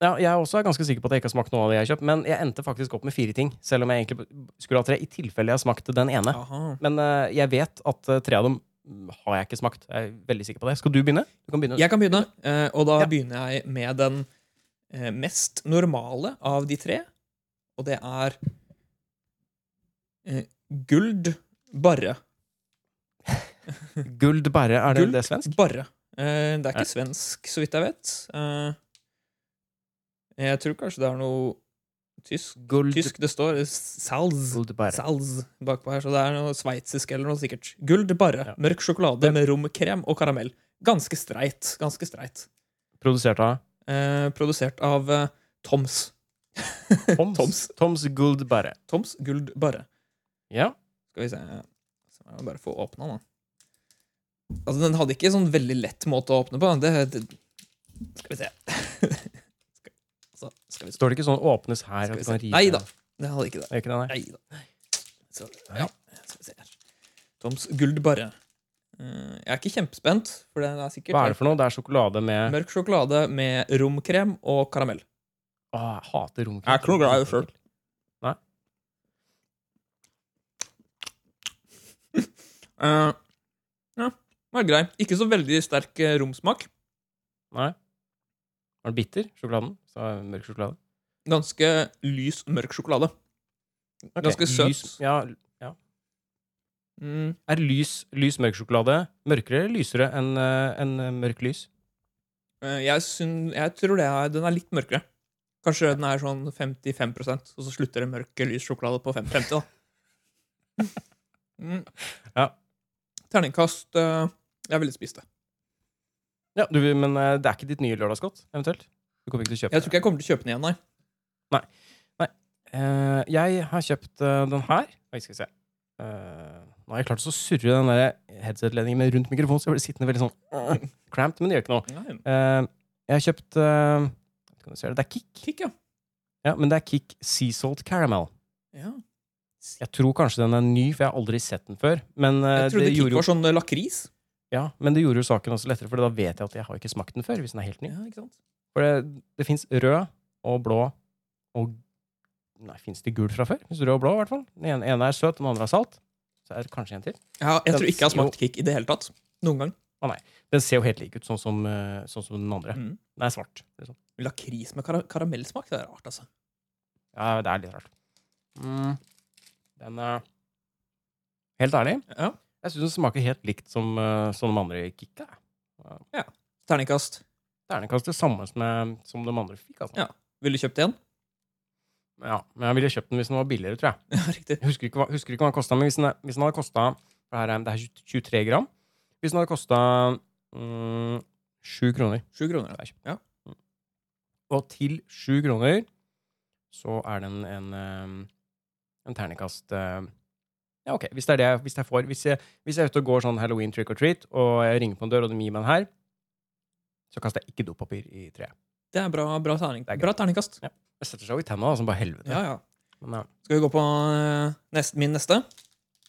Speaker 1: Ja, jeg er også er ganske sikker på at jeg ikke har smakt noe av det jeg har kjøpt, men jeg endte faktisk opp med fire ting. Selv om jeg egentlig skulle ha tre, i tilfelle jeg har smakt den ene.
Speaker 2: Aha.
Speaker 1: Men eh, jeg vet at eh, tre av dem mm, har jeg ikke smakt. Jeg er veldig sikker på det. Skal du begynne? Du kan begynne.
Speaker 2: Jeg kan begynne, eh, og da
Speaker 1: Ja.
Speaker 2: begynner jeg med den eh, mest normale av de tre. Og det er eh, Guld Barre.
Speaker 1: Guld bære, er det,
Speaker 2: Guld
Speaker 1: det er svensk?
Speaker 2: Barre. Eh, Det er
Speaker 1: Ja.
Speaker 2: ikke svensk, så vidt jeg vet. Eh, Jeg tror kanskje det er noe tysk.
Speaker 1: Guld,
Speaker 2: Tysk det står eh, Salz.
Speaker 1: guld bære.
Speaker 2: Salz bakpå her, så det er noe sveitsisk eller noe sikkert. Guld Barre.
Speaker 1: Ja.
Speaker 2: Mørk sjokolade med romkrem og karamell. Ganske streit. Ganske streit.
Speaker 1: Produsert av
Speaker 2: Eh, Produsert av eh, Toms.
Speaker 1: Toms. Toms.
Speaker 2: Toms.
Speaker 1: Guld bære.
Speaker 2: Toms Guld Barre.
Speaker 1: Ja.
Speaker 2: Skal vi se Så må jeg bare få åpna den, da. Altså, den hadde ikke sånn veldig lett måte å åpne på. Det, det Skal vi se. skal, så, skal vi se.
Speaker 1: Står det ikke sånn 'åpnes her'?
Speaker 2: Skal
Speaker 1: At
Speaker 2: vi
Speaker 1: du kan
Speaker 2: se.
Speaker 1: rive?
Speaker 2: Nei da, det hadde ikke det.
Speaker 1: Det er ikke det, nei.
Speaker 2: Nei da. Så, ja, skal vi se her. Toms Guld Barre. Eh, Jeg er ikke kjempespent, for det er sikkert
Speaker 1: Hva er det for noe? Det er sjokolade med
Speaker 2: mørk sjokolade med romkrem og karamell.
Speaker 1: Åh, jeg hater romkrem.
Speaker 2: Jeg er ikke noe glad i det selv.
Speaker 1: Nei.
Speaker 2: Eh, ja, var grei. Ikke så veldig sterk eh, romsmak.
Speaker 1: Nei. Var den bitter, sjokoladen? Så er det mørk sjokolade.
Speaker 2: Ganske lys, mørk sjokolade.
Speaker 1: Ok,
Speaker 2: Ganske søt.
Speaker 1: lys- Ja,
Speaker 2: Mm.
Speaker 1: Er lys, lys mørk sjokolade mørkere eller lysere enn eh, enn, eh, mørk lys?
Speaker 2: Eh, Jeg, syn- jeg tror det er, den er litt mørkere. Kanskje den er sånn 55 og så slutter det mørke lys sjokolade på 55 da. Mm.
Speaker 1: Ja.
Speaker 2: Terningkast eh, Jeg ville spist det.
Speaker 1: Ja, du, vil- Men eh, det er ikke ditt nye lørdagsgodt, eventuelt? Du kommer ikke til å kjøpe
Speaker 2: Jeg tror ikke jeg kommer til å kjøpe den igjen, nei.
Speaker 1: Eh, jeg har kjøpt eh, den her. Oi, skal vi se. Eh, nå har jeg klart å surre den der headset-ledningen med rundt mikrofonen, så jeg blir sittende veldig sånn uh, cramped, men det gjør ikke noe.
Speaker 2: nei.
Speaker 1: Eh, jeg har kjøpt eh, kan du se det? det er Kick,
Speaker 2: Kick, ja.
Speaker 1: ja, men det er Kick Sea Salt Caramel.
Speaker 2: ja.
Speaker 1: Jeg tror kanskje den er ny, for jeg har aldri sett den før. Men, eh,
Speaker 2: Jeg trodde
Speaker 1: det,
Speaker 2: Kick
Speaker 1: gjorde,
Speaker 2: var sånn eh, lakris.
Speaker 1: jo- ja, men det gjorde jo saken også lettere, for da vet jeg at jeg har ikke smakt den før. hvis den er helt ny.
Speaker 2: Ja, ikke sant?
Speaker 1: For det, det fins rød og blå og Nei, fins det gul fra før? Finnes rød og blå, i hvert fall. Den ene, ene er søt, den andre er salt. Så er det kanskje en til.
Speaker 2: Ja, jeg
Speaker 1: Den
Speaker 2: tror ikke jeg har
Speaker 1: sier jo-
Speaker 2: smakt Kick i det hele tatt. Noen gang.
Speaker 1: Den ser jo helt lik ut, sånn som, eh, sånn som den andre.
Speaker 2: Mm.
Speaker 1: Den er svart. Liksom.
Speaker 2: Lakris med kara karamellsmak, det er rart, altså.
Speaker 1: Ja, det er litt rart. Mm. Den er Helt ærlig,
Speaker 2: Ja.
Speaker 1: jeg syns den smaker helt likt som, eh, som de andre kicka.
Speaker 2: Terningkast.
Speaker 1: Ternekast det samme som, jeg, som de andre fikk. Altså.
Speaker 2: Ja. Ville du kjøpt en?
Speaker 1: Ja, men jeg ville kjøpt den hvis den var billigere, tror jeg.
Speaker 2: Ja, riktig.
Speaker 1: Jeg husker ikke hva, husker ikke hva den kosta, men hvis den, hvis den hadde kosta det, her er- det er 23 gram. Hvis den hadde kosta mm, 7 kroner
Speaker 2: Sju kroner. ja. Ja.
Speaker 1: Og til 7 kroner så er den en, eh, en ternekast eh, Ja, ok, hvis det er det jeg, hvis jeg får hvis jeg, hvis jeg er ute og går sånn Halloween trick or treat, og jeg ringer på en dør, og de gir meg den her, så kaster jeg ikke dopapir i treet.
Speaker 2: Det er bra, bra, terning.
Speaker 1: Det er
Speaker 2: bra terningkast.
Speaker 1: Det setter seg jo i tenna da, som bare helvete.
Speaker 2: Ja, ja.
Speaker 1: Men, ja.
Speaker 2: Skal vi gå på eh, nest, min neste?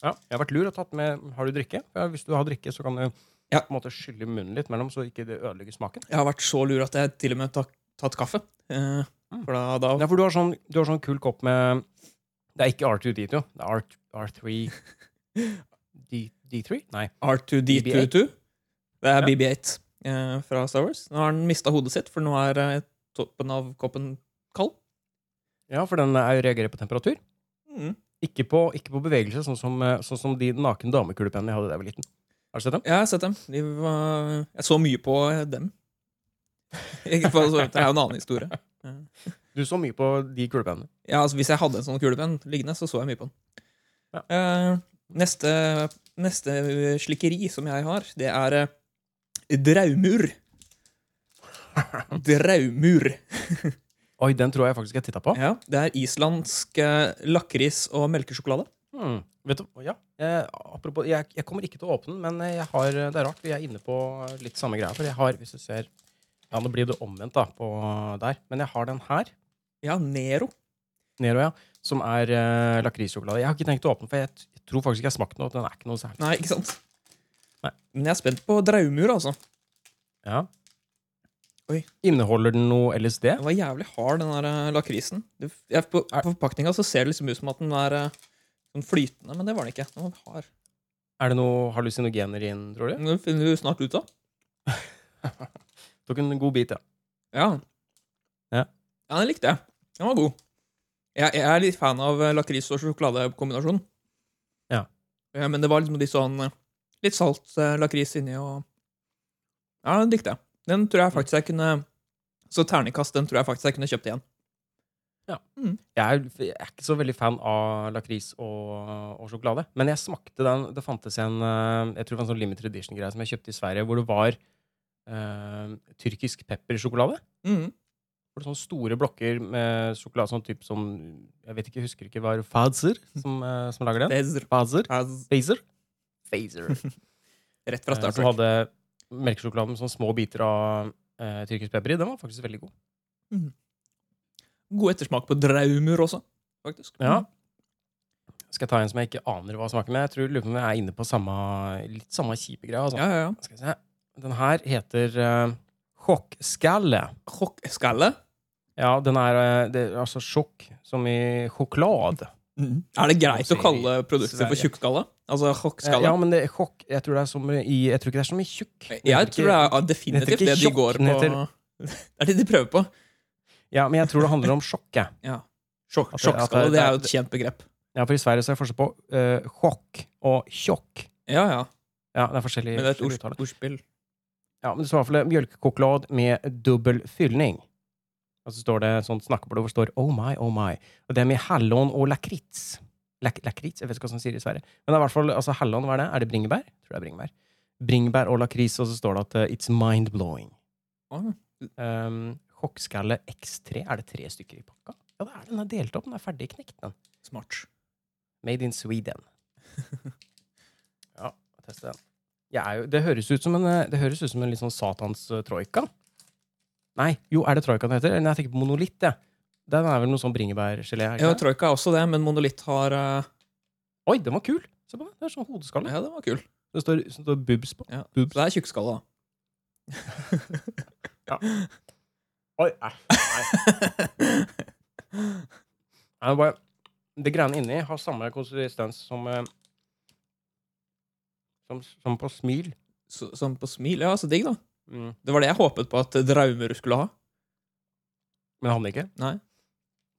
Speaker 1: Ja, jeg har vært lur og tatt med Har du drikke? Ja, hvis du har drikke, så kan du
Speaker 2: Ja.
Speaker 1: på en måte skylle munnen litt mellom, så ikke det ødelegger smaken.
Speaker 2: Jeg har vært så lur at jeg til og med har tatt, tatt kaffe. Eh,
Speaker 1: Mm.
Speaker 2: For da, da
Speaker 1: Ja, for du har sånn, du har sånn kul kopp med Det er ikke R2D2, det er R, 3 D, D3? Nei.
Speaker 2: R2D22 Det er
Speaker 1: Ja.
Speaker 2: BB8 eh, fra Star Wars. Nå har han mista hodet sitt, for nå er eh, toppen av koppen kald.
Speaker 1: Ja, for den er, reagerer på temperatur.
Speaker 2: Mm.
Speaker 1: Ikke på, ikke på bevegelse, sånn som, eh, sånn som de nakne damekulepennene jeg hadde da jeg var liten. Har du sett dem?
Speaker 2: Jeg har sett dem. De var, jeg så mye på dem. Ikke for, å- det er jo en annen historie.
Speaker 1: Du så mye på de kulepennene.
Speaker 2: Ja, altså, hvis jeg hadde en sånn kulepenn liggende, så så jeg mye på den.
Speaker 1: Ja.
Speaker 2: Eh, neste, neste slikkeri som jeg har, det er eh, Draumur. Draumur.
Speaker 1: Oi, den tror jeg faktisk jeg titta på.
Speaker 2: Ja, det er islandsk eh, lakris og melkesjokolade.
Speaker 1: Hmm. Vet du, ja. eh, apropos, jeg, jeg kommer ikke til å åpne den, men eh, jeg har, det er rart. Vi er inne på litt samme greia. For jeg har, hvis du ser Ja, nå blir det omvendt da, på der. Men jeg har den her,
Speaker 2: Ja, Nero.
Speaker 1: Nero, ja, som er eh, lakrissjokolade. Jeg har ikke tenkt å åpne den, for jeg, t- jeg tror faktisk ikke jeg har smakt den. og Den er ikke noe særlig.
Speaker 2: Nei, ikke sant?
Speaker 1: Nei.
Speaker 2: Men jeg er spent på Draumur, altså.
Speaker 1: Ja.
Speaker 2: Oi.
Speaker 1: Inneholder den noe LSD?
Speaker 2: Den var jævlig hard, den der eh, lakrisen. Det- jeg- På, på forpakninga så ser det liksom ut som at den er eh, sånn flytende, men det var den ikke. Den var hard.
Speaker 1: Er det noe hallusinogener i den, tror du?
Speaker 2: Men Det finner du snart ut av.
Speaker 1: Tok en god bit, ja.
Speaker 2: Ja.
Speaker 1: Ja.
Speaker 2: ja, den likte jeg. Den var god. Jeg, jeg er litt fan av eh, lakris- og sjokoladekombinasjonen.
Speaker 1: Ja.
Speaker 2: Eh, Men det var liksom litt sånn eh, Litt salt eh, lakris inni og Ja, den likte jeg. Den tror jeg faktisk jeg kunne Så ternekast, den tror jeg faktisk jeg kunne kjøpt igjen.
Speaker 1: Jeg er, jeg er ikke så veldig fan av lakris og, og sjokolade. Men jeg smakte den. Det fantes en eh, jeg tror det var en sånn limited edition-greie som jeg kjøpte i Sverige, hvor det var eh, tyrkisk peppersjokolade.
Speaker 2: Mm.
Speaker 1: Hvor det sånne store blokker med sjokolade sånn type som Jeg vet ikke, jeg husker ikke hva det var Fazer som, eh, som lager den.
Speaker 2: Det er
Speaker 1: Fazer?
Speaker 2: az-
Speaker 1: Fazer? Fazer.
Speaker 2: Rett fra
Speaker 1: Eh,
Speaker 2: Star
Speaker 1: Som
Speaker 2: Trek.
Speaker 1: hadde melkesjokolade med sånne små biter av eh, tyrkisk pepper i. Den var faktisk veldig god.
Speaker 2: God ettersmak på draumur også, faktisk.
Speaker 1: Ja.
Speaker 2: Mm.
Speaker 1: Skal jeg ta en som jeg ikke aner hva smaker med? Jeg tror lurer på om jeg er inne på samme, litt samme kjipe greia. Altså.
Speaker 2: Ja, ja, ja.
Speaker 1: Skal vi se. Den her heter uh, sjokkskalle.
Speaker 2: Sjokkskalle.
Speaker 1: Ja, den er, eh, det er altså sjokk som i sjokolade. Mm.
Speaker 2: Er det greit
Speaker 1: Også
Speaker 2: å kalle
Speaker 1: i
Speaker 2: produkter for
Speaker 1: Sverige.
Speaker 2: tjukkskalle? Altså sjokkskalle?
Speaker 1: Eh, Ja, men det er sjokk Jeg tror det er som i Jeg tror ikke det er som i tjukk.
Speaker 2: Jeg,
Speaker 1: Den heter
Speaker 2: tror det er
Speaker 1: ikke- den
Speaker 2: definitivt
Speaker 1: heter
Speaker 2: det
Speaker 1: ikke
Speaker 2: de
Speaker 1: sjokk,
Speaker 2: går på.
Speaker 1: den
Speaker 2: Det er det de prøver på.
Speaker 1: Ja, men jeg tror det handler om sjokk, jeg.
Speaker 2: Sjokk,
Speaker 1: At det- at det-
Speaker 2: sjokkskalle det er jo et kjent begrep.
Speaker 1: Ja, for i Sverige så er det forskjell på eh, sjokk og tjokk.
Speaker 2: Ja, ja.
Speaker 1: Ja, det er forskjellig
Speaker 2: Men det er et
Speaker 1: forskjellig
Speaker 2: ords-
Speaker 1: uttale.
Speaker 2: ordspill.
Speaker 1: Ja, men det står i hvert fall mjølkekokolad med dobbel fylning. Og så står det sånt snakkeblod hvor det står oh my, oh my. Og det er med hallon og lakrits. Lak lakrits? Jeg vet ikke hva som sier i Sverige. Men det er i hvert fall, altså hallon, hva er det? Er det bringebær? Jeg tror det er bringebær. Bringebær og lakris, og så står det at eh, it's mind-blowing.
Speaker 2: Ah.
Speaker 1: Um, Kokkskalle X3. Er det tre stykker i pakka? Ja, det er det. den er delt opp. Den er ferdig knekt, den.
Speaker 2: Smart.
Speaker 1: Made in Sweden. ja, teste den. Jeg er jo, det, høres ut som en, eh, det høres ut som en litt sånn satans eh, troika. Nei, jo, er det troika den heter? Nei, jeg tenker på monolitt, jeg. Den er vel noe sånn bringebærgelé? er det
Speaker 2: Ja,
Speaker 1: ikke det?
Speaker 2: Troika er også det, men Monolitt har eh,
Speaker 1: Oi, den var kul! Se på den. Det er sånn hodeskalle.
Speaker 2: Ja, den var kul.
Speaker 1: Det står, det står boobs på.
Speaker 2: Ja.
Speaker 1: Boobs.
Speaker 2: Så det er tjukkskalla.
Speaker 1: Oi, æsj. Nei. Nei, det er bare, det greiene inni har samme konsistens som eh, som, som på smil.
Speaker 2: Så- Som på smil. Ja, så digg, da.
Speaker 1: Mm.
Speaker 2: Det var det jeg håpet på at Draumerud skulle ha.
Speaker 1: Men det hadde den ikke.
Speaker 2: Nei.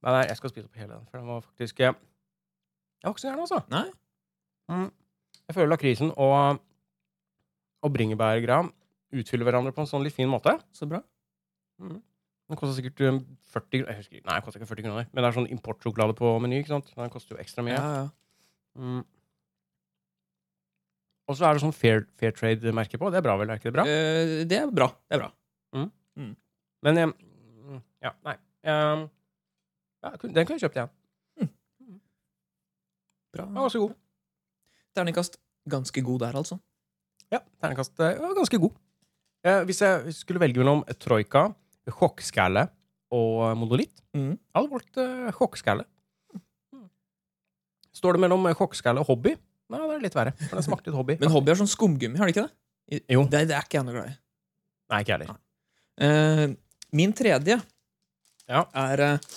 Speaker 1: Nei, nei, jeg skal spise opp hele den, for den var faktisk eh, Jeg var ikke så gæren, altså.
Speaker 2: Nei.
Speaker 1: Mm. Jeg føler lakrisen og, og bringebærgreia utfyller hverandre på en sånn litt fin måte.
Speaker 2: Så bra.
Speaker 1: Den koster sikkert eh, 40 kroner. Jeg husker ikke. Nei, den koster ikke 40 kroner. Men det er sånn importsjokolade på meny, ikke sant? Den koster jo ekstra mye.
Speaker 2: Ja, ja.
Speaker 1: Mm. Og så er det sånn fair, fair trade-merke på. Det er bra, vel? Er ikke det bra?
Speaker 2: Eh, det er bra. Det er bra.
Speaker 1: Men eh, mm, Ja, nei. Eh, ja, kun- den kunne jeg kjøpt igjen. Hm. Den var
Speaker 2: bra.
Speaker 1: ganske god.
Speaker 2: Terningkast ganske god der, altså.
Speaker 1: Ja, Terningkast eh, var ganske god. Eh, hvis jeg skulle velge mellom troika, sjokkskalle og monolitt
Speaker 2: Mm.
Speaker 1: Jeg hadde valgt eh, sjokkskalle. Hm. Står det mellom sjokkskalle og hobby? Nei, det er litt verre. For den smakte litt hobby.
Speaker 2: Men hobby er sånn skumgummi, har de ikke det? I-
Speaker 1: Jo.
Speaker 2: Det, det er ikke jeg noe glad i.
Speaker 1: nei, ikke jeg heller.
Speaker 2: Eh, min tredje
Speaker 1: Ja.
Speaker 2: er eh,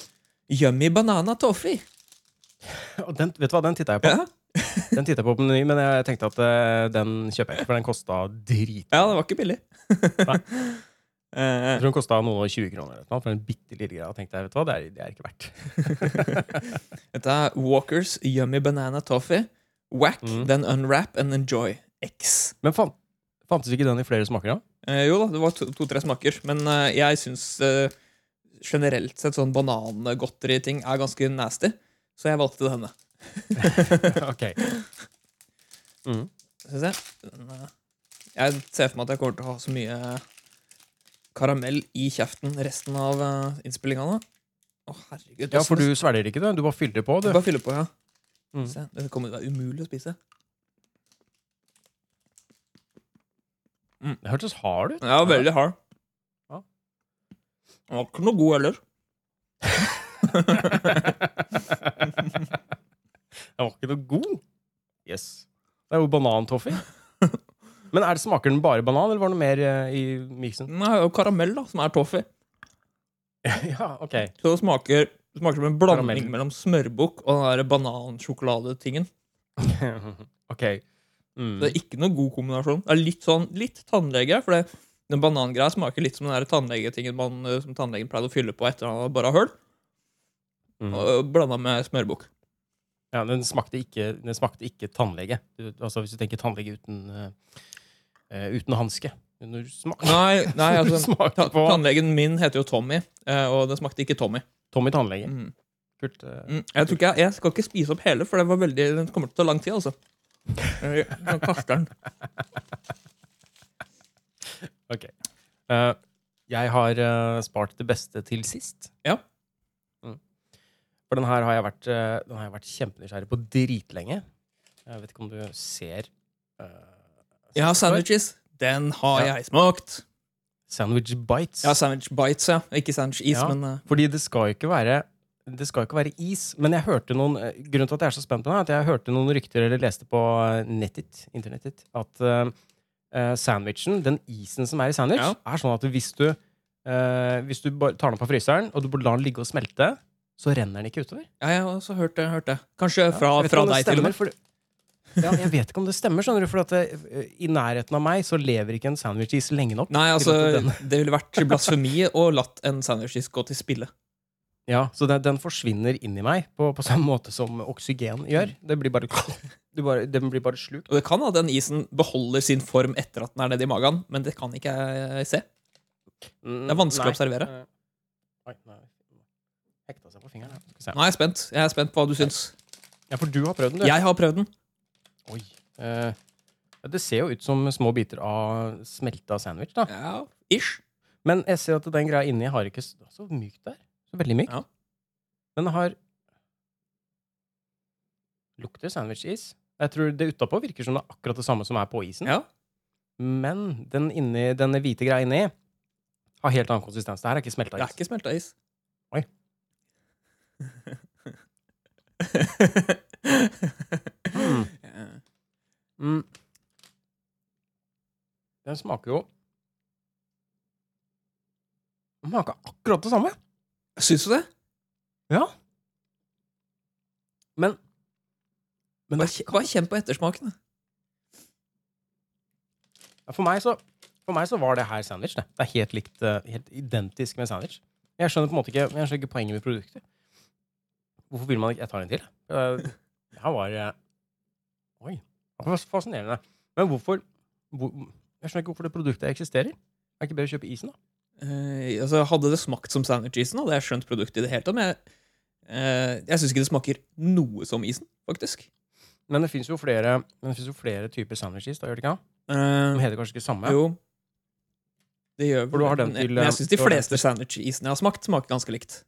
Speaker 2: Yummy Banana Toffee.
Speaker 1: Og Den, vet du hva, den titta jeg på.
Speaker 2: Ja.
Speaker 1: Den tittet jeg på på meny, men jeg tenkte at eh, den kjøper jeg ikke, for den kosta drit.
Speaker 2: ja, det var ikke billig.
Speaker 1: Nei. Jeg
Speaker 2: Eh,
Speaker 1: tror den kosta noen og 20 kroner eller noe, for en bitte lille greie. Og tenkte jeg, vet du hva, det er, det er ikke verdt.
Speaker 2: dette er Walkers Yummy Banana Toffee. Whack,
Speaker 1: Mm.
Speaker 2: then unwrap and enjoy. X.
Speaker 1: Men fan, fantes ikke den i flere smaker, da?
Speaker 2: Eh, jo da, det var to- to-tre smaker, men eh, jeg syns eh, generelt sett sånn banangodteri-ting er ganske nasty, så jeg valgte denne.
Speaker 1: ok. Mm.
Speaker 2: Skal vi se. Den, eh, Jeg ser for meg at jeg kommer til å ha så mye karamell i kjeften resten av eh, innspillinga nå. Å, herregud.
Speaker 1: Ja, for du svelger ikke det? Du bare fyller på, du?
Speaker 2: Bare fylle på, ja.
Speaker 1: Mm.
Speaker 2: Se, det kommer til å være umulig å spise.
Speaker 1: Det hørtes hard ut.
Speaker 2: Ja, veldig hard.
Speaker 1: Ja.
Speaker 2: Den var ikke noe god heller.
Speaker 1: Den var ikke noe god. Yes. Det er jo banantoffee. Men er det smaker den bare banan, eller var det noe mer eh, i miksen?
Speaker 2: Den er jo karamell, da, som er toffee.
Speaker 1: ja, ok.
Speaker 2: Så det smaker, det smaker som en blanding
Speaker 1: Karamell.
Speaker 2: mellom smørbukk og den der banansjokoladetingen.
Speaker 1: ok. Mm.
Speaker 2: Det er ikke noe god kombinasjon. Det er litt sånn, litt tannlege, for det, den banangreia smaker litt som den der tannlegetingen man, eh, som tannlegen pleide å fylle på etter han hadde bare høl,
Speaker 1: Mm.
Speaker 2: og blanda med smørbukk.
Speaker 1: Ja, den smakte ikke, den smakte ikke tannlege. Du, altså, hvis du tenker tannlege uten, eh, eh, uten hanske. Når du smaker,
Speaker 2: Nei, nei,
Speaker 1: når du
Speaker 2: altså, ta-
Speaker 1: smaker på
Speaker 2: tannlegen min heter jo Tommy, eh, og den smakte ikke Tommy.
Speaker 1: Tommy tannlege.
Speaker 2: Mm.
Speaker 1: Kult. eh.
Speaker 2: Mm. Jeg tror ikke jeg, jeg skal ikke spise opp hele, for det var veldig, den kommer til å ta lang tid, altså. Jeg jeg kaster den.
Speaker 1: Ok. Eh, jeg har eh, spart det beste til sist.
Speaker 2: Ja.
Speaker 1: Mm. For den her har jeg vært, eh, den har jeg vært kjempenysgjerrig på dritlenge. Jeg vet ikke om du ser eh,
Speaker 2: Ja, sandwiches. Den har
Speaker 1: Ja.
Speaker 2: jeg smakt.
Speaker 1: Sandwich bites.
Speaker 2: Ja, sandwich bites, ja. Ikke sandwich is,
Speaker 1: Ja.
Speaker 2: men eh,
Speaker 1: Fordi det skal jo ikke være det skal jo ikke være is, men jeg hørte noen eh, grunnen til at jeg er så spent på det, er at jeg hørte noen rykter eller leste på eh, nettet, internettet, at eh, eh, sandwichen, den isen som er i sandwich,
Speaker 2: Ja.
Speaker 1: er sånn at hvis du, eh, hvis du bare tar den på fryseren, og du bare lar den ligge og smelte, så renner den ikke utover.
Speaker 2: Ja, jeg har også hørt det. hørt det. Kanskje fra,
Speaker 1: Jeg vet ikke
Speaker 2: fra
Speaker 1: om det
Speaker 2: deg, til og
Speaker 1: stemmer,
Speaker 2: med.
Speaker 1: for det- ja, jeg vet ikke om det stemmer, skjønner du, for at eh, i nærheten av meg så lever ikke en sandwich-is lenge nok.
Speaker 2: Nei, altså,
Speaker 1: til at den-
Speaker 2: det ville vært blasfemi å latt en sandwichis gå til spille.
Speaker 1: Ja, så den, den forsvinner inn i meg på, på samme måte som oksygen gjør.
Speaker 2: Mm.
Speaker 1: Det blir bare, du bare, den blir bare slukt.
Speaker 2: Og det kan at den isen beholder sin form etter at den er nede i magen, men det kan ikke jeg se. Det er vanskelig å observere.
Speaker 1: Oi, nei. Hekta seg på fingeren. her. Skal vi se.
Speaker 2: Nå er jeg spent. Jeg er spent på hva du syns.
Speaker 1: Ja, for du har prøvd den, du.
Speaker 2: Jeg har prøvd den.
Speaker 1: Oi. Eh, ja, det ser jo ut som små biter av smelta sandwich, da.
Speaker 2: Ja, ish.
Speaker 1: Men jeg ser at den greia inni har ikke s- Så mykt det er. Så veldig mykt.
Speaker 2: Ja.
Speaker 1: Den har Lukter sandwich-is. Jeg tror det utapå virker som det er akkurat det samme som er på isen.
Speaker 2: Ja.
Speaker 1: Men den, inni, denne hvite greia inni har helt annen konsistens. Det her er ikke smelta
Speaker 2: Det er
Speaker 1: is.
Speaker 2: ikke smelta is.
Speaker 1: Oi. Mm. Mm. Den smaker jo Den smaker akkurat det samme.
Speaker 2: Syns du det?
Speaker 1: Ja. Men Men
Speaker 2: Bare
Speaker 1: det,
Speaker 2: kje- bare kjenn på ettersmaken. da.
Speaker 1: ja, for, meg så, for meg så var det her sandwich. Det, det er helt likt eh, Helt identisk med sandwich. Jeg skjønner på en måte ikke Jeg skjønner ikke poenget med produktet. Hvorfor vil man ikke Jeg tar en til. Eh, Det her var eh, Oi. Det var fascinerende. Men hvorfor hvor, Jeg skjønner ikke hvorfor det produktet eksisterer. Er det ikke bedre å kjøpe isen, da?
Speaker 2: Eh, altså, hadde det smakt som sandwich-isen, hadde jeg skjønt produktet i det hele tatt. Men jeg, uh, jeg syns ikke det smaker noe som isen, faktisk.
Speaker 1: Men det fins jo, flere- men det finnes jo flere typer sandwiches, da, gjør det ikke?
Speaker 2: Eh,
Speaker 1: De heter kanskje ikke samme?
Speaker 2: Jo. Det gjør
Speaker 1: For du har
Speaker 2: vel-
Speaker 1: den til,
Speaker 2: Men jeg
Speaker 1: eh,
Speaker 2: syns de
Speaker 1: du har den
Speaker 2: fleste sandwich-isene jeg har smakt, smaker ganske likt.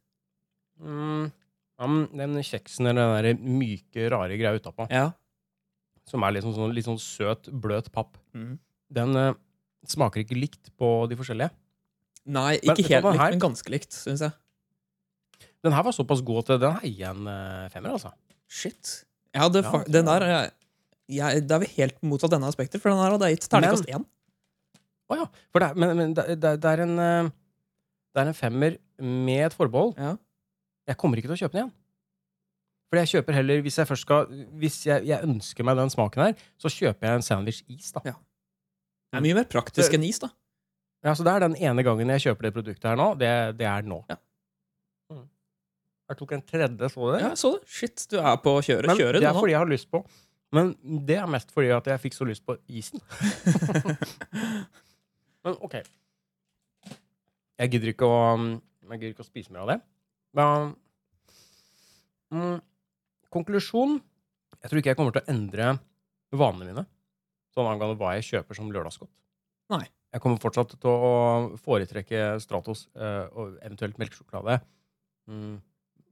Speaker 1: Mm, ja, men den kjeksen eller den der myke, rare greia utapå,
Speaker 2: Ja.
Speaker 1: som er liksom sånn, litt sånn søt, bløt papp,
Speaker 2: Mm.
Speaker 1: den eh, smaker ikke likt på de forskjellige.
Speaker 2: Nei, ikke
Speaker 1: Men vet du
Speaker 2: helt
Speaker 1: hva,
Speaker 2: likt,
Speaker 1: her-
Speaker 2: men ganske litt, syns jeg.
Speaker 1: Den her var såpass god at den heier jeg en eh, femmer, altså.
Speaker 2: Shit. Jeg hadde
Speaker 1: Ja,
Speaker 2: fa-
Speaker 1: det
Speaker 2: den
Speaker 1: var-
Speaker 2: der jeg, jeg, Det er vel helt motsatt denne aspektet, for den her hadde jeg gitt terningkast én.
Speaker 1: Å ja. For det, er- men, men det, det, det, er en, eh, det er en femmer med et forbehold.
Speaker 2: Ja.
Speaker 1: Jeg kommer ikke til å kjøpe den igjen. Fordi jeg kjøper heller, hvis jeg først skal Hvis jeg, jeg ønsker meg den smaken her, så kjøper jeg en sandwich-is, da.
Speaker 2: Ja. Det
Speaker 1: Mm.
Speaker 2: er mye mer praktisk
Speaker 1: Det-
Speaker 2: enn is, da.
Speaker 1: Ja, så det er den ene gangen jeg kjøper det produktet her nå. Det, det er nå.
Speaker 2: Ja.
Speaker 1: Mm. Jeg tok en tredje, så du det?
Speaker 2: Ja, jeg så det. Shit, du er på kjøret.
Speaker 1: Men
Speaker 2: Kjøret,
Speaker 1: det
Speaker 2: du
Speaker 1: er
Speaker 2: nå.
Speaker 1: fordi jeg har lyst på. Men det er mest fordi at jeg fikk så lyst på isen. Men ok. Jeg gidder ikke å, um, jeg gidder ikke å spise mer av det. Men, mm, konklusjon Jeg tror ikke jeg kommer til å endre vanene mine sånn angående hva jeg kjøper som lørdagsgodt.
Speaker 2: Nei.
Speaker 1: Jeg kommer fortsatt til å foretrekke Stratos eh, og eventuelt melkesjokolade. Mm,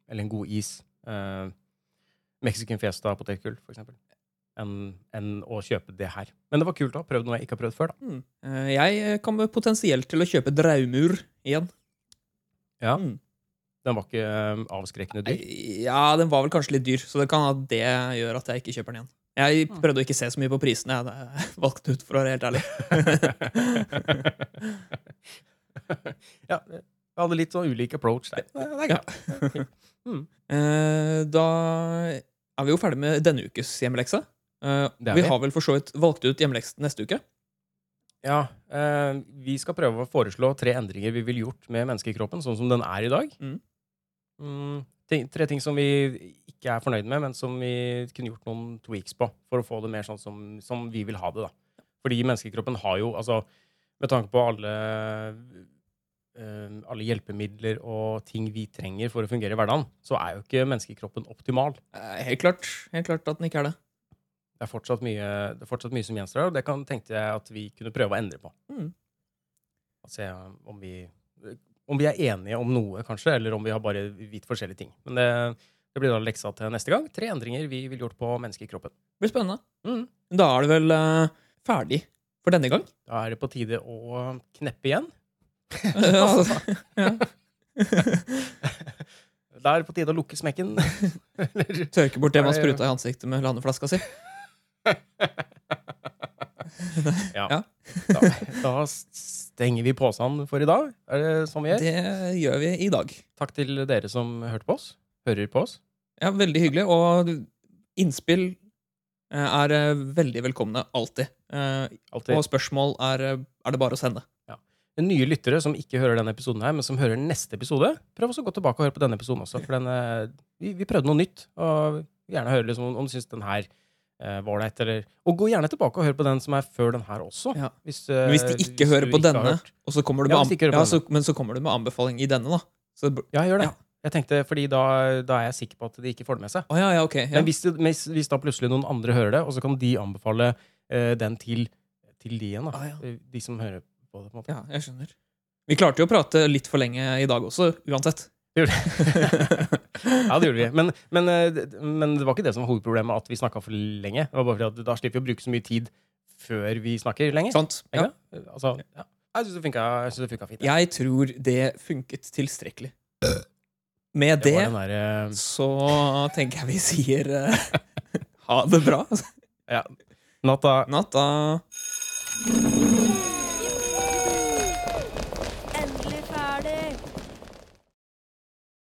Speaker 1: eller en god is. Eh, Mexican Fiesta potetgull, for eksempel. Enn enn å kjøpe det her. Men det var kult å ha prøvd noe jeg ikke har prøvd før. da.
Speaker 2: Mm. Eh, Jeg kommer potensielt til å kjøpe draumur igjen.
Speaker 1: Ja.
Speaker 2: Mm.
Speaker 1: Den var ikke eh, avskrekkende dyr.
Speaker 2: Nei, Ja, den var vel kanskje litt dyr, så det kan at det gjør at jeg ikke kjøper den igjen. Jeg
Speaker 1: Mm.
Speaker 2: prøvde å ikke se så mye på prisene. Jeg hadde valgt den ut, for å være helt ærlig.
Speaker 1: ja, jeg hadde litt sånn ulik approach der. Det er
Speaker 2: Ja. Eh, Da er vi jo ferdig med denne ukes hjemmelekse. Eh,
Speaker 1: Det er
Speaker 2: Vi
Speaker 1: vi.
Speaker 2: har vel for så vidt valgt ut hjemmelekse neste uke.
Speaker 1: Ja, eh, vi skal prøve å foreslå tre endringer vi vil gjort med menneskekroppen, sånn som den er i dag.
Speaker 2: Mm.
Speaker 1: Mm, ting, tre ting som vi ikke er fornøyd med, men som vi kunne gjort noen tweaks på, for å få det mer sånn som, som vi vil ha det, da. Fordi menneskekroppen har jo, altså, med tanke på alle eh, alle hjelpemidler og ting vi trenger for å fungere i hverdagen, så er jo ikke menneskekroppen optimal.
Speaker 2: Eh, Helt klart, helt klart at den ikke er det.
Speaker 1: Det er fortsatt mye, det er fortsatt mye som gjenstår, og det kan, tenkte jeg at vi kunne prøve å endre på.
Speaker 2: Mm.
Speaker 1: Og se om vi, om vi er enige om noe, kanskje, eller om vi har bare vidt forskjellige ting. Men det, det blir da leksa til neste gang. Tre endringer vi vil gjort på menneskekroppen.
Speaker 2: Det blir spennende.
Speaker 1: Mm.
Speaker 2: Da er det vel eh, ferdig for denne gang.
Speaker 1: Da er det på tide å kneppe igjen.
Speaker 2: ja.
Speaker 1: Da er det på tide å lukke smekken. Eller
Speaker 2: Tørke bort det man
Speaker 1: Nei,
Speaker 2: spruta i ansiktet med landeflaska si.
Speaker 1: da, da stenger vi posen for i dag. Er det sånn vi gjør?
Speaker 2: Det gjør vi i dag.
Speaker 1: Takk til dere som hørte på oss. Hører på oss.
Speaker 2: Ja, Veldig hyggelig. Og innspill eh, er eh, veldig velkomne alltid. Eh,
Speaker 1: Alltid.
Speaker 2: Og spørsmål er, eh, er det bare å sende.
Speaker 1: nye lyttere som ikke hører denne episoden her, men som hører neste episode, prøv også å gå tilbake og høre på denne episoden også. For den, eh, vi, vi prøvde noe nytt. Og vil gjerne høre liksom, om- om du syns den her eh, var ålreit, eller Og gå gjerne tilbake og hør på den som er før den her også.
Speaker 2: Ja.
Speaker 1: Hvis, eh,
Speaker 2: Men hvis de ikke
Speaker 1: hvis
Speaker 2: hører
Speaker 1: du
Speaker 2: på
Speaker 1: har
Speaker 2: denne,
Speaker 1: hørt.
Speaker 2: Og så kommer du
Speaker 1: Ja,
Speaker 2: med,
Speaker 1: hvis de ikke hører
Speaker 2: anb-
Speaker 1: på
Speaker 2: ja, så, men så kommer du med anbefaling i denne, da. Så, det bl-
Speaker 1: Ja, gjør det.
Speaker 2: Ja.
Speaker 1: Jeg tenkte, fordi da, da er jeg sikker på at de ikke får det med seg.
Speaker 2: å ja, ja, ok. Ja.
Speaker 1: Men hvis, det- hvis, hvis da plutselig noen andre hører det, og så kan de anbefale eh, den til, til de igjen, da.
Speaker 2: Ah, ja.
Speaker 1: De som hører på det. på en måte.
Speaker 2: ja, jeg skjønner. Vi klarte jo å prate litt for lenge i dag også, uansett.
Speaker 1: Gjorde Ja, det gjorde vi. Men, men, eh, det- men det var ikke det som var hovedproblemet, at vi snakka for lenge. Det var bare fordi at da slipper vi å bruke så mye tid før vi snakker lenger.
Speaker 2: Sant? Sånn,
Speaker 1: Ikke
Speaker 2: Ja.
Speaker 1: det? Altså, ja. Jeg syns det funka- jeg synes det funka fint. jeg.
Speaker 2: Jeg tror det funket tilstrekkelig. Med
Speaker 1: Det var
Speaker 2: det
Speaker 1: den derre
Speaker 2: så tenker jeg vi sier eh, ha det bra.
Speaker 1: Natta.
Speaker 2: Natta.